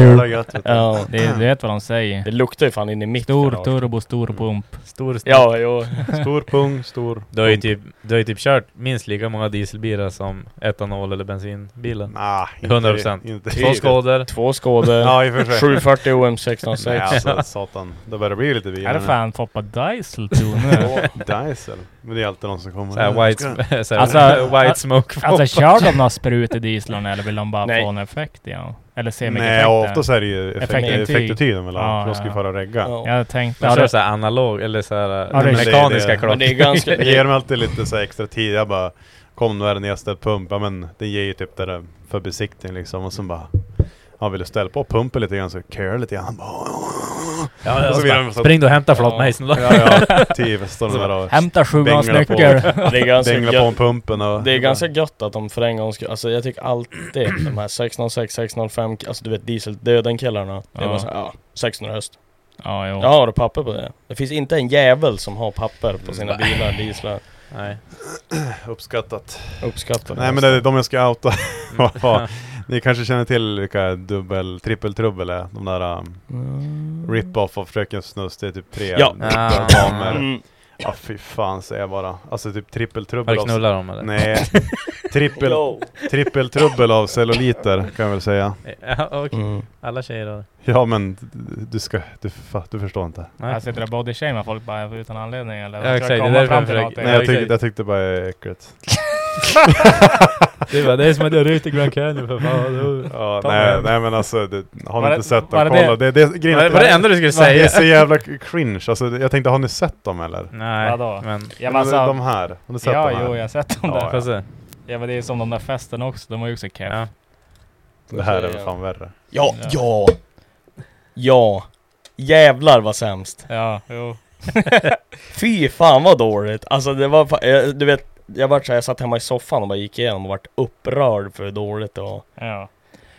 D: jävla gött vet du.
B: Ja.
H: Det, du vet vad de säger.
B: Det luktar ju fan in i micken.
H: Stor
B: rakt.
H: turbo, stor pump.
A: Mm. Stor
B: Ja, jo.
D: Stor pung, stor...
A: Du har, ju typ, du har ju typ kört minst lika många dieselbilar som etanol eller bensinbilar.
D: Nah, inte-
A: 100%.
D: Inte
A: Två skådor.
B: Två skådor.
D: Ja i och för sig.
B: 740 OM
D: Nej
B: 1606.
D: alltså satan. Det börjar bli lite bilar
H: Är det fan Foppa Diesel too nu?
D: Diesel. Men det är alltid någon som kommer.
A: Såhär
D: Ja,
A: white,
D: ska-
A: sm- såhär
H: Alltså,
A: white smoke.
H: Alltså kör de någon sprut i dieslarna eller vill de bara
B: Nej.
H: få en effekt igen? Eller se mycket
D: Nej oftast är det ju effekt,
H: Effektintyg.
D: effektetyg de vill
H: Ja,
D: ha. för De ska ju
H: ja.
D: fara och regga.
B: Ja.
H: Jag tänkte...
A: Man
H: Ja,
A: kör
H: det,
A: såhär analog, eller
H: alltså- Ja,
A: såhär
H: det-
A: mekaniska
D: det-
A: klockor.
B: Men det är ganska...
D: Jag ger dem alltid lite så här extra tid. Jag bara Kom nu är det nedställd pump. Ja men det ger ju typ det där för besiktning liksom. Och sen bara Han ville ställa på pumpen lite grann så kör lite grann. Han bara,
A: Ja, ja,
D: Och så
A: så
D: vill
A: bara,
D: de-
A: Spring du och hämta flotmejseln då.
D: Ja ja, tio står de där och
H: Hämta sju
D: Bängla
H: gånger
D: på.
H: nyckel.
B: Det är ganska
D: dänglar på
B: gött.
D: en pumpen och...
B: Det är ganska gött att de för en gång ska, alltså jag tycker alltid de här 606, 605, alltså du vet dieseldöden killarna. Det är
H: Ja.
B: bara såhär, ja, 600 höst.
H: Ja, jo.
B: Ja, har du papper på det? Det finns inte en jävel som har papper på sina
D: Mm.
B: bilar, dieslar.
A: Nej.
D: Uppskattat.
B: Uppskattar
D: Nej men det är de jag ska outa. Ja, Ni kanske känner till vilka dubbel, trippeltrubbel är? De där um,
H: Mm.
D: rip-off av Fröken Snus. Det är typ tre
B: Ja.
A: Ah.
D: damer.
B: Mm.
D: Ja fy fan säger jag bara. Alltså typ
A: Har
D: trippeltrubbel
A: du
D: av...
A: knullat dem eller?
D: Nej. Trippel,
B: Yo.
D: trippeltrubbel av celluliter kan jag väl säga.
A: Ja, okej.
B: Mm.
A: Alla tjejer har
D: Ja men du ska... Du, fa- du förstår inte.
A: Nej.
H: Jag sitter där bodyshamear folk bara utan anledning eller?
A: Ja, exakt, det är
H: komma
A: därför
H: fram
A: jag
H: till
A: försöker-
H: någonting.
D: Nej jag
A: okej.
D: tyckte, jag tyckte bara det är äckligt.
A: Det var det är som att jag ryckte Grand Canyon för fan.
D: Ja,
A: Ta med
D: nej,
A: den.
D: nej men alltså, det, har ni
H: Var det-
D: inte sett
H: var
D: dem?
H: det
D: Kolla. Det, det, grejen är
A: Var
D: att-
A: var det enda du skulle
D: Det är
A: säga?
D: så jävla cringe, alltså, det- jag tänkte har ni sett dem eller?
A: Nej,
H: Vadå?
A: men...
H: Ja, men
D: Men
H: alltså,
D: de här, har ni sett
H: ja,
D: de här?
H: jo, jag har sett dem
D: Ja,
H: där.
A: Får jag se?
H: Ja, men det är som de där festerna också. De var ju också keff.
A: Ja.
D: Det här är väl fan värre.
B: Ja, ja. Ja. Jävlar vad sämst.
H: Ja, jo.
B: Fy fan vad dåligt. Alltså det var fa- eh, du vet, jag vart så här, jag satt hemma i soffan och bara gick igenom och vart upprörd för hur dåligt det var.
H: Ja. ja,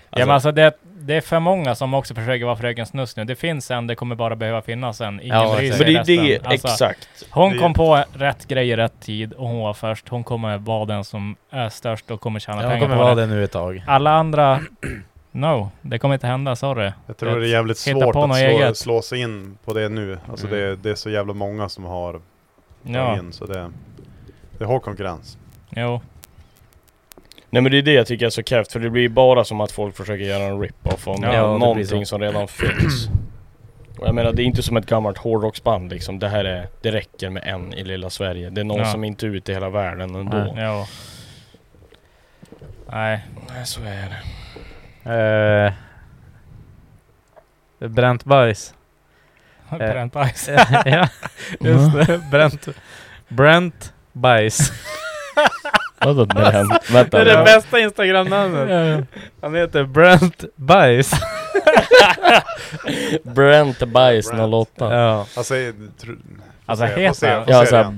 B: Alltså,
H: men alltså det, det är för många som också försöker vara Fröken Snus nu. Det finns en, det kommer bara behöva finnas en. alltså, Ingen bryr
A: Ja, exakt.
H: sig
B: men det är det,
H: resten. Alltså,
B: exakt.
H: Hon
D: Det-
H: kom på rätt grej i rätt tid och hon var först. Hon kommer vara den som är störst och kommer tjäna
A: Jag
H: pengar
A: kommer
H: på
A: vara
H: det.
A: det nu ett tag.
H: Alla andra... No, det kommer inte hända, sorry.
D: Jag tror det är jävligt
H: Hitta
D: svårt
H: på
D: att
H: något
D: slå,
H: eget.
D: slå sig in på det nu. Alltså
A: Mm.
D: det, det är så jävla många som har
H: Ja,
D: in, så det, det är hård konkurrens.
H: jo.
B: Nej men det är det jag tycker är så krävt för det blir ju bara som att folk försöker göra en rip-off av
H: Ja,
A: det
B: nå-
A: blir
B: någonting
A: så.
B: som redan finns. Och jag menar det är inte som ett gammalt hårdrocksband liksom. Det här är, det räcker med en i lilla Sverige. Det är någon
H: Ja.
B: som inte är ute i hela världen ändå.
A: Nej.
H: Jo. Nej.
B: Nej, så är det.
A: Eh, bränt bajs.
H: Bränt bajs.
A: ja, just det. Bränt, bränt bajs.
B: Vadå bränt? Vänta,
A: det är det
B: bränt?
A: bästa Instagram-namnet. Han heter Brent Bajs.
B: Brent Bajs 08.
A: Ja.
D: Alltså, jag tror-
A: Alltså
D: får se, får se,
A: heter
D: får
B: Ja, alltså,
D: se
B: så här,
D: det.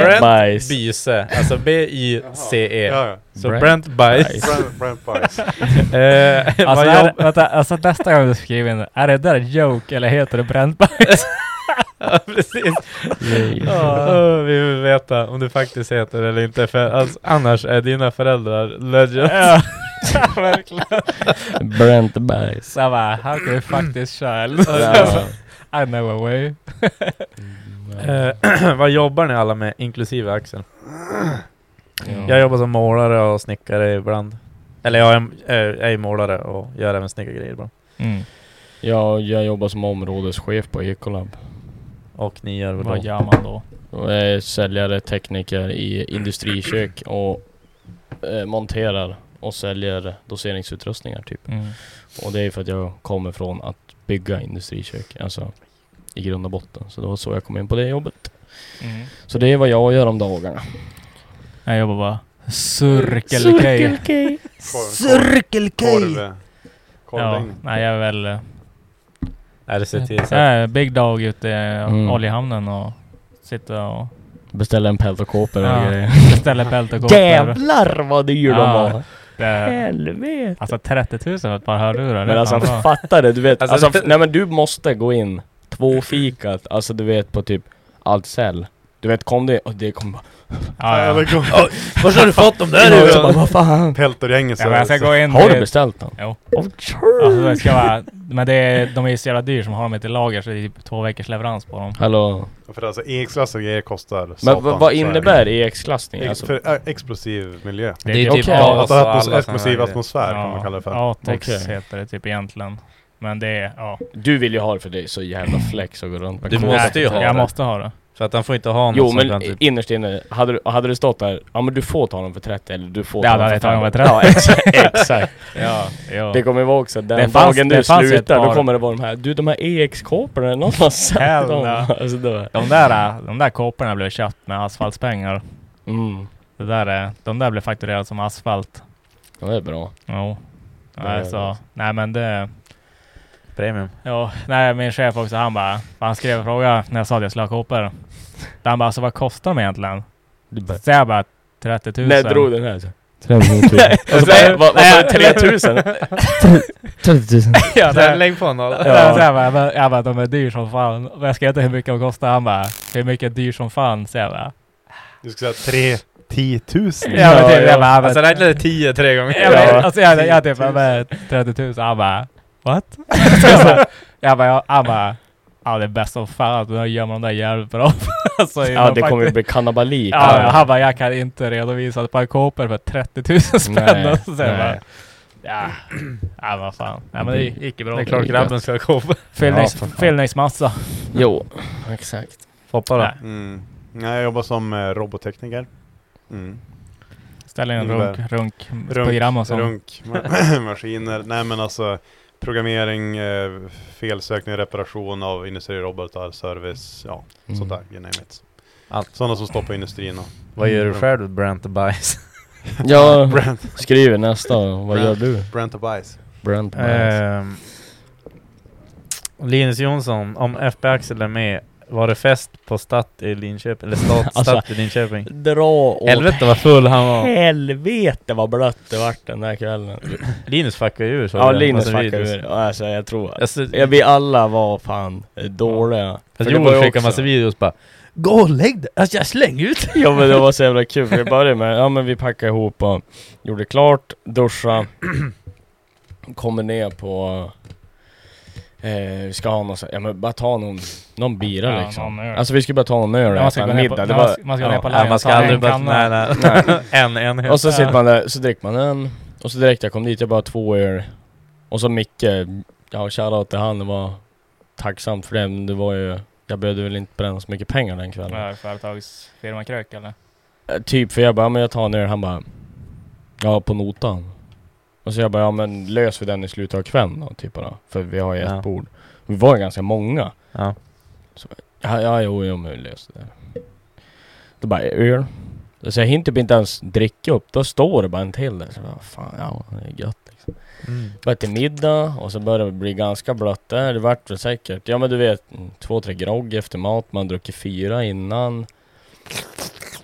B: Brent Bajs.
A: Byse. Alltså B-Y-C-E.
D: Jaha. Ja, ja.
A: E. Så
B: Brent
A: Brent Bajs.
B: Bajs.
D: Brent- Brent Bajs.
A: Eh,
H: Alltså,
A: vad
H: är,
A: jag-
H: det- vänta, alltså nästa gång du skriver in är det där en joke eller heter det bränt bajs?
A: Ja, precis. Ja, åh, vi vill veta om du faktiskt heter det eller inte. För alltså, annars är dina föräldrar legends.
H: ja, verkligen.
B: Brent Bajs.
H: Så jag bara, how can we fuck this child?
B: Ja.
H: I know a way.
A: Eh, vad jobbar ni alla med, inklusive Axel? Jag jobbar som målare och snickare ibland. Eller jag är, är, är ju målare och gör även snickargrejer ibland.
H: Mm.
B: Jag, jag jobbar som områdeschef på Ecolab.
A: Och ni gör väl
H: Vad
A: då?
H: gör man då?
B: Och jag är säljare, tekniker i industrikök och eh, monterar och säljer doseringsutrustningar typ.
H: Mm.
B: Och det är för att jag kommer från att bygga industrikök, alltså i grund och botten. Så det var så jag kom in på det jobbet.
H: Mm.
B: Så det är vad jag gör om dagarna.
H: Jag jobbar bara Cirkel K.
D: Cirkel K! Korv.
H: Ja,
D: Korvlängd.
H: nej jag är väl... eh,
A: Är det se till så att
H: Nej, Eh, big dog ute i
B: Mm.
H: oljehamnen och sitta och
B: Beställer en peltokåpor och
H: Ja.
B: grejer.
H: beställa eh, bälte och kåpor.
B: Jävlar vad dyr de
H: Ja.
B: var!
H: Det-
B: Helvete!
H: Alltså 30 000 för ett par hörlurar.
B: Men
H: det är
B: alltså
H: fan bra.
B: fatta det, du vet.
A: Alltså,
B: Alltså,
A: det-
B: f- nej men du måste gå in, två fikat, alltså du vet på typ Ahlsell. Du vet kom det, och det kom bara...
H: ja, ja.
D: Jävla korv.
A: Var har du fått dem
B: Ja,
A: där
B: och så bara,
A: ifrån?
B: vad fan?
D: Peltorgänget.
H: Ja, men jag ska gå in
B: Har
H: dit.
B: du beställt dem?
H: Jo.
B: Oh,
H: Alltså, det ska vara, men det är, de är ju så jävla dyra som har dem inte i lager så det är typ två veckors leverans på dem.
B: Hallå?
D: För alltså EX-klass och grejer kostar
B: Men
D: satan,
B: vad,
D: så är
B: vad
D: det.
B: innebär EX-klassning?
D: Ex-
B: Alltså,
D: för, äh, explosiv miljö.
H: Det
B: Det är
H: typ
B: okej.
H: A-
B: Ja,
D: Alltså,
A: alla
D: atmos-
A: såna här
D: explosiv
A: grejer.
D: atmosfär kan man kalla det för.
H: Atex
B: Okej.
H: heter det typ egentligen. Men det är, ja.
B: du vill ju ha det för dig så jävla flex och gå runt med
A: Du
B: kåpor.
A: måste ju ha
H: Jag
A: det.
H: måste ha det.
A: För att han får inte ha något
B: Jo
A: sånt
B: men
A: här typ.
B: innerst inne, hade, du- hade det stått där, ja men du får ta dem för 30 eller du får
H: Det
B: ta
H: hade
B: dem
H: jag tagit
B: för
H: med
B: 30. Ja,
H: träd.
B: exakt.
H: Ja, jo.
B: Det kommer ju vara också den
H: Det fanns-
B: dagen
H: det
B: du
H: fanns ett
B: slutar, då
H: par.
B: kommer det vara de här, du de här EX-kåporna, någon har sett dem.
H: Jävlar.
B: Alltså, då,
H: De där, eh, de där kåporna blev köpt med asfaltspengar.
B: mm,
H: Det där, är- de där blev fakturerade som asfalt.
B: det är bra.
H: Jo. Nej, så,
B: är det. alltså.
H: nej men det...
A: Premium.
H: Ja, nej min chef också han bara... Han skrev en fråga när jag sa att jag skulle ha kåpor. Där Han bara alltså vad kostar de egentligen? Så jag bara 30 000.
B: När drog den här? Så.
H: 30 000.
B: Och så bara, vad, vad sa du, 3000?
A: Ja, där, lägg på noll.
H: Ja. Så jag, bara, men- jag bara, de är dyr som fan. Men jag ska inte hur mycket de kostar. Han bara, hur mycket är dyr som fan? Så jag bara,
D: Du ska säga 3 10 000.
H: ja, men typ, jag bara, han
A: Alltså
H: bara,
A: räknade tio tre gånger.
H: jag bara,
B: Ja.
H: alltså jag, jag typ, jag bara, 30 000. Han bara, what? Så jag bara, jag bara, ja, han bara, ja det är bäst som fan att de gömmer de där jävligt bra. alltså,
B: Ja
H: de
B: det kommer ju
H: faktiskt-
B: bli kannibalik.
H: Ja, han bara, jag kan inte redovisa ett par kåpor för 30 000 spänn.
B: Nej,
H: Och så jag bara,
B: nej.
H: ja, ja vad fan. Ja men det gick ju
A: Det
H: bra.
A: är klart grabben ska gå på.
H: Fyllnings-
B: Ja, för fan.
H: Fyllningsmassa.
B: Jo, exakt.
A: Foppa då.
H: Nej.
D: Mm. Nej, jag jobbar som eh, robottekniker. Mm.
H: Ställ in en
D: Innebär-
H: runk, runk, program och sånt.
D: runk maskiner. Nej men alltså programmering, eh, felsökning, reparation av industrirobotar, service, ja
B: Mm.
D: sånt där, you name it.
A: Allt.
D: Sådana som står på industrin och
A: Vad gör du själv Brent Bajs?
B: Jag
D: Brent,
B: skriver nästa, vad gör du?
D: Brent och Bajs.
B: Brent Bajs.
A: Ehm, Linus Jonsson, om FB Axel är med, var det fest på Statt i Linköping? Eller Stat,
B: Alltså,
A: Statt i Linköping?
B: Dra åt
A: Helvete vad full han var!
B: Helvete vad blött det vart den där kvällen.
A: Linus fuckade ju ur så
B: Ja
A: det.
B: Linus
A: Massa
B: fuckade
A: videos.
B: ur. Ja, Alltså jag tror...
A: Alltså,
B: Ja, vi alla var fan eh, dåliga. För
A: alltså,
B: det var ju
A: Joel skickade
B: också-
A: massa videos bara Gå och lägg dig! Alltså jag slänger ut dig!"
B: Ja men det var så jävla kul, vi började med, ja men vi packade ihop och gjorde klart, duscha Kommer ner på... Eh, vi ska ha någon så- ja men bara ta någon, någon bira
H: Ja,
B: liksom
H: någon öl.
B: Alltså vi skulle bara ta någon öl
H: Ja, man ska
B: äta
H: gå
B: en
H: ner på-
B: middag, det
H: ja,
B: var...
H: man ska- man ska gå ner på
A: Nej, man ska
H: ta
A: aldrig
H: en
A: bara...
H: kanna.
A: Nej, nej. en, en. helt.
B: Och så sitter man där, så dricker man en Och så direkt jag kom dit, jag bara två öl Och så Micke, ja shoutout till han, det var tacksamt för det men det var ju Jag behövde väl inte bränna så mycket pengar den kvällen
H: Ja, Företagsfirma Krök eller?
B: Eh, Typ, för jag bara, ja, men jag tar en öl. Han bara, ja på notan. Och så jag bara, ja men löser vi den i slutet av kvällen då, typ bara. För vi har ju ett
A: Ja.
B: bord. Vi var ju ganska många.
A: Ja.
B: Så bara, ja, ja, jo, jo, men vi löser det. Då bara, öl. Så jag hinner typ inte ens dricka upp. Då står det bara en till där. Så jag bara, fan, ja, det är gött liksom.
A: Mm.
B: Bara till middag och så började det bli ganska blött där. Det vart väl säkert, ja men du vet, mm, två, tre grogg efter mat. Man druckit fyra innan.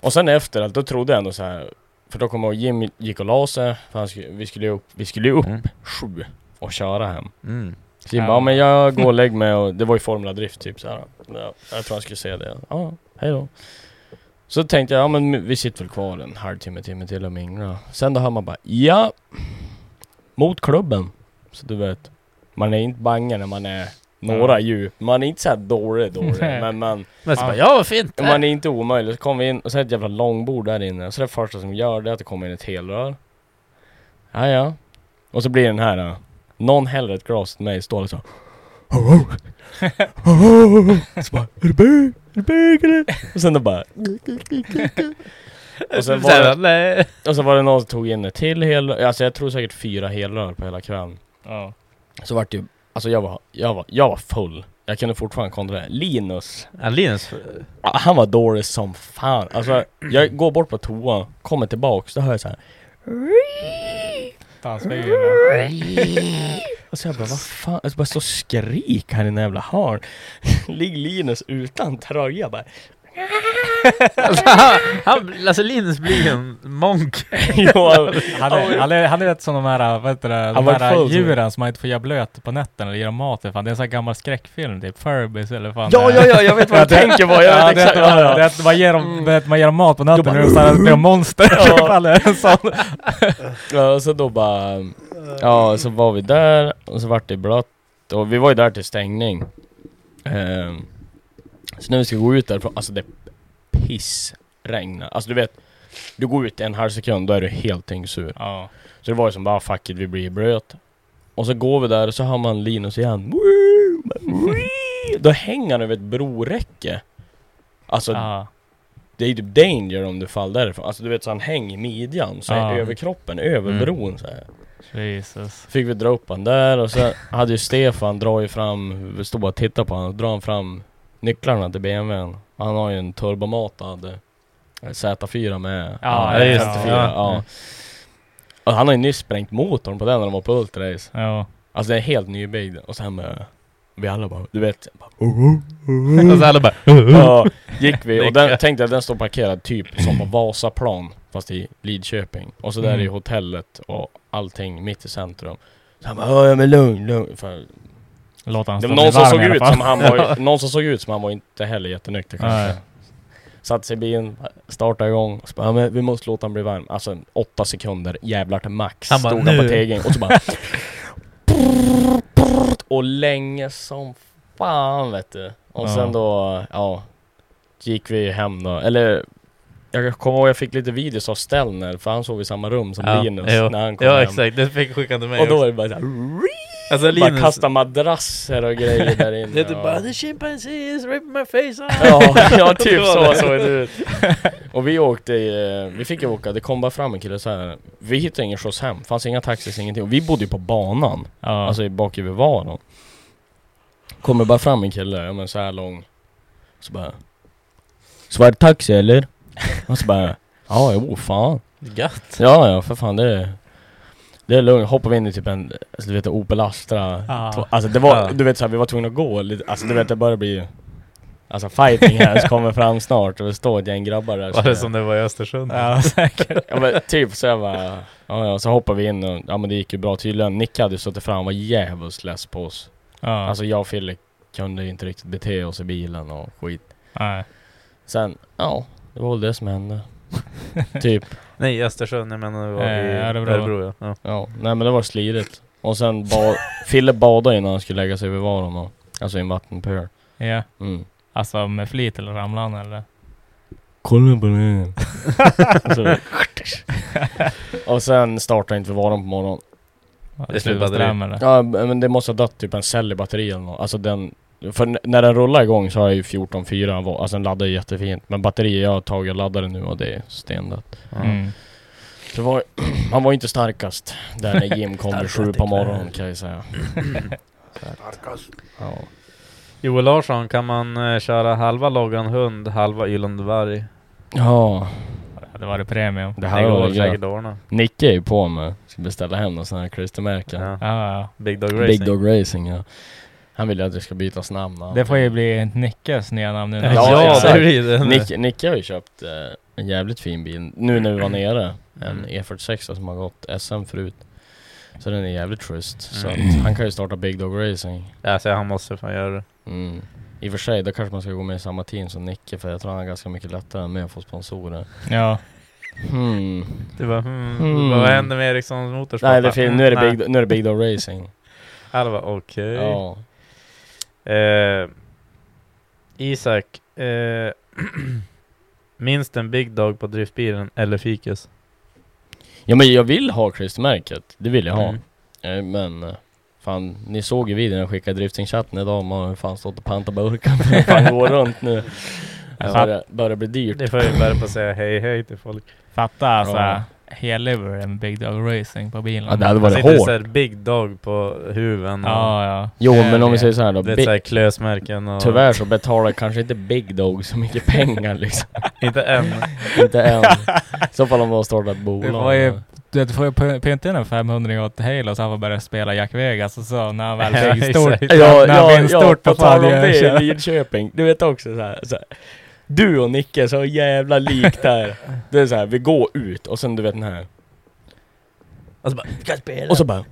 B: Och sen efter allt, då trodde jag ändå så här. För då kom jag ihåg Jim gick och la sig. För han skulle, vi skulle ju upp, vi skulle ju upp sju och köra hem.
A: Mm.
B: Så Jim bara, men jag går och lägger mig och det var ju Formula Drift typ så här. Ja, jag tror han skulle säga det. Ja, hej då. Så tänkte jag, ja men vi sitter väl kvar en halvtimme, timme till och minglar. Sen då hör man bara, ja! Mot klubben. Så du vet. Man är inte bange när man är några
A: Ja.
B: djup. Man är inte såhär dålig dålig.
A: Nej.
B: men man...
A: Men så bara, ja, vad fint det är.
B: Man är inte omöjlig. Så kom vi in och så är det ett jävla långbord där inne. Så det första som gör det är att det kommer in ett helrör. Ja, ja. Och så blir den här... eh, Någon häller ett glas till mig, står liksom... Så bara, är det bög? Är det bög eller? Och sen då bara... Och sen, var
A: Såhär,
B: det, och sen var det någon som tog in ett till hel, alltså jag tror säkert fyra helrör på hela kvällen.
H: Ja.
B: Så vart det ju, alltså jag var, jag var, jag var full. Jag kunde fortfarande kontrollera. Linus.
A: Ja, Linus.
B: Ja, Han var dålig som fan. Alltså jag går bort på toa, kommer tillbaks, då hör jag så här. Och så Alltså, jag bara, vad fan? Jag bara så skrik här i den här jävla hörn. Ligger Linus utan tröja bara.
A: Alltså, han, han, alltså Linus blir ju en monk.
B: Jo, han-
H: Han är, han, är, han är rätt som de här, vad heter det,
B: Han
H: de
B: var full,
H: här
B: så.
H: djuren som man inte får göra blöt på nätten eller ge dem mat. Fan. Det är en sån här gammal skräckfilm, typ Furbies eller fan.
B: Ja, ja, ja, jag vet vad du tänker på, jag vet
H: ja, Mm. det är
B: exakt,
H: att man-
B: ja, ja.
H: det är att man ger dem, det är att man ger dem mat på natten och så här, det blir de monster.
B: Ja.
H: Faller en sån.
B: Ja, och så då bara... Ja, så var vi där och så vart det blött. Och vi var ju där till stängning. Ehm, så när vi ska gå ut därifrån, alltså det pissregnar. Alltså du vet, du går ut en halv sekund, då är du helt tyngsur.
H: Ja.
B: Så det var ju som bara fuck it, vi blir blöt. Och så går vi där och så hör man Linus igen. Woo! Wee! Då hänger han över ett broräcke. Alltså
H: Ja.
B: det är ju typ danger om du faller därifrån. Alltså du vet så han hänger i midjan, så
H: Ja.
B: är över kroppen, över
A: Mm.
B: bron så här.
H: Jesus.
B: Fick vi dra upp han där och sen hade ju Stefan drar ju fram, vi stod bara och tittade på honom, drar han fram nycklarna till BMWn. Han har ju en turbomatad eh, Z4 med.
H: Ja,
B: med
H: just det.
B: 54,
H: Ja.
B: ja. Och han har ju nyss sprängt motorn på den när de var på Ultrarace.
H: Ja.
B: Alltså det är helt nybyggd. Och sen med, vi alla bara, du vet. Bara,
A: Och så alla bara...
B: ja, gick vi och den, tänkte att den står parkerad typ som på Vasaplan fast i Lidköping. Och så där är ju
H: Mm.
B: hotellet och allting mitt i centrum. Så han bara, "Ja, ja men lugn, lugn. För
H: Låt han
B: det
H: stå
B: var
H: sig
B: någon som
H: varm
B: såg
H: i alla
B: ut
H: fall.
B: som han var, någon som såg ut som han var inte heller jättenykter
H: Nej.
B: kanske. Satte sig i bilen, startade igång, och så bara, "Ja, men vi måste låta han bli varm. Alltså åtta sekunder, jävlar till max.
A: Han bara,
B: Stod han på
A: "Nu."
B: tegen och så bara... och länge som fan vet du. Och
H: Ja.
B: sen då, ja. Gick vi hem då, eller jag kommer ihåg jag fick lite videos av Stellner för han sov i samma rum som
A: Ja,
B: Linus
A: jo.
B: när han kom
A: Ja
B: hem.
A: exakt, det fick skickan till mig
B: Och då
A: också.
B: är det bara såhär,
A: Alltså
B: bara
A: Linus...
B: kasta madrasser och grejer där inne.
A: Det är typ
B: och-
A: bara the chimpanzee is ripping my face off.
B: Ja, ja typ
A: Det var
B: så
A: det.
B: såg det ut. Och vi åkte, eh, vi fick ju åka, det kom bara fram en kille så här. Vi hittade ingen skjuts hem, fanns inga taxis, ingenting. Och vi bodde ju på banan,
H: Ja.
B: alltså i bak i Bevaron. Kommer bara fram en kille, ja men så här lång. Så bara... Svart taxi eller? Och så bara... Ja, jo fan.
A: Gött.
B: Ja, ja för fan det är... Det är lugnt, hoppar vi in i typ en, alltså, du vet Opel Astra
H: Ja.
B: Tv- Alltså det var,
A: Ja.
B: du vet såhär, vi var tvungna att gå lite, alltså du vet det börjar bli Alltså fighting här som kommer fram snart och det står ett gäng grabbar där
A: Var
B: så-
A: det som det var i Östersund?
H: Ja, säkert.
B: Ja men typ så jag bara, ja, ja så hoppar vi in och, ja men det gick ju bra tydligen Nick hade ju suttit fram och var djävulskt less på oss
H: Ja.
B: Alltså jag och Fille kunde ju inte riktigt bete oss i bilen och skit
H: Nej.
B: Sen, ja det var väl det som hände Typ,
A: Nej i Östersund, jag menar det var
H: Eh,
A: i
H: Örebro.
A: Örebro. ja. ja.
B: ja, nej men det var slirigt Och sen ba- Fille badade innan han skulle lägga sig vid varon och, alltså i en vattenpöl
H: Ja.
B: mm.
H: Alltså med flit eller ramlade han eller?
B: Kolla på den Alltså, Och sen startade inte varan på morgonen
H: Ja,
A: Det är slut batteri.
H: ström, eller?
B: Ja men det måste ha dött typ en cell i batteriet eller något. Alltså den För n- när den rullar igång så har jag ju 14.4 volt. Alltså den laddar ju jättefint Men batteriet jag har tagit och laddar det nu och det är stendött
H: Mm.
B: Så det var, Han var ju inte starkast Där när Jim kom vid
A: Starkast
B: sju på
A: ikväll.
B: morgonen kan jag ju säga Starkast Ja
A: Joel Larsson, kan man eh, köra halva loggan hund, halva ylande varg?
B: Ja.
H: Det var det premium.
B: Det här var
A: säkert ordna.
B: Nicke är ju på med. Ska beställa hem någon sån här klistermärken.
A: Ja.
H: Ja, ja.
A: Big Dog Racing.
B: Big Dog Racing ja. Han vill ju att det ska bytas namn. och
H: Det får ju
B: allting.
H: bli Nickes nya namn nu.
B: exakt.
H: Nick-
B: Nick, Nicke har ju köpt eh, en jävligt fin bil nu när vi var nere. En E46 som har gått SM förut. Så den är jävligt schysst.
A: Mm.
B: Så att han kan ju starta Big Dog Racing.
A: Alltså han måste fan göra det.
B: Mm. I och för sig, då kanske man ska gå med i samma team som Nicke för jag tror han har ganska mycket lättare med att få sponsorer.
H: Ja.
B: Hmm.
A: Det var, hmm, Vad hände med Ericssons motorsport?
B: Nej, det fin- nu, är det
A: Nej.
B: big, nu är det Big Dog Racing.
A: Alla bara okej.
B: Ja.
A: Eh, Isak, eh, minst en Big Dog på driftbilen eller Fikus?
B: Ja men jag vill ha klistermärket, det vill jag ha.
A: Mm.
B: Eh, Men eh, fan, ni såg ju videon jag skickade i driftingchatten idag, man har ju fan stått och pantat burkar för att fan går runt nu. Det
H: Fatt-
B: börjar, börjar bli dyrt.
A: Det får jag ju börja på att säga hej hej till folk.
H: Fatta alltså.
B: Ja.
H: Hellever en Big Dog Racing på bilen.
B: Ja, det hade varit
A: Sitter
B: hårt.
A: såhär Big Dog på huven och
H: Ja, ja.
B: Jo
H: Jag
B: men om vi
H: vet.
B: säger så här då,
A: du vet
B: Big-
A: såhär klösmärken och...
B: tyvärr så betalar kanske inte Big Dog så mycket pengar liksom.
A: Inte än.
B: inte än. I så fall om de har startat
H: Du
B: ett
H: får ju,
B: bolag.
H: du vet, du får ju py- pynta in en 500 åt Halo så han får börja spela Jack Vegas och så när han väl
A: Ja,
H: blir stor.
A: exakt.
B: Ja,
H: när han
B: ja,
H: blir en
B: ja,
H: stort
B: på tal om det i
H: betalgörelse.
B: Lidköping. Du vet också så här, så här. Du och Nicke är så jävla likt där. Det är så här, vi går ut och sen du vet den här.
A: Och så bara, ska jag spela?
B: Och så bara...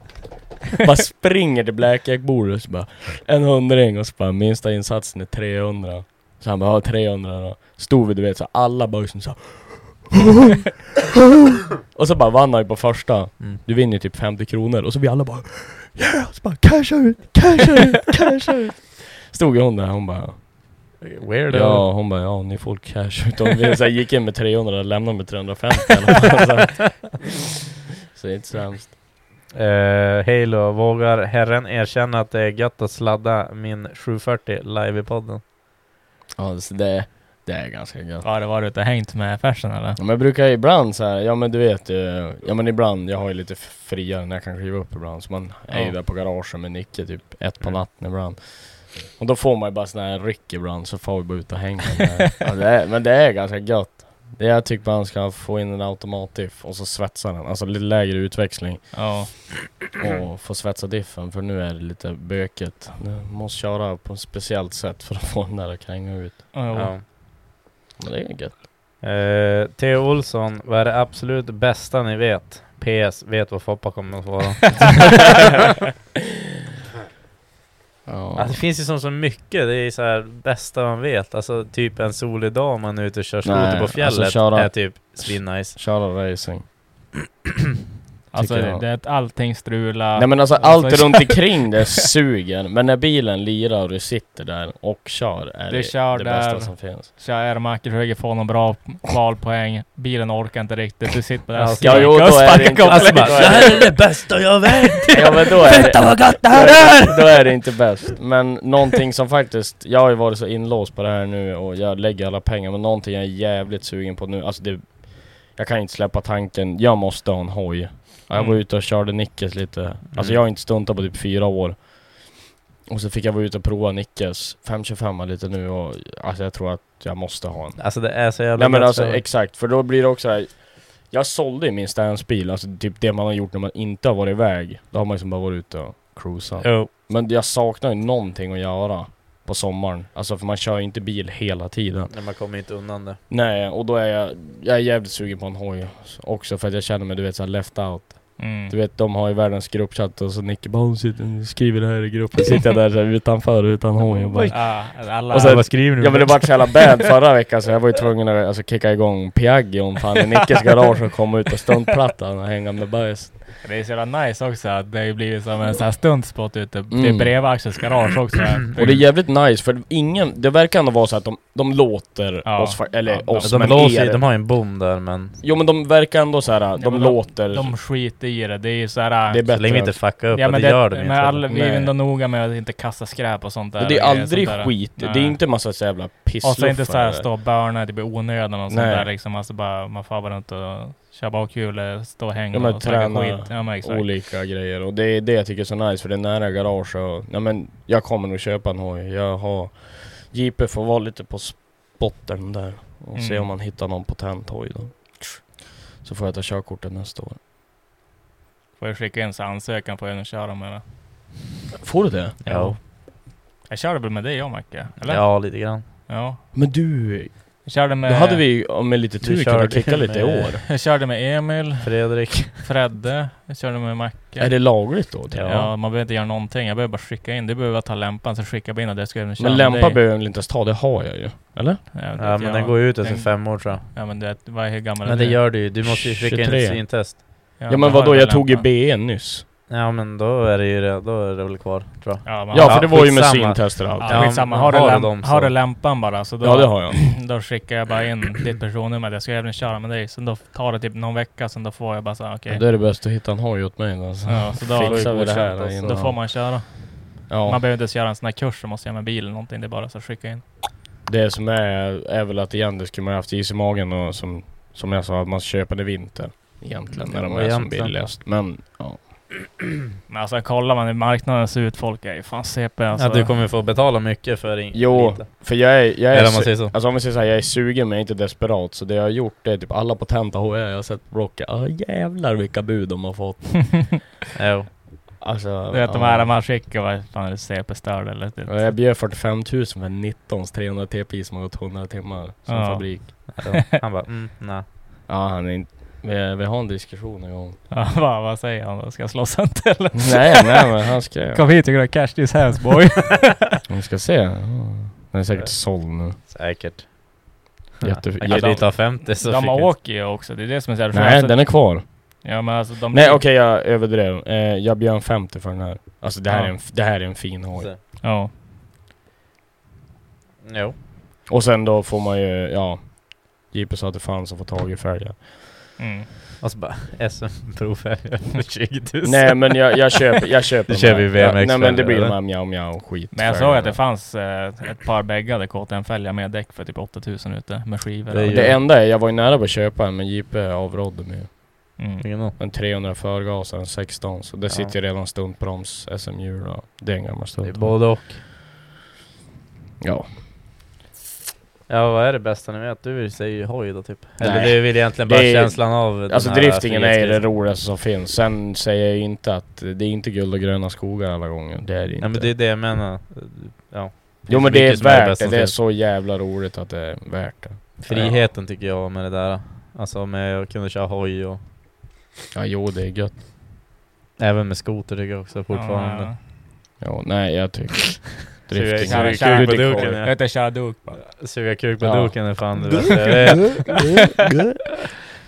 B: bara springer till Blackjack-bordet och så bara... En hundring och så bara minsta insatsen är 300. Så han bara, ja 300 då. Stod vi du vet så alla bara liksom så här, Och så bara vann han ju på första.
A: Mm.
B: Du vinner ju typ 50 kronor. Och så vi alla bara... Yeah! Och så bara casha ut, casha ut, casha ut. Stod ju hon där hon bara...
A: Weirdo.
B: Ja, hon bara ja ni får cash ut. Hon så här, gick in med 300 och lämnade med 350 i alla fall. Så här. Så det är inte så hemskt.
A: Eh, Halo, vågar herren erkänna att det är gött att sladda min 740 live i podden?
B: Ja, så det, det är ganska gött.
H: Vad det var du inte hängt med Fersen eller?
B: Ja, men jag brukar ibland så här, ja men du vet, eh, ja men ibland, jag har ju lite f- friare när jag kan kliva upp ibland. Så man är ju
H: Ja.
B: där på garagen med Nicke typ ett på
A: Mm.
B: natten ibland. Och då får man ju bara sån här ryck ibland, så får vi bara ut och hänga. där. ja, det är, men det är ganska gött. Det jag tycker man ska få in en automatdiff och så svetsa den, alltså lite lägre utväxling.
H: Ja.
A: Mm.
B: och få svetsa diffen för nu är det lite bökigt. Du måste köra på ett speciellt sätt för att få den där att kränga ut.
A: Ja.
B: Men det är gött.
A: Eh, Theo Olsson, vad är det absolut bästa ni vet? PS, vet vad Foppa kommer att svara.
B: Ja.
A: alltså, det finns ju som så mycket, det är så här bästa man vet. Alltså typ en solig dag om man är ute och kör skoter
B: Nej,
A: på fjället
B: alltså, köra-
A: är typ svinnice.
B: Köra racing.
H: Alltså
B: Tycker jag.
H: det är att allting strular.
B: Nej men alltså
H: Och så-
B: allt runt omkring det suger. Men när bilen lirar och du sitter där och kör är
H: Du
B: det
H: kör
B: det
H: där.
B: bästa som finns.
H: Så jag är Macke försöker få någon bra valpoäng. Bilen orkar inte riktigt. Du sitter där
A: Alltså,
H: skriker
B: ja, jo,
H: och
B: då är det
H: sparkar
B: inte-
H: kopplingen.
A: Alltså bara,
B: Då
A: det
B: är det-
A: här är det bästa jag vet!
B: Ja men då är
A: Vänta
B: det,
A: vad gött det
B: då
A: här
B: är,
A: är!
B: det- då är det inte bäst. Men någonting som faktiskt, jag har ju varit så inlåst på det här nu och jag lägger alla pengar. Men någonting jag är jävligt sugen på nu, alltså det... Jag kan inte släppa tanken, jag måste ha en hoj. Ja, Jag var
A: Mm.
B: ute och körde Nickes lite. Alltså jag har inte stuntat på typ fyra år. Och så fick jag vara ute och prova Nickes 525 lite nu och alltså jag tror att jag måste ha en.
A: Alltså det är så jävla
B: Nej men
A: gött
B: alltså
A: för-
B: exakt, för då blir det också här, Jag sålde ju min stansbil, alltså typ det man har gjort när man inte har varit iväg. Då har man liksom bara varit ute och cruisat.
A: Jo.
B: Men jag saknar ju någonting att göra på sommaren. Alltså för man kör ju inte bil hela tiden.
A: Nej, man kommer inte undan det.
B: Nej, och då är jag, jag är jävligt sugen på en hoj också för att jag känner mig du vet såhär left out.
H: Mm.
B: Du vet de har ju världens gruppchatt och så Nicke bara "Hon sitter, skriver det här i gruppen. Sitter jag där såhär utanför utan hoj och bara,
H: Ja, alla...
B: Och så-
A: vad skriver ni?
B: Ja men det vart så jävla bad förra veckan så jag var ju tvungen att alltså, kicka igång Piaggi om fan i Nickes garage och komma ut på stuntplattan och hänga med bajs.
H: Det är så jävla nice också att det har ju blivit som en sån här stuntspot ute
B: Mm.
H: typ bredvid Axels garage också.
A: Mm.
B: Och det är jävligt nice för ingen, det verkar ändå vara så att de, de låter
H: Ja.
B: oss, fa- eller
H: Ja,
B: oss
A: de,
B: men
A: låser,
B: er.
A: ju- de har ju en bom där men...
B: Jo men de verkar ändå så här. de,
H: men de-
B: låter.
H: De skiter i det. Det är ju såhär...
B: det är
A: Så länge vi
B: bättre.
A: inte fuckar upp,
H: Ja
A: och
H: men
A: det, gör de
H: det,
A: ju
H: men
A: inte.
H: alla, vi är
B: Nej.
H: ändå noga med att inte kasta skräp och sånt där.
B: Och det är
H: och grejer
B: aldrig
H: sånt där.
B: skit, det är
H: Nej.
B: inte massa så jävla
H: Och
B: pissluffar.
H: så inte såhär stå och börna typ i onödan och sånt
B: Nej.
H: där liksom. Alltså bara, man far bara runt och Köra bakhjul, stå och hänga
B: Ja, men
H: och snacka
B: träna
H: skit. Ja, men exakt.
B: olika grejer och det är det jag tycker är så nice för det är nära garage och ja, men jag kommer nog köpa en hoj. Jag har JP får vara lite på spotten där och se
H: Mm.
B: om man hittar någon potent hoj då. Så får jag ta körkortet nästa år.
H: Får jag skicka in så ansökan på en och köra med det.
B: Får du det?
H: Ja. Jag körde väl med dig jag Macke? Eller?
B: Ja,
A: lite grann.
H: Ja.
B: Men du,
H: Jag körde med...
B: då hade vi ja, med lite tur kunnat kicka lite i år.
H: Jag körde med Emil.
A: Fredrik.
H: Fredde. Jag körde med Macke.
B: Är det lagligt då?
H: Ja, man behöver inte göra någonting. Jag behöver bara skicka in. Du behöver bara ta lämpan, så skickar vi in och det ska jag köra
B: Men
H: med
B: lämpa
H: dig.
B: behöver jag väl inte ens ta, det har jag ju. Eller?
H: vet
A: Ja,
H: inte,
A: men den går ju ut efter
H: Den-
A: fem år, tror jag.
H: Ja men du vet, vad är hur gammal
A: Men
H: är
A: det gör du ju. Du måste ju skicka in
B: 23.
A: ett syntest.
B: Ja, men vadå, jag tog ju BN nyss.
A: Ja men då är det ju det, då är det väl kvar tror jag.
H: Ja,
B: Ja, för det var ju med syntester och allt.
H: Ja, skitsamma.
A: men
H: Har, du läm-
A: dem så-
H: har du lämpan bara så då...
B: Ja, det har jag.
H: Då skickar jag bara in ditt personnummer. Jag ska även köra med dig. Sen då tar det typ någon vecka, sen då får jag bara såhär okej.
B: Då är det bäst att hitta en hoj åt mig då. Så
H: Ja, så då
B: fixar vi det här.
H: Då
B: innan.
H: får man köra.
B: Ja.
H: Man behöver inte ens göra en sån här kurs som måste göra med bil eller någonting. Det är bara så att skicka in.
B: Det som är, är väl att igen, det skulle man haft is i magen och som, som jag sa, att man köper det i vinter. Egentligen när de
H: Ja,
B: är som
H: egentligen.
B: billigast. Men ja.
H: Men alltså kollar man hur marknaden ser ut, folk är ju fan CP alltså.
A: Ja, du kommer få betala mycket för in-
B: Jo,
A: lite.
B: för jag är... Jag är
A: Eller om man
B: su-
A: säger så.
B: Alltså om man säger så här, jag är sugen men jag är inte desperat. Så det jag har gjort det är typ alla potenta HR jag har sett på Blocket. Ah, jävlar vilka bud de har fått.
A: jo.
B: Alltså...
H: Du vet de
B: ja.
H: här man skickar, vad fan är det CP-störd eller? typ?
B: Ja, Jag bjöd 45 000 för 19 300 TPI som har gått 100 timmar som
H: Ja.
B: fabrik.
H: Ja, han bara,
A: mm, nej.
B: Ja, han är inte... Vi, vi har en diskussion en gång.
H: Ja, vad, vad säger han då? Ska jag slåss inte eller?
B: Nej, nej, men han skrev.
H: Kom hit och grab cash this hands boy.
B: Vi ska se. Ja. Den är säkert såld nu.
A: Säkert.
B: Jätte...
A: Ja, kan dit ha 50 så
H: De
A: fick jag-
H: åker ju också, det är det som är så här-
B: Nej, den är kvar.
H: alltså- Ja men alltså de...
B: Nej okej, jag överdrev. Eh, jag bjöd en 50 för den här. Alltså det här,
H: Ja.
B: är, en, det här är en fin hoj.
H: Ja.
A: Jo.
B: Och sen då får man ju, ja. JP sa att det fanns att få tag i fälgar.
H: Mm.
A: Och så bara SM-provfärger för 20 000.
B: Nej men jag, jag köper, jag köper
A: Du
B: de
A: köper
B: här.
A: ju VMX.
B: Nej men det blir
A: eller?
B: de här mjau mjau skit.
H: Men jag såg att det fanns eh, ett par bäggade KTM-fälgar med däck för typ 8000 ute med skivor.
B: Det, enda är, jag var ju nära på att köpa en men JP avrådde mig.
A: Mm.
B: En 300 förgasare, en 16 så det
A: Ja.
B: sitter ju redan stuntbroms SM-hjul och det är en gammal stunt.
A: Det är både och.
B: Ja.
A: Ja vad är det bästa ni vet? Du säger ju hoj då typ.
B: Nej.
A: Eller det är väl egentligen bara
B: Det är-
A: känslan av den
B: Alltså
A: här
B: driftingen är ju det
A: frihetsresan.
B: roligaste som finns. Sen säger jag ju inte att det är inte guld och gröna skogar alla gånger. Det är det inte.
A: Ja men det är det jag menar. Ja.
B: jo men
A: så
B: det är
A: mycket som
B: värt
A: bäst
B: det.
A: som
B: Det är
A: finns.
B: så jävla roligt att det är värt det.
A: Friheten tycker jag med det där. Alltså med att kunna köra hoj och...
B: Ja jo det är gött.
A: Även med skoter tycker jag också fortfarande.
H: Ja,
B: Jo nej jag tycker...
A: Drifting.
B: Drifting.
A: Suga kuk på duken.
H: Jag heter Shaduk bara.
A: ja. Suga kuk på
B: Ja.
A: duken är fan det bästa jag vet.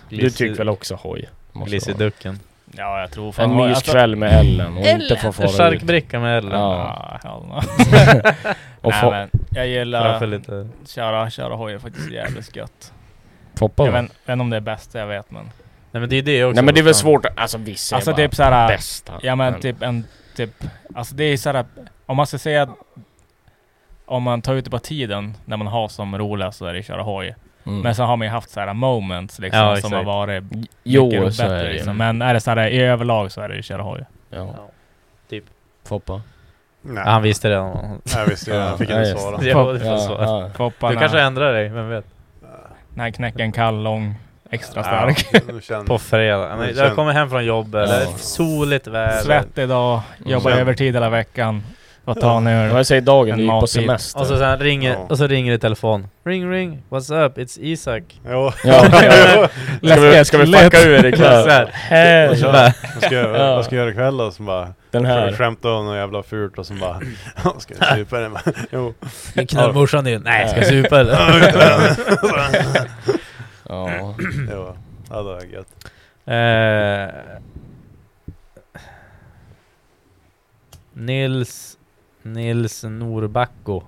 B: Du tycker väl också hoj? Måste vara.
A: Glisseducken.
H: Ja alltså- jag tror
B: En
H: fan...
B: myskväll med Ellen och inte få
A: En
B: fara ut.
A: charkbricka med Ellen.
B: Ja.
H: Ja, hell no.
B: Och
H: Nej,
B: få-
H: men jag
A: Framför
H: gillar...
A: lite...
H: Köra, köra hoj är faktiskt jävligt gött.
B: Foppa
H: Jag
B: va?
H: vet jag vet inte om det är bästa jag vet men...
A: Nej men det är det också.
B: Nej men det är väl
A: Fan.
B: svårt att- Alltså vissa
H: Alltså
B: är bara
H: typ såhär...
B: bästa.
H: Ja men typ en... Typ, alltså det är såhär... Om man ska säga... att- Om man tar ut det på tiden när man har som roligast så är det att köra hoj.
B: Mm.
H: Men sen har man ju haft såhär moments liksom
A: Ja,
H: som
A: exakt.
H: har varit
B: Jo,
H: mycket
B: så är det ju.
H: liksom.
A: äh,
H: Men är det såhär i överlag så är det ju köra hoj.
B: Ja.
A: Typ.
B: Foppa.
D: Nej.
A: Ja, han visste redan.
D: Jag visste redan, jag fick
B: Ja,
D: inte
B: just.
D: svara.
A: Ja, det får svara.
B: ja.
H: Kopparna,
A: Du kanske ändrar dig, vem vet?
H: den här knäcken kall, lång, extra
D: Ja,
H: stark.
D: nu känner-
A: På fredag. Men jag kommer hem från jobbet, det är soligt väder.
H: Svett idag, jobbar
D: Mm.
H: övertid hela veckan. Vad tar ni
B: Ja, Jag
H: ur?
B: säger dagen vi
H: En
B: gick på
H: matbit.
B: semester.
A: Och så, sen ringer,
D: Ja.
A: och så ringer det i telefon. Ring ring, what's up? It's Isak.
D: Jo.
B: Ja, ja. Ska vi, ska vi fucka ur
A: Så
B: ikväll?
A: här, "Hej."
D: Vad
A: Så
D: ska-
A: bara,
D: Vad ska jag
B: Ja.
D: göra- vad ska jag göra ikväll då? Som bara...
B: Den
D: Försöker
B: här.
D: skämta om något jävla fult och som bara... "Ja, Ska jag supa den? Jo.
A: "Min knallmorsan in. Nej, ska jag supa eller?
B: Ja.
D: Jo. Ja, det var gött.
A: Eh, Nils Nils Norbacko.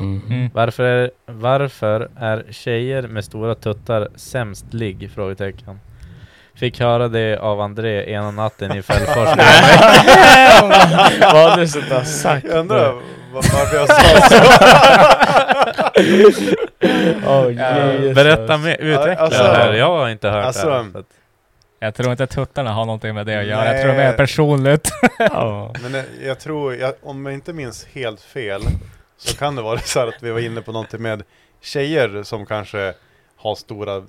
B: Mm.
H: Mm.
A: Varför är, varför är tjejer med stora tuttar sämst ligg? Frågetecken. Fick höra det av André ena natten i Fällfors.
B: Vad hade du suttit och sagt?
D: Jag undrar va- varför jag sa så.
B: Åh,
A: Berätta mer, utveckla
D: Alltså-
A: det här. Jag har inte hört det
D: Alltså,
A: här. Så att- Jag tror inte tuttarna har någonting med det att göra. Jag
D: Nej.
A: tror det är personligt.
D: Men eh, jag tror, jag, om jag inte minns helt fel, så kan det vara så här att vi var inne på någonting med tjejer som kanske har stora mm,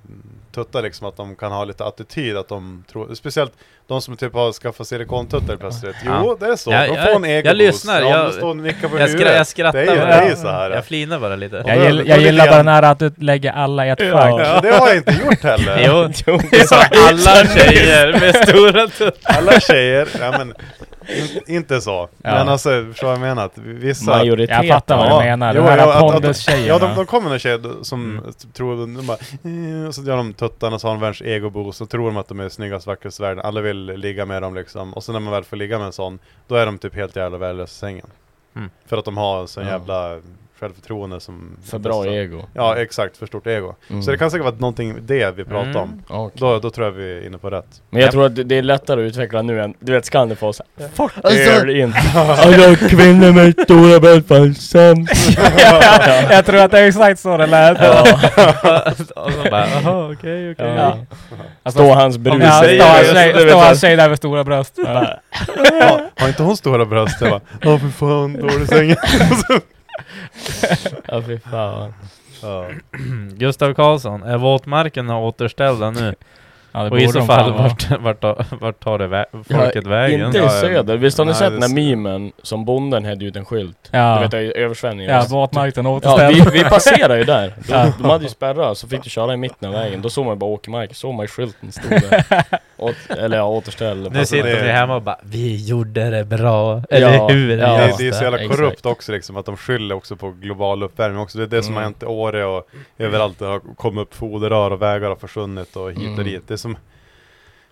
D: tuttar liksom, att de kan ha lite attityd, att de tror, speciellt de som typ har skaffat silikontuttar plötsligt. Jo, det är så,
N: Ja,
D: de
N: jag-
D: får en egoboost.
N: Jag lyssnar,
D: ja,
N: jag,
D: de står och nickar på
N: jag, skra-
D: huvudet.
N: jag skrattar
D: det är, ju-
N: bara.
D: det är ju så här.
N: Jag flinar bara lite.
A: Jag, gill, jag gillar bara den här att du lägger alla i ett fack.
D: Ja, det har jag inte gjort heller.
N: Jo, Jo, det sa alla tjejer med stora tuttar.
D: Alla tjejer, ja men in, inte så.
A: Ja.
D: Men alltså, förstår vad jag menar? Att Vissa...
A: Majoriteten. Jag fattar vad du menar. De här pondustjejerna.
D: Ja, de, de kommer några tjejer som
B: Mm.
D: tror, de bara, "Eh", och så gör de tuttarna, så har de världens egoboost, och tror de att de är snyggast, vackrast i världen, alla vill ligga med dem liksom. Och sen när man väl får ligga med en sån, då är de typ helt jävla värdelösa i sängen.
N: Mm.
D: För att de har en sån
N: Ja.
D: jävla självförtroende som...
B: För bra ego.
D: Ja, exakt. För stort ego.
B: Mm.
D: Så det kan säkert vara någonting det vi pratar om.
B: Mm,
D: Då, då tror jag vi är inne på rätt.
B: Men jag tror att det- det är lättare att utveckla nu än, du vet Scandifoss Fuck
D: Alltså-
B: öl in
D: Alltså,
B: kvinnor med stora bältband
A: jag tror att det är exakt så det lät.
B: Ja.
A: Och så bara, "Jaha, okej, okej."
B: Ja. Står hans brud
A: Ja,
B: säger
A: står
B: det,
A: hans
B: så
A: tjej-
B: du vet
A: Står
B: att-
A: hans tjej där med stora bröst.
B: Ja.
D: Ja, har inte hon stora bröst? Jag bara, ja för fan, dålig säng.
B: Ja fy fan
N: Mm, Gustav Karlsson, är våtmarkerna återställda nu?
A: Ja, det
N: Och i
A: borde
N: så
A: de
N: fall,
A: fan vara.
N: vart, vart, tar- vart tar det vä- folket vägen?
B: Inte i
N: Ja,
B: söder, visst har ni
N: nej,
B: sett
N: det
B: den här memen som bonden hade ut en skylt?
A: Ja.
B: Du vet det är översvämning
A: Ja, våtmarken
B: ja,
A: återställd.
B: vi, vi passerade ju där de,
A: Ja.
B: de hade ju spärrar så fick du köra i mitten av vägen Då såg man ju bara åkermark, såg man ju skylten stod där Åt, Eller ja, återställ
N: Nu sitter vi hemma och bara Vi gjorde det bra,
B: Ja,
N: eller hur?
B: ja.
D: det, det är så jävla
B: exakt.
D: korrupt också liksom, att de skyller också på global uppvärmning också. Det är det som
B: Mm.
D: har hänt i Åre och överallt. Det har kommit upp foderrör och vägar har försvunnit och hit
B: Mm.
D: och dit. Det är som...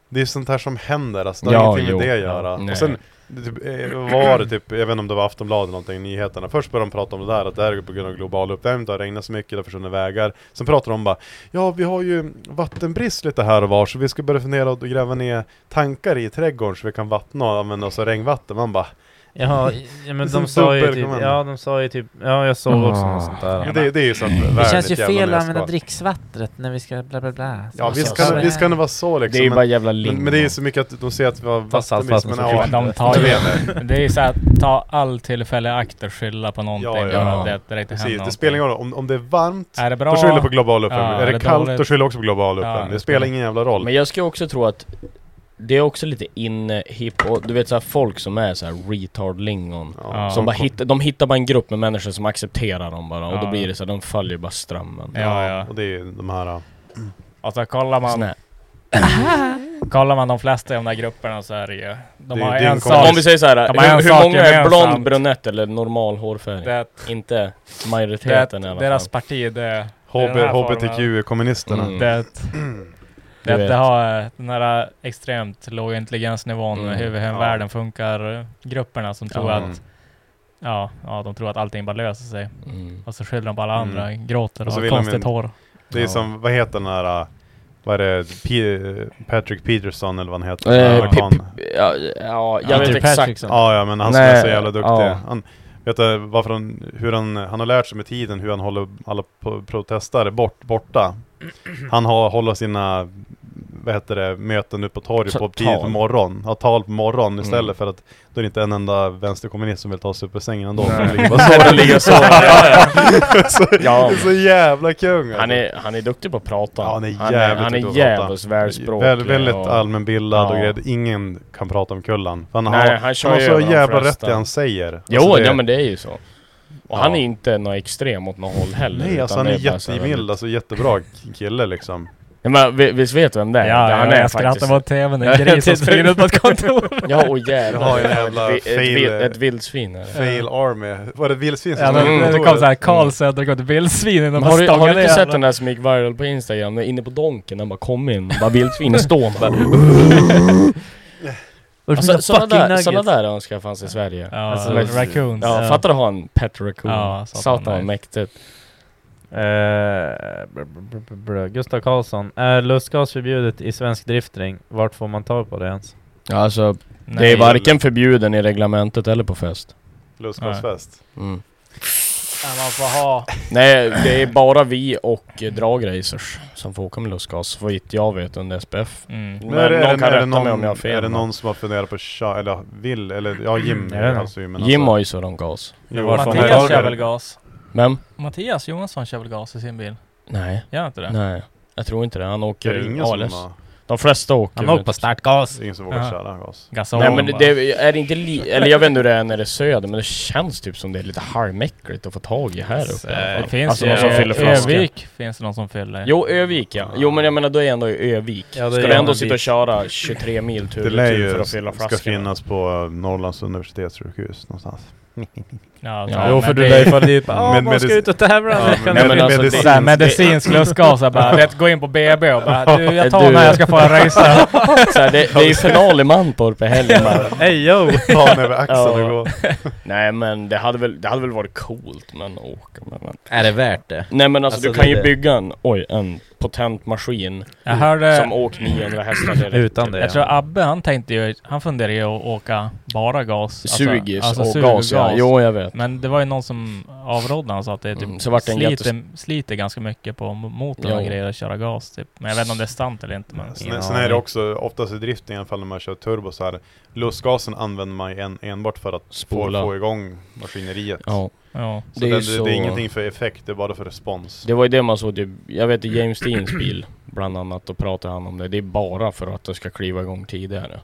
D: Det är sånt här som händer, alltså det har
B: Ja,
D: ingenting med
B: jo.
D: det att göra.
B: Ja, nej.
D: och sen det typ, eh, var det typ, jag vet inte om det var Aftonbladet eller någonting, nyheterna. Först började de prata om det där, att det här är på grund av global uppvärmning, det har regnat så mycket, det har försvunnit vägar. Sen pratade de om bara, ja vi har ju vattenbrist lite här och var, så vi ska börja fundera och gräva ner tankar i trädgården så vi kan vattna och använda oss av regnvatten. Man bara,
N: Ja,
D: Det är
N: ja men
D: som
N: de sa ju typ,
D: dubbelkommando.
N: ja de sa ju typ, ja jag såg också något sånt där.
D: Men det, det är ju sånt där
N: Det
D: världens
N: känns ju
D: jävla
N: fel att
D: näskval.
N: använda dricksvattnet när vi ska bla bla bla.
D: Ja visst kan, det- visst kan det vara så liksom.
B: Det Alltså, är ju
D: men-
B: bara jävla lingo.
D: men, men det är ju så mycket att de säger att vi har
N: Fast allt
D: vattenbrist. Men
N: vatten
D: ja,
N: som
A: De tar
D: jag
A: ju,
D: vet det.
A: det är ju såhär, ta all tillfällig akt och skylla på någonting.
D: Ja, ja,
A: bara
D: ja.
A: Det, det, direkt händer
D: Precis, det
A: någonting.
D: spelar ingen roll. Om, om det är varmt,
A: Är det bra?
D: då skyller jag på global uppvärmning.
A: Ja,
D: är
A: är
D: det
A: det
D: kallt, då
A: dåligt?
D: skyller jag också på global uppvärmning.
A: Ja,
D: det spelar ingen jävla roll.
B: Men jag skulle också tro att det är också lite inne hip och du vet såhär folk som är såhär retard-lingon
D: Ja.
B: Som bara hittar, de hittar bara en grupp med människor som accepterar dem bara och då
A: Ja.
B: blir det så här, de följer bara strömmen
A: Ja, ja.
D: Och det är ju de här... äh, ja.
A: Och så kollar man...
B: Snä.
A: kollar man de flesta i de där grupperna så är det ju... De
D: Det är
A: har
D: ju
A: en
D: din
A: sak...
B: Om vi säger såhär,
A: de har en
B: hur, hur
A: sak
B: många är blond,
A: gemensamt.
B: brunett eller normal hårfärg?
A: Det,
B: Inte
A: det,
B: majoriteten i alla
A: deras
B: fall
A: parti, det...
D: HB,
A: den här formen.
D: HBTQ-kommunisterna.
B: Mm.
A: Det,
B: Du
A: det, det
B: vet.
A: har eh, den här extremt låga intelligensnivån,
B: Mm,
A: hur, hur
D: ja.
A: världen funkar, eh, grupperna som tror
B: Ja.
A: att... Ja, ja, de tror att allting bara löser sig.
B: mm.
A: Och så skyller de på alla
D: Mm.
A: andra, gråter
D: Och
A: och
D: så
A: har
D: vill de
A: konstigt
D: inte-
A: hår.
D: Det är
B: Ja.
D: som, vad heter den här... äh, Vad är det? P- Patrick Peterson eller vad han heter?
B: Eh,
D: Amerikan.
B: Ja, ja, jag
N: Peter
B: vet exakt
N: Patrickson.
D: Ja, ja men han som
B: Nej,
D: är så jävla duktig.
B: ja.
D: Han, vet du varför han, hur han, han har lärt sig med tiden hur han håller alla po- protestare bort, borta. Han har, håller sina, vad heter det, möten ute på torget
B: Ta-
D: på tidigt på
B: tal.
D: morgonen. Ja, tal på morgonen istället
B: Mm.
D: för att då är det inte en enda vänsterkommunist som vill ta sig upp ur sängen ändå.
B: Nej.
D: De ligger bara så.
B: De ligger så. Ja,
D: så
B: Ja.
D: Det är så jävla kung alltså.
B: Han är, han är duktig på att prata
D: Ja, han är jävligt
B: Han är, han
D: duktig på
B: är
D: att prata.
B: jävligt välspråklig
D: Väl, väldigt
B: och-
D: allmänbildad och
B: Ja.
D: grejer. Ingen kan prata om kullan. För Han har,
B: Nej, han
D: han
B: kör
D: har
B: ju
D: så
B: över de
D: jävla rätt
B: flesta.
D: det han säger.
B: Jo,
D: Alltså, det-
B: ja men det är ju så. Och han
D: Ja.
B: är inte någon extrem åt något håll heller.
D: Nej, alltså
B: utan
D: han är
B: det bara så här
D: jättemild,
B: väldigt-
D: alltså jättebra k- kille liksom.
B: Ja, men vi- visst vet du vem det
A: Ja,
B: är?
A: ja,
B: Det- han
A: han
B: är
A: jag skrattar mot tvn, en gris som springer ut på ett kontor.
B: Ja, och jävlar.
D: Jag har en jävla
B: ett, ett,
D: fail-
B: ett, ett vildsvin är det.
D: Fail Army, var det vildsvin som
A: Ja, men
D: stod på
B: Mm.
A: det
D: kontoret?
A: kom såhär Karl Söder går till vildsvin innan
B: Men
A: man
B: har, du,
A: stångar
B: har du inte
A: ner
B: sett den där som gick viral på Instagram? När Inne på Donken, den bara kom in, bara vildsvinen står bara... alltså, sådana, där, sådana där önskar fanns i Sverige.
A: Ja,
B: alltså,
A: alltså, raccoons.
B: ja, fattar du att ha en pet raccoon?
A: Ja, satan,
B: Satan vad
A: nice.
B: mäktigt.
N: Eh, br- br- br- br- Gustav Karlsson, är lustgas förbjudet i svensk driftring? Vart får man tag på det ens?
B: Ja, alltså,
A: Nej.
D: Mm.
B: det är varken förbjuden i reglementet eller på fest.
D: Lustgasfest.
B: Mm.
A: man får ha...
B: Nej, det är bara vi och eh, dragracers som får åka med lustgas, så vitt jag vet under SPF. Men,
D: Men är, det- är,
B: någon
D: det-
B: kan
D: är det
B: rätta
D: någon,
B: mig om jag har fel.
D: Är det
B: men- Mm,
D: någon som har funderat på att köra, eller vill, eller ja Jim
B: Jag vet inte.
D: alltså, men
B: Jim
D: alltså-
B: har ju sådan gas.
D: Jo,
A: Mattias kör väl gas?
B: Men?
A: Mattias Johansson kör väl gas i sin bil?
B: Nej.
A: Gör han inte det?
B: Nej. Jag tror inte det. Han åker
A: Det är ingen som
B: ALS.
A: har-
B: De flesta åker...
A: Han åker på
B: startgas.
D: Ingen som vågar Ja. köra gas.
A: Gasol
B: Nej men det,
A: bara.
B: det är inte li- Eller jag vet inte hur det är när det är söder, men det känns typ som det är lite halvmäckligt att få tag i här uppe. i alla fall.
A: eh, Det finns
B: alltså
A: ju-
B: någon som fyller flaskor.
A: Övik finns det någon som fyller.
B: Jo, Övik ja. Jo men jag menar då är jag ändå i Övik.
A: Ja, det
B: Ska
A: är
B: du ändå
A: en
B: sitta
A: bit.
B: och köra 23 mil tur
D: Det
B: och
D: lär
B: retur för
D: ju
B: att fylla
D: ska
B: flaskorna?
D: finnas på eh, Norrlands universitetssjukhus någonstans.
A: Ja,
B: Ja, jo, för men du det- lär ju fara dit, bara, "Ah, man ska ut och tävla."
D: Ja,
B: Nej,
D: men,
B: men
D: medic-
B: alltså, det-
D: medicinsk-
A: Så här, medicinsk lustgas, jag bara, vet, gå in på BB och bara, du, jag tar när jag ska fara racea.
B: Så här, det, det är ju final i Mantorp i helgen bara.
A: Hey, yo.
D: Ta den över axeln och
B: Ja.
D: gå.
B: Nej men det hade, väl, det hade väl varit coolt men åka med men.
O: Är det värt det?
B: Nej men alltså,
O: Alltså,
B: du kan
O: det-
B: ju bygga en, oj, en potent maskin.
A: Jag hörde-
B: Som åker 900 hästar direkt. typ.
A: Jag tror Abbe, han tänkte ju, han funderade ju att åka bara gas.
B: Sugis och
A: sug
B: gas, ja. Jo, jag vet.
A: Men det var ju någon som avrådde han sa att det är typ
B: Mm, så vart det en
A: sliter,
B: jättes-
A: sliter ganska mycket på mo- motorn och
B: Jo.
A: grejer att köra gas typ. Men jag vet inte om det är sant eller inte. Men
D: Sen, sen är det också, oftast i drifting i alla fall när man kör turbo så här, lustgasen använder man ju en, enbart för att få,
B: Spola.
D: få igång maskineriet.
B: Ja.
A: Ja.
D: Så
B: Det
D: det,
B: är
D: det,
B: så-
D: det är ingenting för effekt, det är bara för respons.
B: Det var ju det man såg typ, jag vet i James Deans bil bland annat, då pratade han om det. Det är bara för att det ska kliva igång tidigare.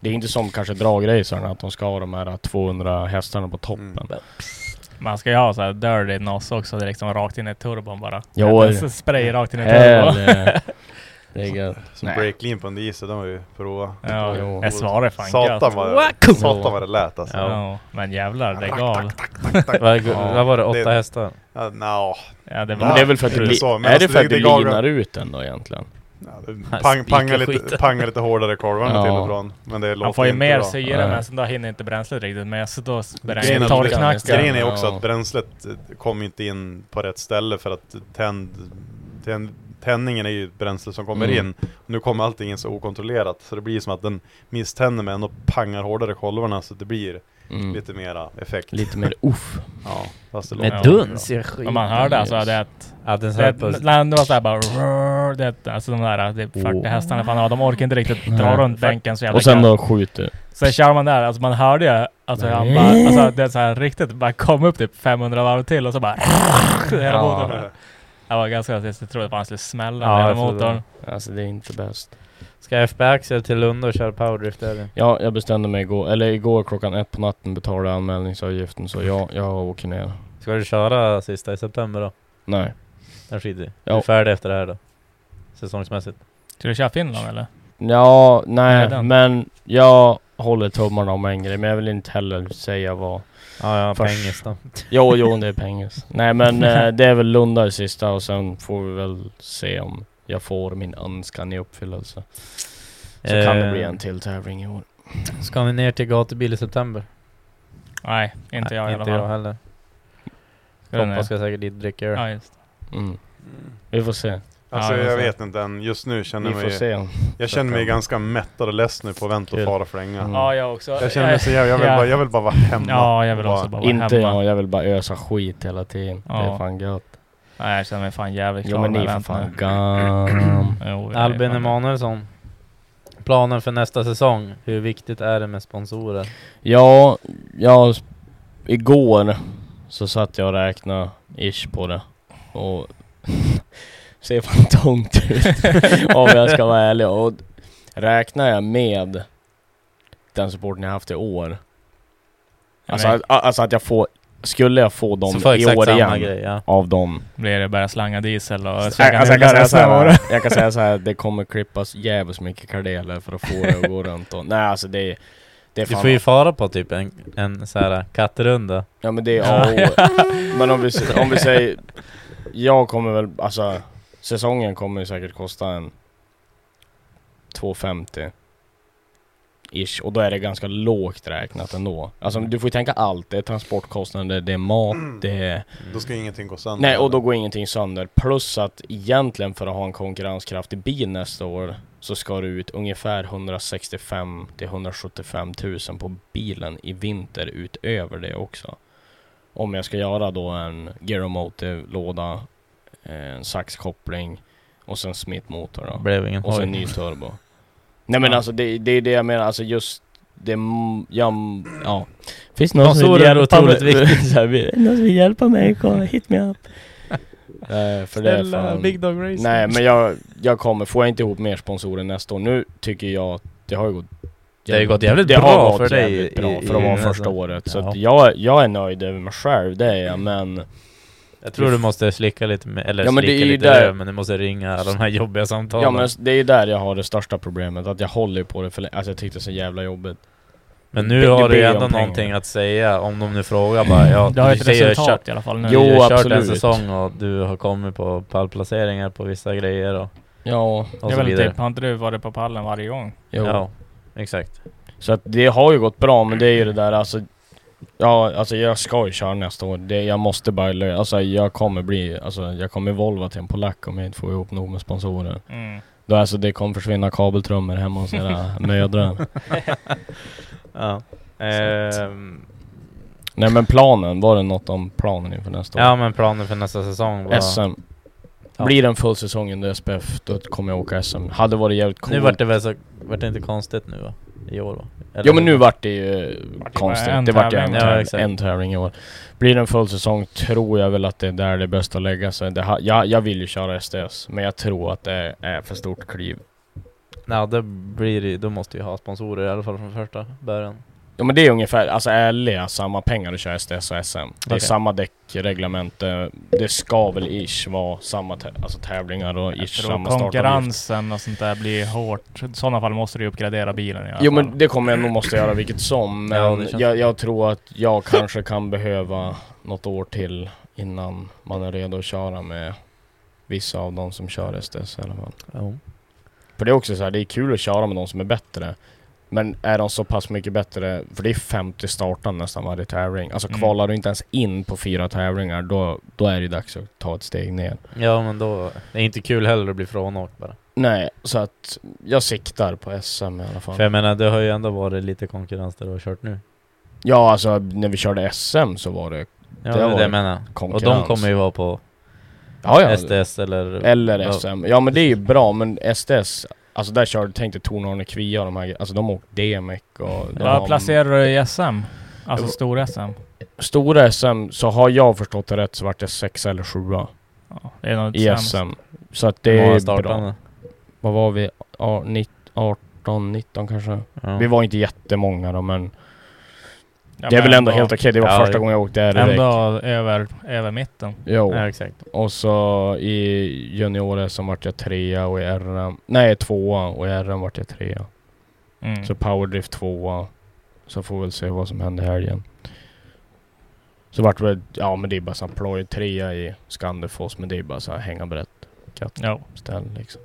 B: Det är inte som kanske dragracerna, att de ska ha de här 200 hästarna på toppen.
D: Mm.
A: Man ska ju ha så här dirty nos också, det är liksom rakt in i turbon bara.
B: Jo.
A: Det är så Spray rakt in i turbon.
B: Helvete. Eh. Det är gött.
D: Som
B: Nej.
D: break lean på en diesel, de har ju prova.
A: Ja, jag svarar fan
D: Satan
A: gött.
D: vad,
A: Wacko!
D: satan vad det lät alltså.
A: Ja. Men jävlar, det
D: Tack,
A: gav.
D: tack, tack, tack, tack.
O: Vad- vad var det, åtta hästar?
D: Ja, no.
A: Ja, det var...
B: Men det är väl för att du, li-
D: så, men
B: är det
D: alltså,
B: för att
D: det-
B: du
D: det gav-
B: linar ut den då egentligen?
D: Pang, pangar, lite, pangar lite hårdare kolvarna
B: Ja.
D: till och från. Men det låter
A: Han får ju
D: inte
A: mer
D: bra.
A: syre men sen då hinner inte bränslet riktigt med så då
D: Grejen
A: bränner
D: är,
A: torrknackar.
D: grejen är också att bränslet eh, kom inte in på rätt ställe för att tänd, tänd, tändningen är ju ett bränsle som kommer
B: Mm.
D: in. Nu kommer allting in så okontrollerat så det blir som att den misständer men ändå pangar hårdare kolvarna så att det blir
B: Mm.
D: lite mera effekt.
B: Lite mer uff.
D: Ja, fast det
O: Med
D: låter inte
O: duns
D: bra.
O: i skiten.
A: Men man hörde alltså
O: Yes.
A: det att...
O: Att den så här
A: det,
O: på-
A: när det var såhär bara... rrrr, Det, alltså de där det är 40
B: Oh.
A: hästarna, fan, ja, de orkar inte riktigt dra
B: Nej.
A: runt bänken så jävla
B: Och sen
A: gött.
B: då skjuter.
A: Sen kör man där, alltså man hörde ju... Alltså han
B: Nej.
A: bara... Alltså det är såhär riktigt bara kom upp typ 500 varv till och så bara... Hela
B: Ja.
A: motorn bara. Jag var ganska... Jag trodde fan skulle smälla
O: Ja,
A: hela
O: jag tror
A: motorn.
B: det. Alltså det är inte bäst.
O: Ska FB Axel till Lund och köra powerdrift eller?
B: Ja, jag bestämde mig igår, eller igår klockan ett på natten betalade jag anmälningsavgiften så jag, jag åker ner.
O: Ska du köra sista i september då?
B: Nej.
O: Den skiter vi i. Du
B: Ja.
O: är färdig efter det här då? Säsongsmässigt.
A: Ska du köra Finland eller?
B: Ja, nej,
A: Nej, den.
B: men jag håller tummarna om en grej, men jag vill inte heller säga vad...
O: Ja, ja,
B: Först-
O: pengis då.
B: Jo, jo, det är pengis. Nej, men eh, det är väl Lundar sista och sen får vi väl se om jag får min önskan i uppfyllelse. Så kan det
O: Eh.
B: bli en till tävling i år.
O: Ska vi ner till gatubil i september?
A: Nej, inte jag i
O: Nej,
A: alla
O: Inte jag
A: fall.
O: heller.
A: Ska du ner?
O: Komppa ska säkert dit och dricka öl.
A: Ja, just.
B: Mm. Vi får se.
D: Alltså
A: Ja, jag
D: jag
A: vet.
D: vet inte än, just nu känner
B: Vi Mm.
D: jag
B: får
D: mig...
B: se.
D: Jag känner mig ganska mättad och less nu på vänt och fara för länge.
B: Mm.
A: Ja, jag också.
D: Jag känner mig så jävla, jag vill,
A: Ja.
D: bara, jag vill bara vara hemma.
A: Ja, jag vill
D: Och
A: också bara vara
B: Inte
A: hemma.
B: jag, jag vill bara ösa skit hela tiden. Det
A: Ja.
B: är fan gött.
A: Nej, jag känner mig fan jävligt
B: Jo men ni
A: med
B: är för
A: event
B: fan
A: nu.
B: gam.
A: Jo, jag är
O: Albin
A: fan-
O: Emanuelsson. Planen för nästa säsong. Hur viktigt är det med sponsorer?
B: Ja, jag... Igår så satt jag och räknade ish på det. Och... ser fan tungt ut. om jag ska vara ärlig. Och räknar jag med den supporten jag haft i år. Alltså,
A: Nej.
B: att, alltså att jag får... Skulle jag få dem
O: Så får jag
B: i
O: exakt
B: år
O: samma
B: igen
O: grej, ja.
B: av dem
A: Blir det bara slanga diesel och
B: Nej,
A: käka
B: alltså jag, kan
A: nudlar
B: säga
A: resten
B: så
A: av året?
B: här, jag kan säga så här, det kommer klippas jävligt mycket kardeler för att få det att gå runt och, Nej alltså det är... Det är
O: Du
B: fan
O: får ju fara på typ en, en så här kattrunda.
B: Ja men det är A och O. Men om vi, s- om vi säger... Jag kommer väl, alltså säsongen kommer ju säkert kosta en 2,50 Ish, och då är det ganska lågt räknat ändå. Alltså du får ju tänka allt, det är transportkostnader, det är mat, det är...
D: Då ska ingenting gå sönder.
B: Nej, och då går ingenting sönder. Plus att egentligen för att ha en konkurrenskraftig bil nästa år så ska du ut ungefär 165 till 175 000 på bilen i vinter utöver det också. Om jag ska göra då en Geromotive-låda, en saxkoppling och sen Smith-motor då.
A: Blev ingen
B: och sen
A: hoj.
B: ny turbo. Nej men alltså det, det är det jag menar, alltså just det, m- jag, m- ja. Alltså, Finns det någon
A: De
B: som vill
A: stora är
B: hjälpa
A: otroligt
B: mig?
A: viktiga.
B: Så här, vi- någon som vill hjälpa mig? Kom, hit me up. Nej, för det är
A: Snälla,
B: fan...
A: Big Dog Racing.
B: Nej men jag, jag kommer, får jag inte ihop mer sponsorer nästa år, nu tycker jag att det har ju gått
A: Det har ju gått jävligt
B: det har
A: bra
B: gått
A: för dig
B: jävligt
A: i-
B: bra
A: i-
B: för att
A: i
B: vara
A: nästan.
B: första året. Så
A: Ja. Mm.
B: att jag, jag är nöjd över mig själv, det är jag men...
A: Jag tror du måste slicka lite, med, eller
B: Ja, men det
A: slicka
B: är ju
A: lite
B: där-
A: röv, men du måste ringa alla de här jobbiga samtalen.
B: Ja men det är ju där jag har det största problemet, att jag håller ju på det för länge. Alltså jag tyckte det är så jävla jobbigt.
A: Men nu
B: Det- det
A: har du
B: ber
A: ju
B: om
A: ändå
B: pengar.
A: någonting att säga om de nu frågar bara. Ja,
H: Du har
A: du
H: ett
A: säger
H: resultat
A: kört-
H: i alla fall nu.
A: Du har
B: Jo,
A: ju kört en
B: absolut.
A: säsong och du har kommit på pallplaceringar på vissa grejer och...
B: Ja.
A: och
H: jag
A: så
H: vill
A: vidare.
H: typ, har inte du varit på pallen varje gång?
B: Jo.
A: Ja, exakt.
B: Så att det har ju gått bra men det är ju det där alltså Ja, alltså jag ska ju köra nästa år. Det, jag måste bara lö- Alltså jag kommer bli... Alltså jag kommer volva till en polack om jag inte får ihop nog med sponsorer.
H: Mm.
B: Då alltså det kommer försvinna kabeltrummor hemma hos era mödrar.
A: Ja. Ehm,
B: Nej men planen, var det något om planen inför nästa år?
A: ja men planen för nästa säsong var...
B: SM.
A: Ja.
B: Blir det en full säsong under SPF, då kommer jag åka SM. Hade varit jävligt coolt.
A: Nu vart det väl så... Vart det inte konstigt nu va? I år va? Eller-
B: ja men nu vart det ju konstigt.
A: bara en
B: Det vart ju en,
A: tävling. Ja,
B: tävling,
A: exakt.
B: en tävling i år. Blir det en full säsong tror jag väl att det är där det är bäst att lägga sig. Det ha, jag, jag vill ju köra STS, men jag tror att det är för stort kliv.
A: Nej, då blir det, då måste vi ha sponsorer i alla fall från första början.
B: Ja men det är ungefär, alltså ärliga, samma pengar att köra STS och SM. Det är
A: Okej.
B: samma däckreglement. eh, Det ska väl ish vara samma tä- alltså tävlingar och
H: Jag
B: ish
H: tror
B: samma startavgift.
H: konkurrensen och sånt där blir hårt. I sådana fall måste du ju uppgradera bilen i alla
B: Jo
H: fall.
B: men det kommer jag nog måste göra vilket som, men
H: Ja, det känns-
B: jag, jag tror att jag kanske kan behöva något år till innan man är redo att köra med vissa av de som kör STS i alla fall. För det är också så här, det är kul att köra med de som är bättre. Men är de så pass mycket bättre, för det är 50 startande nästan varje tävling. Alltså
A: Mm.
B: kvalar du inte ens in på fyra tävlingar, då, då är det dags att ta ett steg ner.
A: Ja men då, det är inte kul heller att bli frånåkt bara.
B: Nej, så att jag siktar på SM i alla fall.
A: För jag menar, det har ju ändå varit lite konkurrens där du har kört nu.
B: Ja, alltså när vi körde SM så var det...
A: Ja, det är
B: var
A: det jag menar. Och de
B: konkurrens.
A: kommer ju vara på
B: Ja, ja.
A: STS eller...
B: Eller SM. Ja men det är ju bra, men STS, alltså där körde, tänkte Tornarne Kvia och de här alltså de har åkt DMEC och... de
H: Vad
B: har-
H: placerar du i SM? Alltså
B: Jo.
H: stor-SM?
B: Stora SM, så har jag förstått det rätt så vart det sexa eller sjua.
H: det är nog inte
B: I
H: sämst.
B: SM. Så att E det
A: Många
B: är
A: startande.
B: bra. Vad var vi? Ja, nitt- 18, 19 kanske?
A: Ja.
B: Vi var inte jättemånga då men...
H: Ja,
B: det är
H: men
B: väl ändå,
H: ändå-
B: helt okej, det var
H: Ja,
B: första gången jag åkte direkt.
H: Ändå över, över mitten.
B: Jo.
A: exakt.
B: Och så i juniorer som vart jag trea och i RM... Nej, tvåa och i RM vart jag trea.
H: Mm.
B: Så powerdrift tvåa. Så får vi väl se vad som händer i helgen. Så vart det... Ja men det är bara så här ploj. Trea i Skanderfors men det är bara så här hänga brett. Katt.
H: Ja.
B: Ställ liksom.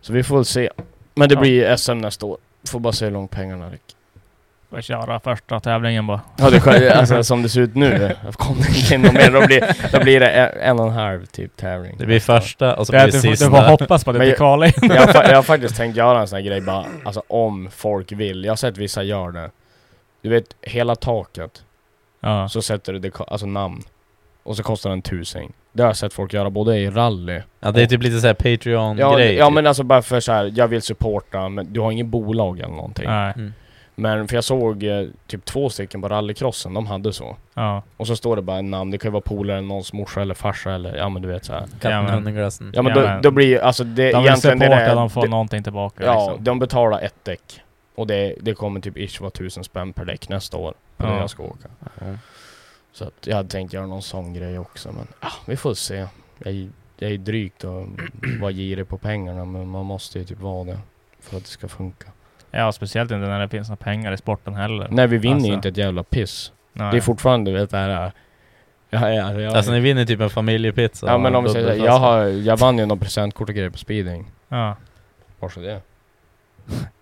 B: Så vi får väl se. Men det
H: Ja.
B: blir SM nästa år. Får bara se hur långt pengarna räcker.
H: Får jag köra första tävlingen bara.
B: Ja det är alltså som det ser ut nu. Kom det inte in någon mer. Då blir, då blir det en, en och en halv typ tävling.
A: Det blir första och så
H: Det är
A: blir det
H: att du får-
A: sista.
H: du får hoppas på att det
B: Men
H: inte kvalar in.
B: Jag, har fa- jag har faktiskt tänkt göra en sån här grej bara, alltså om folk vill. Jag har sett vissa gör det. Du vet, hela taket.
H: Ja.
B: Så sätter du det, ko- alltså namn. Och så kostar den en tusing. Det har jag sett folk göra både i rally
A: Ja det är typ lite såhär
B: ja,
A: Patreon-grej.
B: ja
A: typ.
B: men alltså bara för så här, jag vill supporta men du har ingen bolag eller någonting.
H: Nej.
A: Mm.
B: Men för jag såg eh, typ två stycken på rallycrossen, de hade så.
H: Ja.
B: Och så står det bara en namn, det kan ju vara polare, någons morsa eller farsa eller ja men du vet så här.
A: Katten
H: Ja, men-
A: under glassen.
B: Ja men
H: Ja,
B: då,
H: men-
B: då blir ju alltså det
H: De vill
B: egentligen det
H: supporta,
B: där-
H: de får
B: det-
H: någonting tillbaka
B: Ja,
H: liksom.
B: de betalar ett däck. Och det, det kommer typ ish vara tusen spänn per däck nästa år. På
H: Ja.
B: det jag ska åka.
A: Ja.
B: Så att jag hade tänkt göra någon sån grej också men ah, vi får se. Jag, är- jag är drygt att vara girig på pengarna men man måste ju typ vara det. För att det ska funka.
H: Ja, speciellt inte när det finns några pengar i sporten heller.
B: Nej vi vinner
H: Alltså,
B: ju inte ett jävla piss.
H: nej.
B: Det är fortfarande du vet det här... Ja, ja, jag,
A: Alltså ni vinner typ en familjepizza.
B: ja men
A: och
B: om vi säger så här, jag,
A: dubbelflaska.
B: har, jag vann ju någon presentkort och grejer på speeding.
H: Ja.
B: Varsågod det?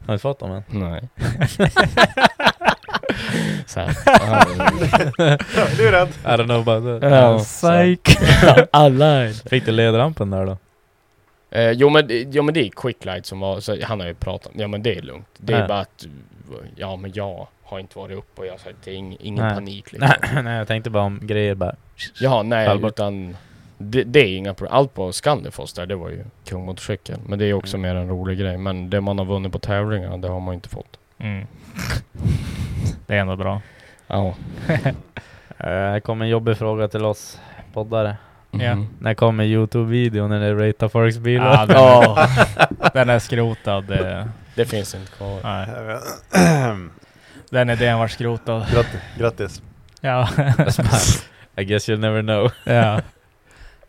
A: Har du fått dem än?
B: Nej. så här. ja.
P: Du är rädd.
A: I don't know about that.
B: Ja.
H: Psyk.
B: Alla
A: Fick du ledrampen där då?
B: Eh, jo, men, det- jo men det är Quicklight som var, så han har ju pratat, ja men det är lugnt. Det är
A: Ja.
B: bara att, ja men jag har inte varit uppe och jag har sagt det är ing, ingen
A: nej.
B: panik liksom.
A: Nej, nej, jag tänkte bara om grejer bara...
B: Jaha, nej
A: Fall bort.
B: utan det, det är inga problem. Allt på Scandifoss där, det var ju kung motorcykel. Men det är också mer en rolig grej. Men det man har vunnit på tävlingarna, det har man inte fått.
H: Mm. Det är ändå bra.
B: Ja.
A: Eh, Här kommer en jobbig fråga till oss poddare.
H: Ja.
B: Mm.
A: När kommer Youtube-videon när det ratear folks
H: Ja,
A: bilar?
H: den, är, den är skrotad. eh.
B: Det finns inte kvar.
H: Nej. Den idén var skrotad.
D: Grattis. Grattis.
H: Ja.
A: I guess you'll never know.
H: ja.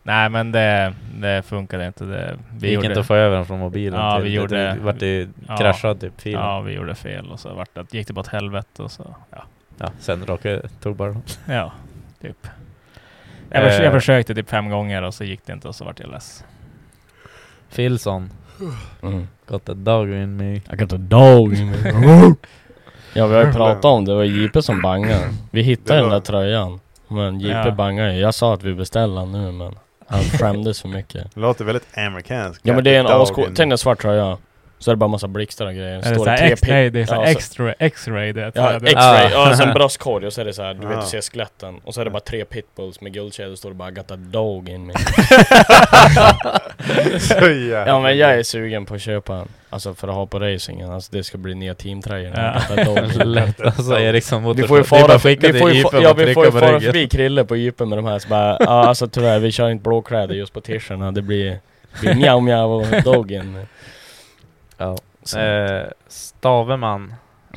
H: Nej men det, det funkade inte. Det,
A: Det gick inte att få över den från mobilen
H: Ja,
A: till-
H: vi
A: det-
H: gjorde...
A: det vart ju kraschad typ fil.
H: Ja, vi gjorde fel och så vart det, gick det bara åt helvete och så... Ja.
A: Ja, sen råkade tog bara dem.
H: Ja, typ. Jag, förs-
A: Eh.
H: jag försökte typ fem gånger och så gick det inte och så vart jag less.
A: Filson.
B: Mm.
A: Got a dog in me.
B: I got a dog in me. Ja vi har ju pratat om det, det var JP som bangade. Vi hittade den där tröjan. Men JP
D: Ja.
B: bangade ju. Jag sa att vi beställer den nu men han skämdes för mycket.
D: Det låter väldigt amerikanskt.
B: Ja men det är en
D: Dog
B: ascool,
D: in-
B: tänk dig en svart tröja. Så är det bara massa blixtar och grejer.
H: Är det
B: Står
H: så här
B: tre
H: ex-
B: pin-
H: nej, det är så här
B: Ja,
H: extra- X-ray, det är-
B: Ja,
H: det är-
B: X-ray.
H: Ah.
B: Ja, och så en bröstkorg och så är det så här, du vet
H: Ah.
B: du ser skeletten. Och så är det bara tre pitbulls med guldkedjor och står det bara 'Got a dog in me'
D: Så jävla
B: Ja men jag är sugen på att köpa en. Alltså för att ha på racingen. Alltså det ska bli nya teamtröjor.
A: Ja.
B: Got a dog in me.
A: Lätt. Alltså, Eriksson Motorsport.
B: Vi får
A: Det är
B: ju
A: bara
B: fara,
A: att skicka
B: vi får
A: till
B: ju,
A: Jeepen
B: fa-
A: och
B: ja, vi får ju
A: trycka på
B: fara
A: ryggen.
B: förbi Krille på Jeepen med de här så bara, ja alltså tyvärr vi kör inte blåkläder just på t-shirtarna. Det blir, blir mjau mjau och dogen.
A: Ja. Eh, Staveman.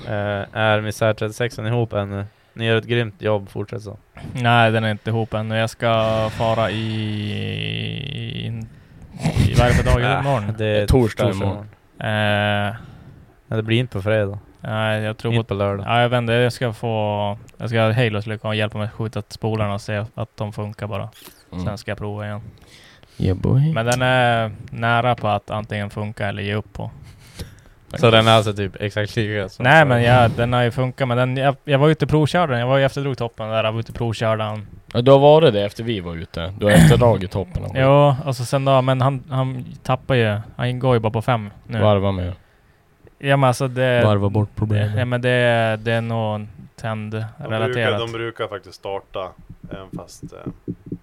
A: Eh, är misär 36 ihop ännu? Ni gör ett grymt jobb, fortsätt så.
H: Nej, den är inte ihop ännu. Jag ska fara i... i vad är det för dag? Är det
A: Ah,
H: imorgon?
A: det är Torsdag torsdag imorgon.
H: Eh,
A: Men det blir inte på fredag.
H: Nej, jag tror
A: Inte på lördag.
H: Ja, jag vet inte. Jag ska få... Jag ska ha Halos lycka och hjälpa mig att skjuta spolarna och se att de funkar bara.
B: Mm.
H: Sen ska jag prova igen.
B: Yeah, boy.
H: Men den är nära på att antingen funka eller ge upp på.
A: Så den är alltså typ exakt lika som
H: Nej men jag, den har ju funkat men den, jag, jag var ute och provkörde den. Jag var ju efter drogtoppen där, jag var ute och provkörde den.
B: Ja, du har varit det efter vi var ute. Du har efterdragit toppen. av-
H: Jo, och så sen då, men han, han tappar ju. Han går ju bara på fem nu.
B: Varva med.
H: Ja men alltså det...
A: Eh,
B: Varva bort problemet.
H: Ja men det, det är nog
D: De brukar,
H: tändrelaterat.
D: de brukar faktiskt starta även fast eh,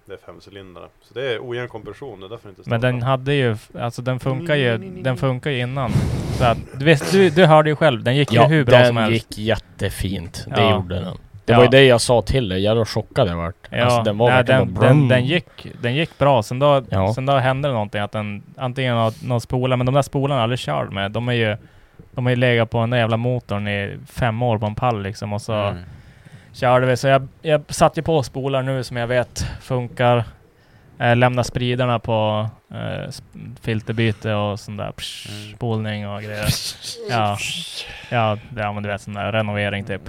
D: det är femcylindrare. Så det är ojämn kompression, det är därför det inte startar.
H: Men den hade ju, alltså den funkar ju, den funkar ju innan. Så att, du, visst, du, du hörde ju själv, den gick ju
B: Ja,
H: hur bra
B: den
H: som helst.
B: gick jättefint. Det
H: Ja.
B: gjorde den. Det
H: Ja.
B: var ju det jag sa till dig. Jag var chockad jag vart.
H: Ja,
B: Alltså den var
H: nej,
B: verkligen
H: den,
B: bara brum.
H: den, den, gick, den gick bra. Sen då,
B: Ja.
H: sen då hände det någonting. Att den, antingen har någon spolar, men de där spolarna har jag aldrig kört med. De är ju... De har ju legat på den där jävla motorn i fem år på en pall liksom och så
A: Mm.
H: körde vi. Så jag, jag satte ju på spolar nu som jag vet funkar. Eh, lämna spridarna på eh, sp- filterbyte och sån där psh,
A: Mm.
H: spolning och grejer. Ja, ja, det- ja men du vet sån där renovering typ.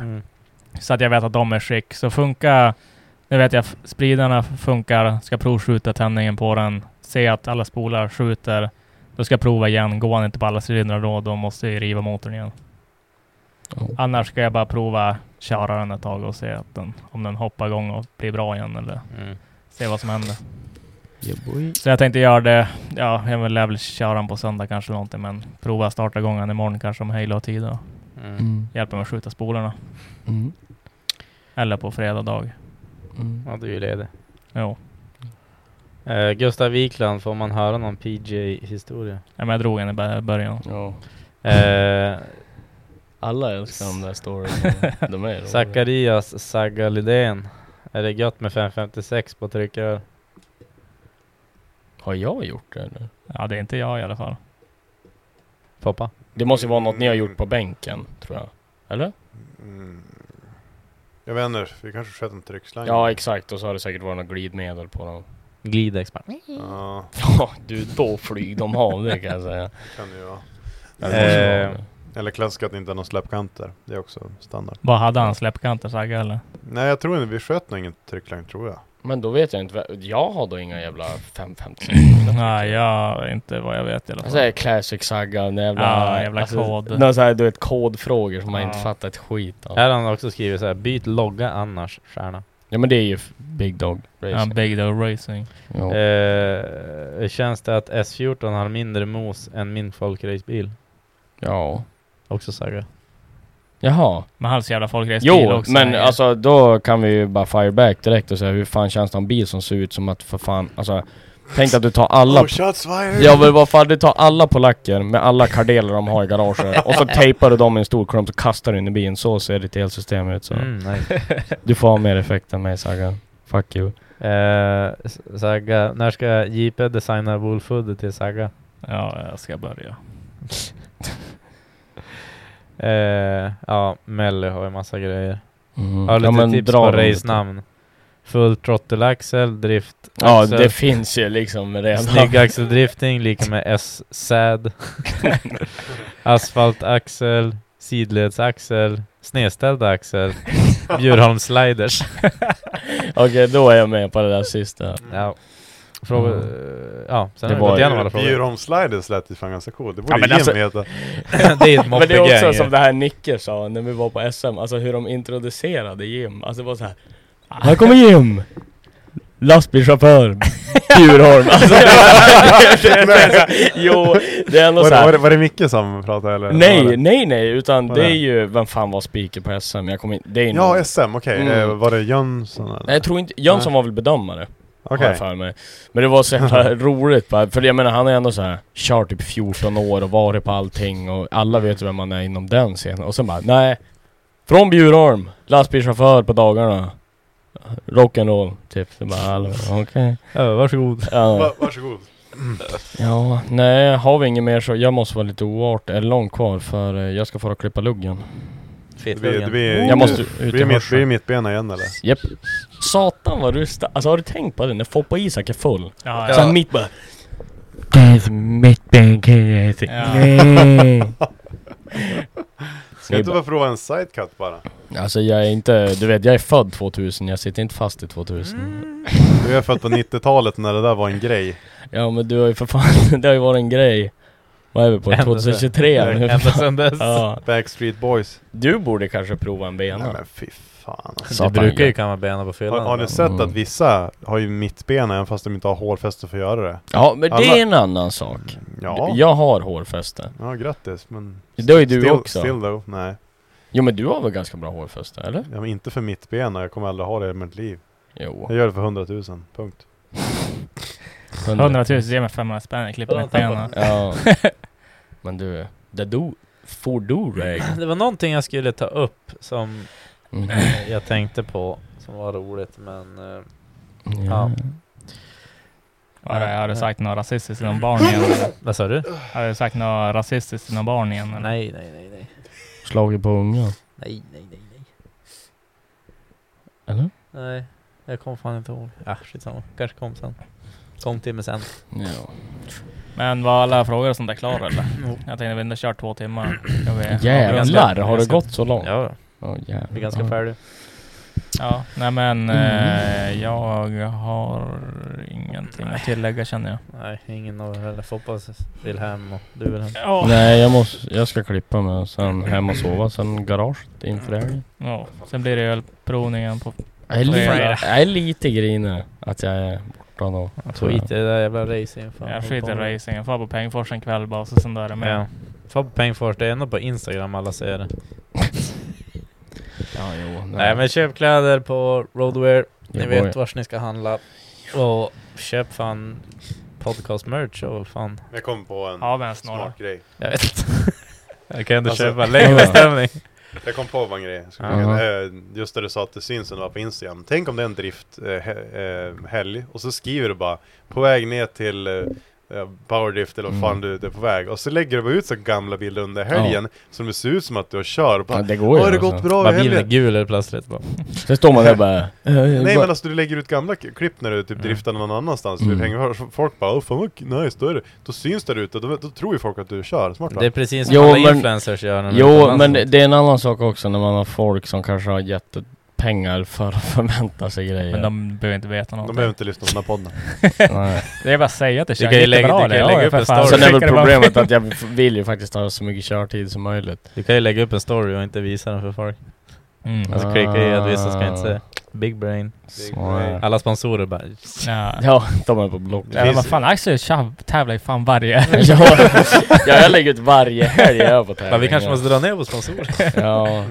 H: Så att jag vet att de är i skick. Så funkar, nu vet jag f- spridarna funkar, ska provskjuta tändningen på den, se att alla spolar skjuter. Då ska jag prova igen. Går han inte på alla cylindrar då, då måste jag riva motorn igen.
D: Oh.
H: Annars ska jag bara prova köra den ett tag och se att den, om den hoppar igång och blir bra igen eller
A: Mm,
H: se vad som händer. Så jag tänkte göra det, ja jag vill väl köra den på söndag kanske någonting men prova starta igång den imorgon kanske om Halo har tid då.
B: Mm.
H: Hjälpa mig att skjuta spolarna.
B: Mm.
H: Eller på fredag dag.
A: Ja, du är ju ledig.
H: Jo.
A: Eh, Gustav Wiklund, får man höra någon PJ-historia?
H: Ja, men jag drog en i bör- början.
A: Eh,
B: Alla älskar de där storyna. De är roliga.
A: Zacharias Sagalidén. Är det gött med 556 på tryckrör?
B: Har jag gjort det eller?
H: Ja det är inte jag i alla fall.
A: Poppa?
B: Det måste ju vara något ni har gjort på bänken, tror jag. Eller?
D: Mm. Jag vet inte, vi kanske sköt en tryckslang.
B: Ja exakt, och så har det säkert varit något glidmedel på dem.
A: Glidexpert.
Q: Mm.
D: Ja.
B: Ja du, då flyger de av det kan jag säga.
D: Kan det ju vara.
B: Ja, det måste vara
D: Eh, Eller klassiskt att det inte är någon släppkanter. Det är också standard.
H: Vad hade han? Släppkanter Sagge eller?
D: Nej jag tror inte, vi sköt nog ingen tryckslang tror jag.
B: Men då vet jag inte, vad- jag har då inga jävla 550
H: Nej, jag inte vad jag vet i alla fall.
B: Alltså det är classic saga, den jävla...
H: Ja, jävla
B: alltså,
H: kod.
B: Någon så här, du vet kodfrågor som man inte
H: Ja.
B: fattar ett skit av.
A: Här har han också skrivit så här, byt logga annars, stjärna.
B: Ja men det är ju f- Big Dog
H: Ja,
B: Racing.
H: Big Dog Racing.
A: Eh, känns det att S14 har mindre mos än min folkracebil?
B: Ja.
A: Också Saga.
B: Jaha.
H: Med hans jävla folkracebil
B: Jo,
H: också.
B: men alltså då kan vi ju bara fire back direkt och säga hur fan känns det att ha en bil som ser ut som att för fan, alltså Tänk att du tar alla...
D: Oh, shots fired.
B: Ja men vad fan, du tar alla polacker med alla kardeler de har i garaget och så tejpar du dem i en stor klump och kastar du in i bilen. Så ser ditt elsystem ut så.
A: Mm, nice.
B: Du får ha mer effekt än mig Sagan. Fuck you.
A: Eh, S- Saga, när ska JP designa Wolfhood till Saga?
H: Ja, jag ska börja.
A: Eh, ja, Melly har ju massa grejer.
B: Mm.
A: Jag har
B: Ja,
A: lite
B: men
A: tips
B: dra
A: på
B: dem lite.
A: racenamn. Full throttle axel, drift
B: Ja,
A: axel.
B: det finns ju liksom redan.
A: Snygg axeldrifting, lika med S-sad. Asfaltaxel, sidledsaxel, snedställd axel, Bjurholm sliders.
B: Okej, då är jag med på det där sista.
A: Ja. Fråga, ja, sen
B: Mm. Det
A: har vi
B: var
A: gått
B: ju-
A: igenom alla frågor.
D: Bjurom Sliders Mm. lät ju fan ganska coolt. Det
B: Ja,
D: borde
B: men
D: Jim
B: alltså-
D: heta.
A: det är ett
B: Men det är också
A: moppegäng.
B: som det här Nicke sa när vi var på SM, alltså hur de introducerade Jim. Alltså det var så här. Här kommer Jim! Lastbilschaufför, Bjurholm. Alltså, det var- det var så här, jo, det är ändå
D: var,
B: så här-
D: var, det, var det Micke som pratade eller? Var
B: Nej,
D: det?
B: nej, nej, utan
D: Vad
B: det
D: är
B: är
D: det?
B: ju, vem fan var speaker på SM? Jag kommer inte, det är ju
D: Ja,
B: någon-
D: SM, okej.
B: Mm.
D: Eh, Var det Jönsson eller?
B: Nej jag tror inte, Jönsson var väl bedömare?
D: Okej.
B: Har jag för mig. Men det var så jävla roligt bara, för jag menar han är ändå så här kör typ 14 år och varit på allting och alla vet vem man är inom den scenen. Och sen bara, nej. Från Bjurholm, lastbilschaufför på dagarna. Rock'n'roll, typ. Så bara, alla bara, okej.
A: Ja, varsågod.
B: Ja.
D: Va- varsågod.
B: ja, nej, har vi inget mer så, jag måste vara lite oart, är det långt kvar? För eh, jag ska få och klippa luggen.
D: Det blir, det blir,
B: Jag måste ut
D: det
B: i
D: blir, mitt,
B: morse.
D: blir det mittbena igen eller?
B: Japp. Satan vad du sta- Alltså har du tänkt på det? När Foppa Isak är full.
H: Ja, ja.
B: Så han mitt bara...
H: mitt ben
B: Nej.
D: Ska inte bara prova en sidecut bara?
B: Alltså jag är inte... Du vet jag är född 2000, jag sitter inte fast i 2000.
A: Mm.
D: Du är född på 90-talet när det där var en grej.
B: Ja men du har ju för fan... Det har ju varit en grej. Vad är vi på?
A: Ända sedan-
B: 2023 nu?
A: ända sedan dess.
B: Ja.
D: Backstreet Boys.
B: Du borde kanske prova en bena.
D: Nej men fy fan. alltså.
A: Det
B: Satan,
A: brukar ju
B: gött.
A: kamma benen på
D: Har,
A: fyllan.
D: har ni
A: ibland.
D: sett
B: Mm.
D: att vissa har ju mittbena även fast de inte har hårfäste för att göra det?
B: Ja men det
D: Alla-
B: är en annan sak.
D: Ja.
B: Jag har hårfäste.
D: Ja, grattis men...
B: Det har ju du
D: still,
B: också.
D: Still though, nej.
B: Jo men du har väl ganska bra hårfäste, eller?
D: Ja, men inte för mittbena, jag kommer aldrig ha det i mitt liv.
B: Jo.
D: Jag gör det för 100 000, punkt.
H: 100 000, ge mig 500 spänn,
B: Typ
H: klipp mitt ben.
B: Ja. Men du, det du... Får du reg?
A: Det var någonting jag skulle ta upp som
B: Mm.
A: eh, jag tänkte på som var roligt men... eh, Ja.
H: Har du- Har du sagt något rasistiskt till någon barn igen? eller?
A: Vad sa du?
H: Har du sagt något rasistiskt till någon barn igen? eller?
A: Nej, nej, nej, nej.
B: Slaget på unga.
A: Nej, nej, nej, nej.
B: Eller?
A: Nej, jag kommer fan inte ihåg. Ah, skitsamma. Kanske kom sen. Kom timme sen.
B: Ja.
H: Men var alla frågor och sånt där klara eller? Jag tänkte vi ändå kört två timmar. Ska vi-
B: Jävlar, har det
H: Ganska-
B: gått så långt?
A: Ja,
B: Ja, jävlar.
A: vi är ganska färdiga. Mm.
H: Ja, nej men eh, jag har ingenting att tillägga känner jag.
A: Nej, ingen av er heller. Foppa vill hem och du vill hem.
B: Nej, jag, måste, jag ska klippa mig och sen hem och sova, sen garaget inför helgen.
H: Ja, sen blir det ölprovningen på...
B: Jag är, li-
H: Fredag.
B: jag är lite grinig att jag är borta då. tror jag.
A: Skit i det där jävla racing. Fan.
H: Jag skiter i racingen, far på Pengfors en kväll bara och så sen då är det med.
A: Ja. Foppa Pengfors, det är ändå på Instagram alla ser det.
B: Ja, jo. Nej,
A: Nej men köp kläder på Roadwear. Ni
B: Jag
A: vet
B: börjar.
A: vars ni ska handla. Och köp fan podcast merch och fan.
D: Jag kom på en
H: Ja, men snarare.
D: smart grej.
A: Jag vet inte. Jag kan inte
D: Alltså-
A: köpa längre beställning.
D: Jag kom på vad en grej. Jag skulle
B: Jaha.
D: kunna- eh, Just det du sa att det syns när du var på Instagram. Tänk om det är en eh, drifthelg och så skriver du bara på väg ner till eh, eh, Powerdrift eller vad
B: Mm.
D: fan du du är på väg. Och så lägger du bara ut så gamla bilder under helgen som det ser ut som att du kör. Bara,
B: Ja, det går ju
D: Har det
B: alltså.
D: gått bra i
A: Bara bilen är
D: helgen?
A: gul är plötsligt bara.
B: Sen står man där bara...
D: Nej men alltså du lägger ut gamla k- klipp när du typ driftar någon annanstans. Du
B: Mm.
D: hänger för- så folk bara åh fan vad k- nice, då är det. Då syns det där ute, då, då tror ju folk att du kör. Smart va?
A: Det är precis som
B: Jo,
A: alla
B: men-
A: influencers gör när de är
B: Jo,
A: utomlands.
B: men det är en annan sak också när man har folk som kanske har jättepengar för att förvänta sig grejer.
H: Men de behöver inte veta
D: De
H: någonting.
D: behöver inte lyssna på den här podden.
B: Nej.
H: Det är bara att säga att det
A: kan ju lägga- du kan ju lägga upp en story.
B: Sen är
A: Skickar
B: väl
A: det bara-
B: problemet att jag vill ju faktiskt ha så mycket körtid som möjligt. Mm. Ah.
A: Du kan ju lägga upp en story och inte visa den för folk. Alltså klicka i att vissa ska inte se. Big brain.
B: brain.
A: Alla sponsorer bara...
H: Ja.
B: eh, Ja, de är på block.
H: Ja, men vad fan, Axel tjav- tävlar ju fan varje
B: ja, ja, jag lägger ut varje helg jag är på tävling.
A: Men vi kanske måste dra ner på sponsorer.
B: Ja.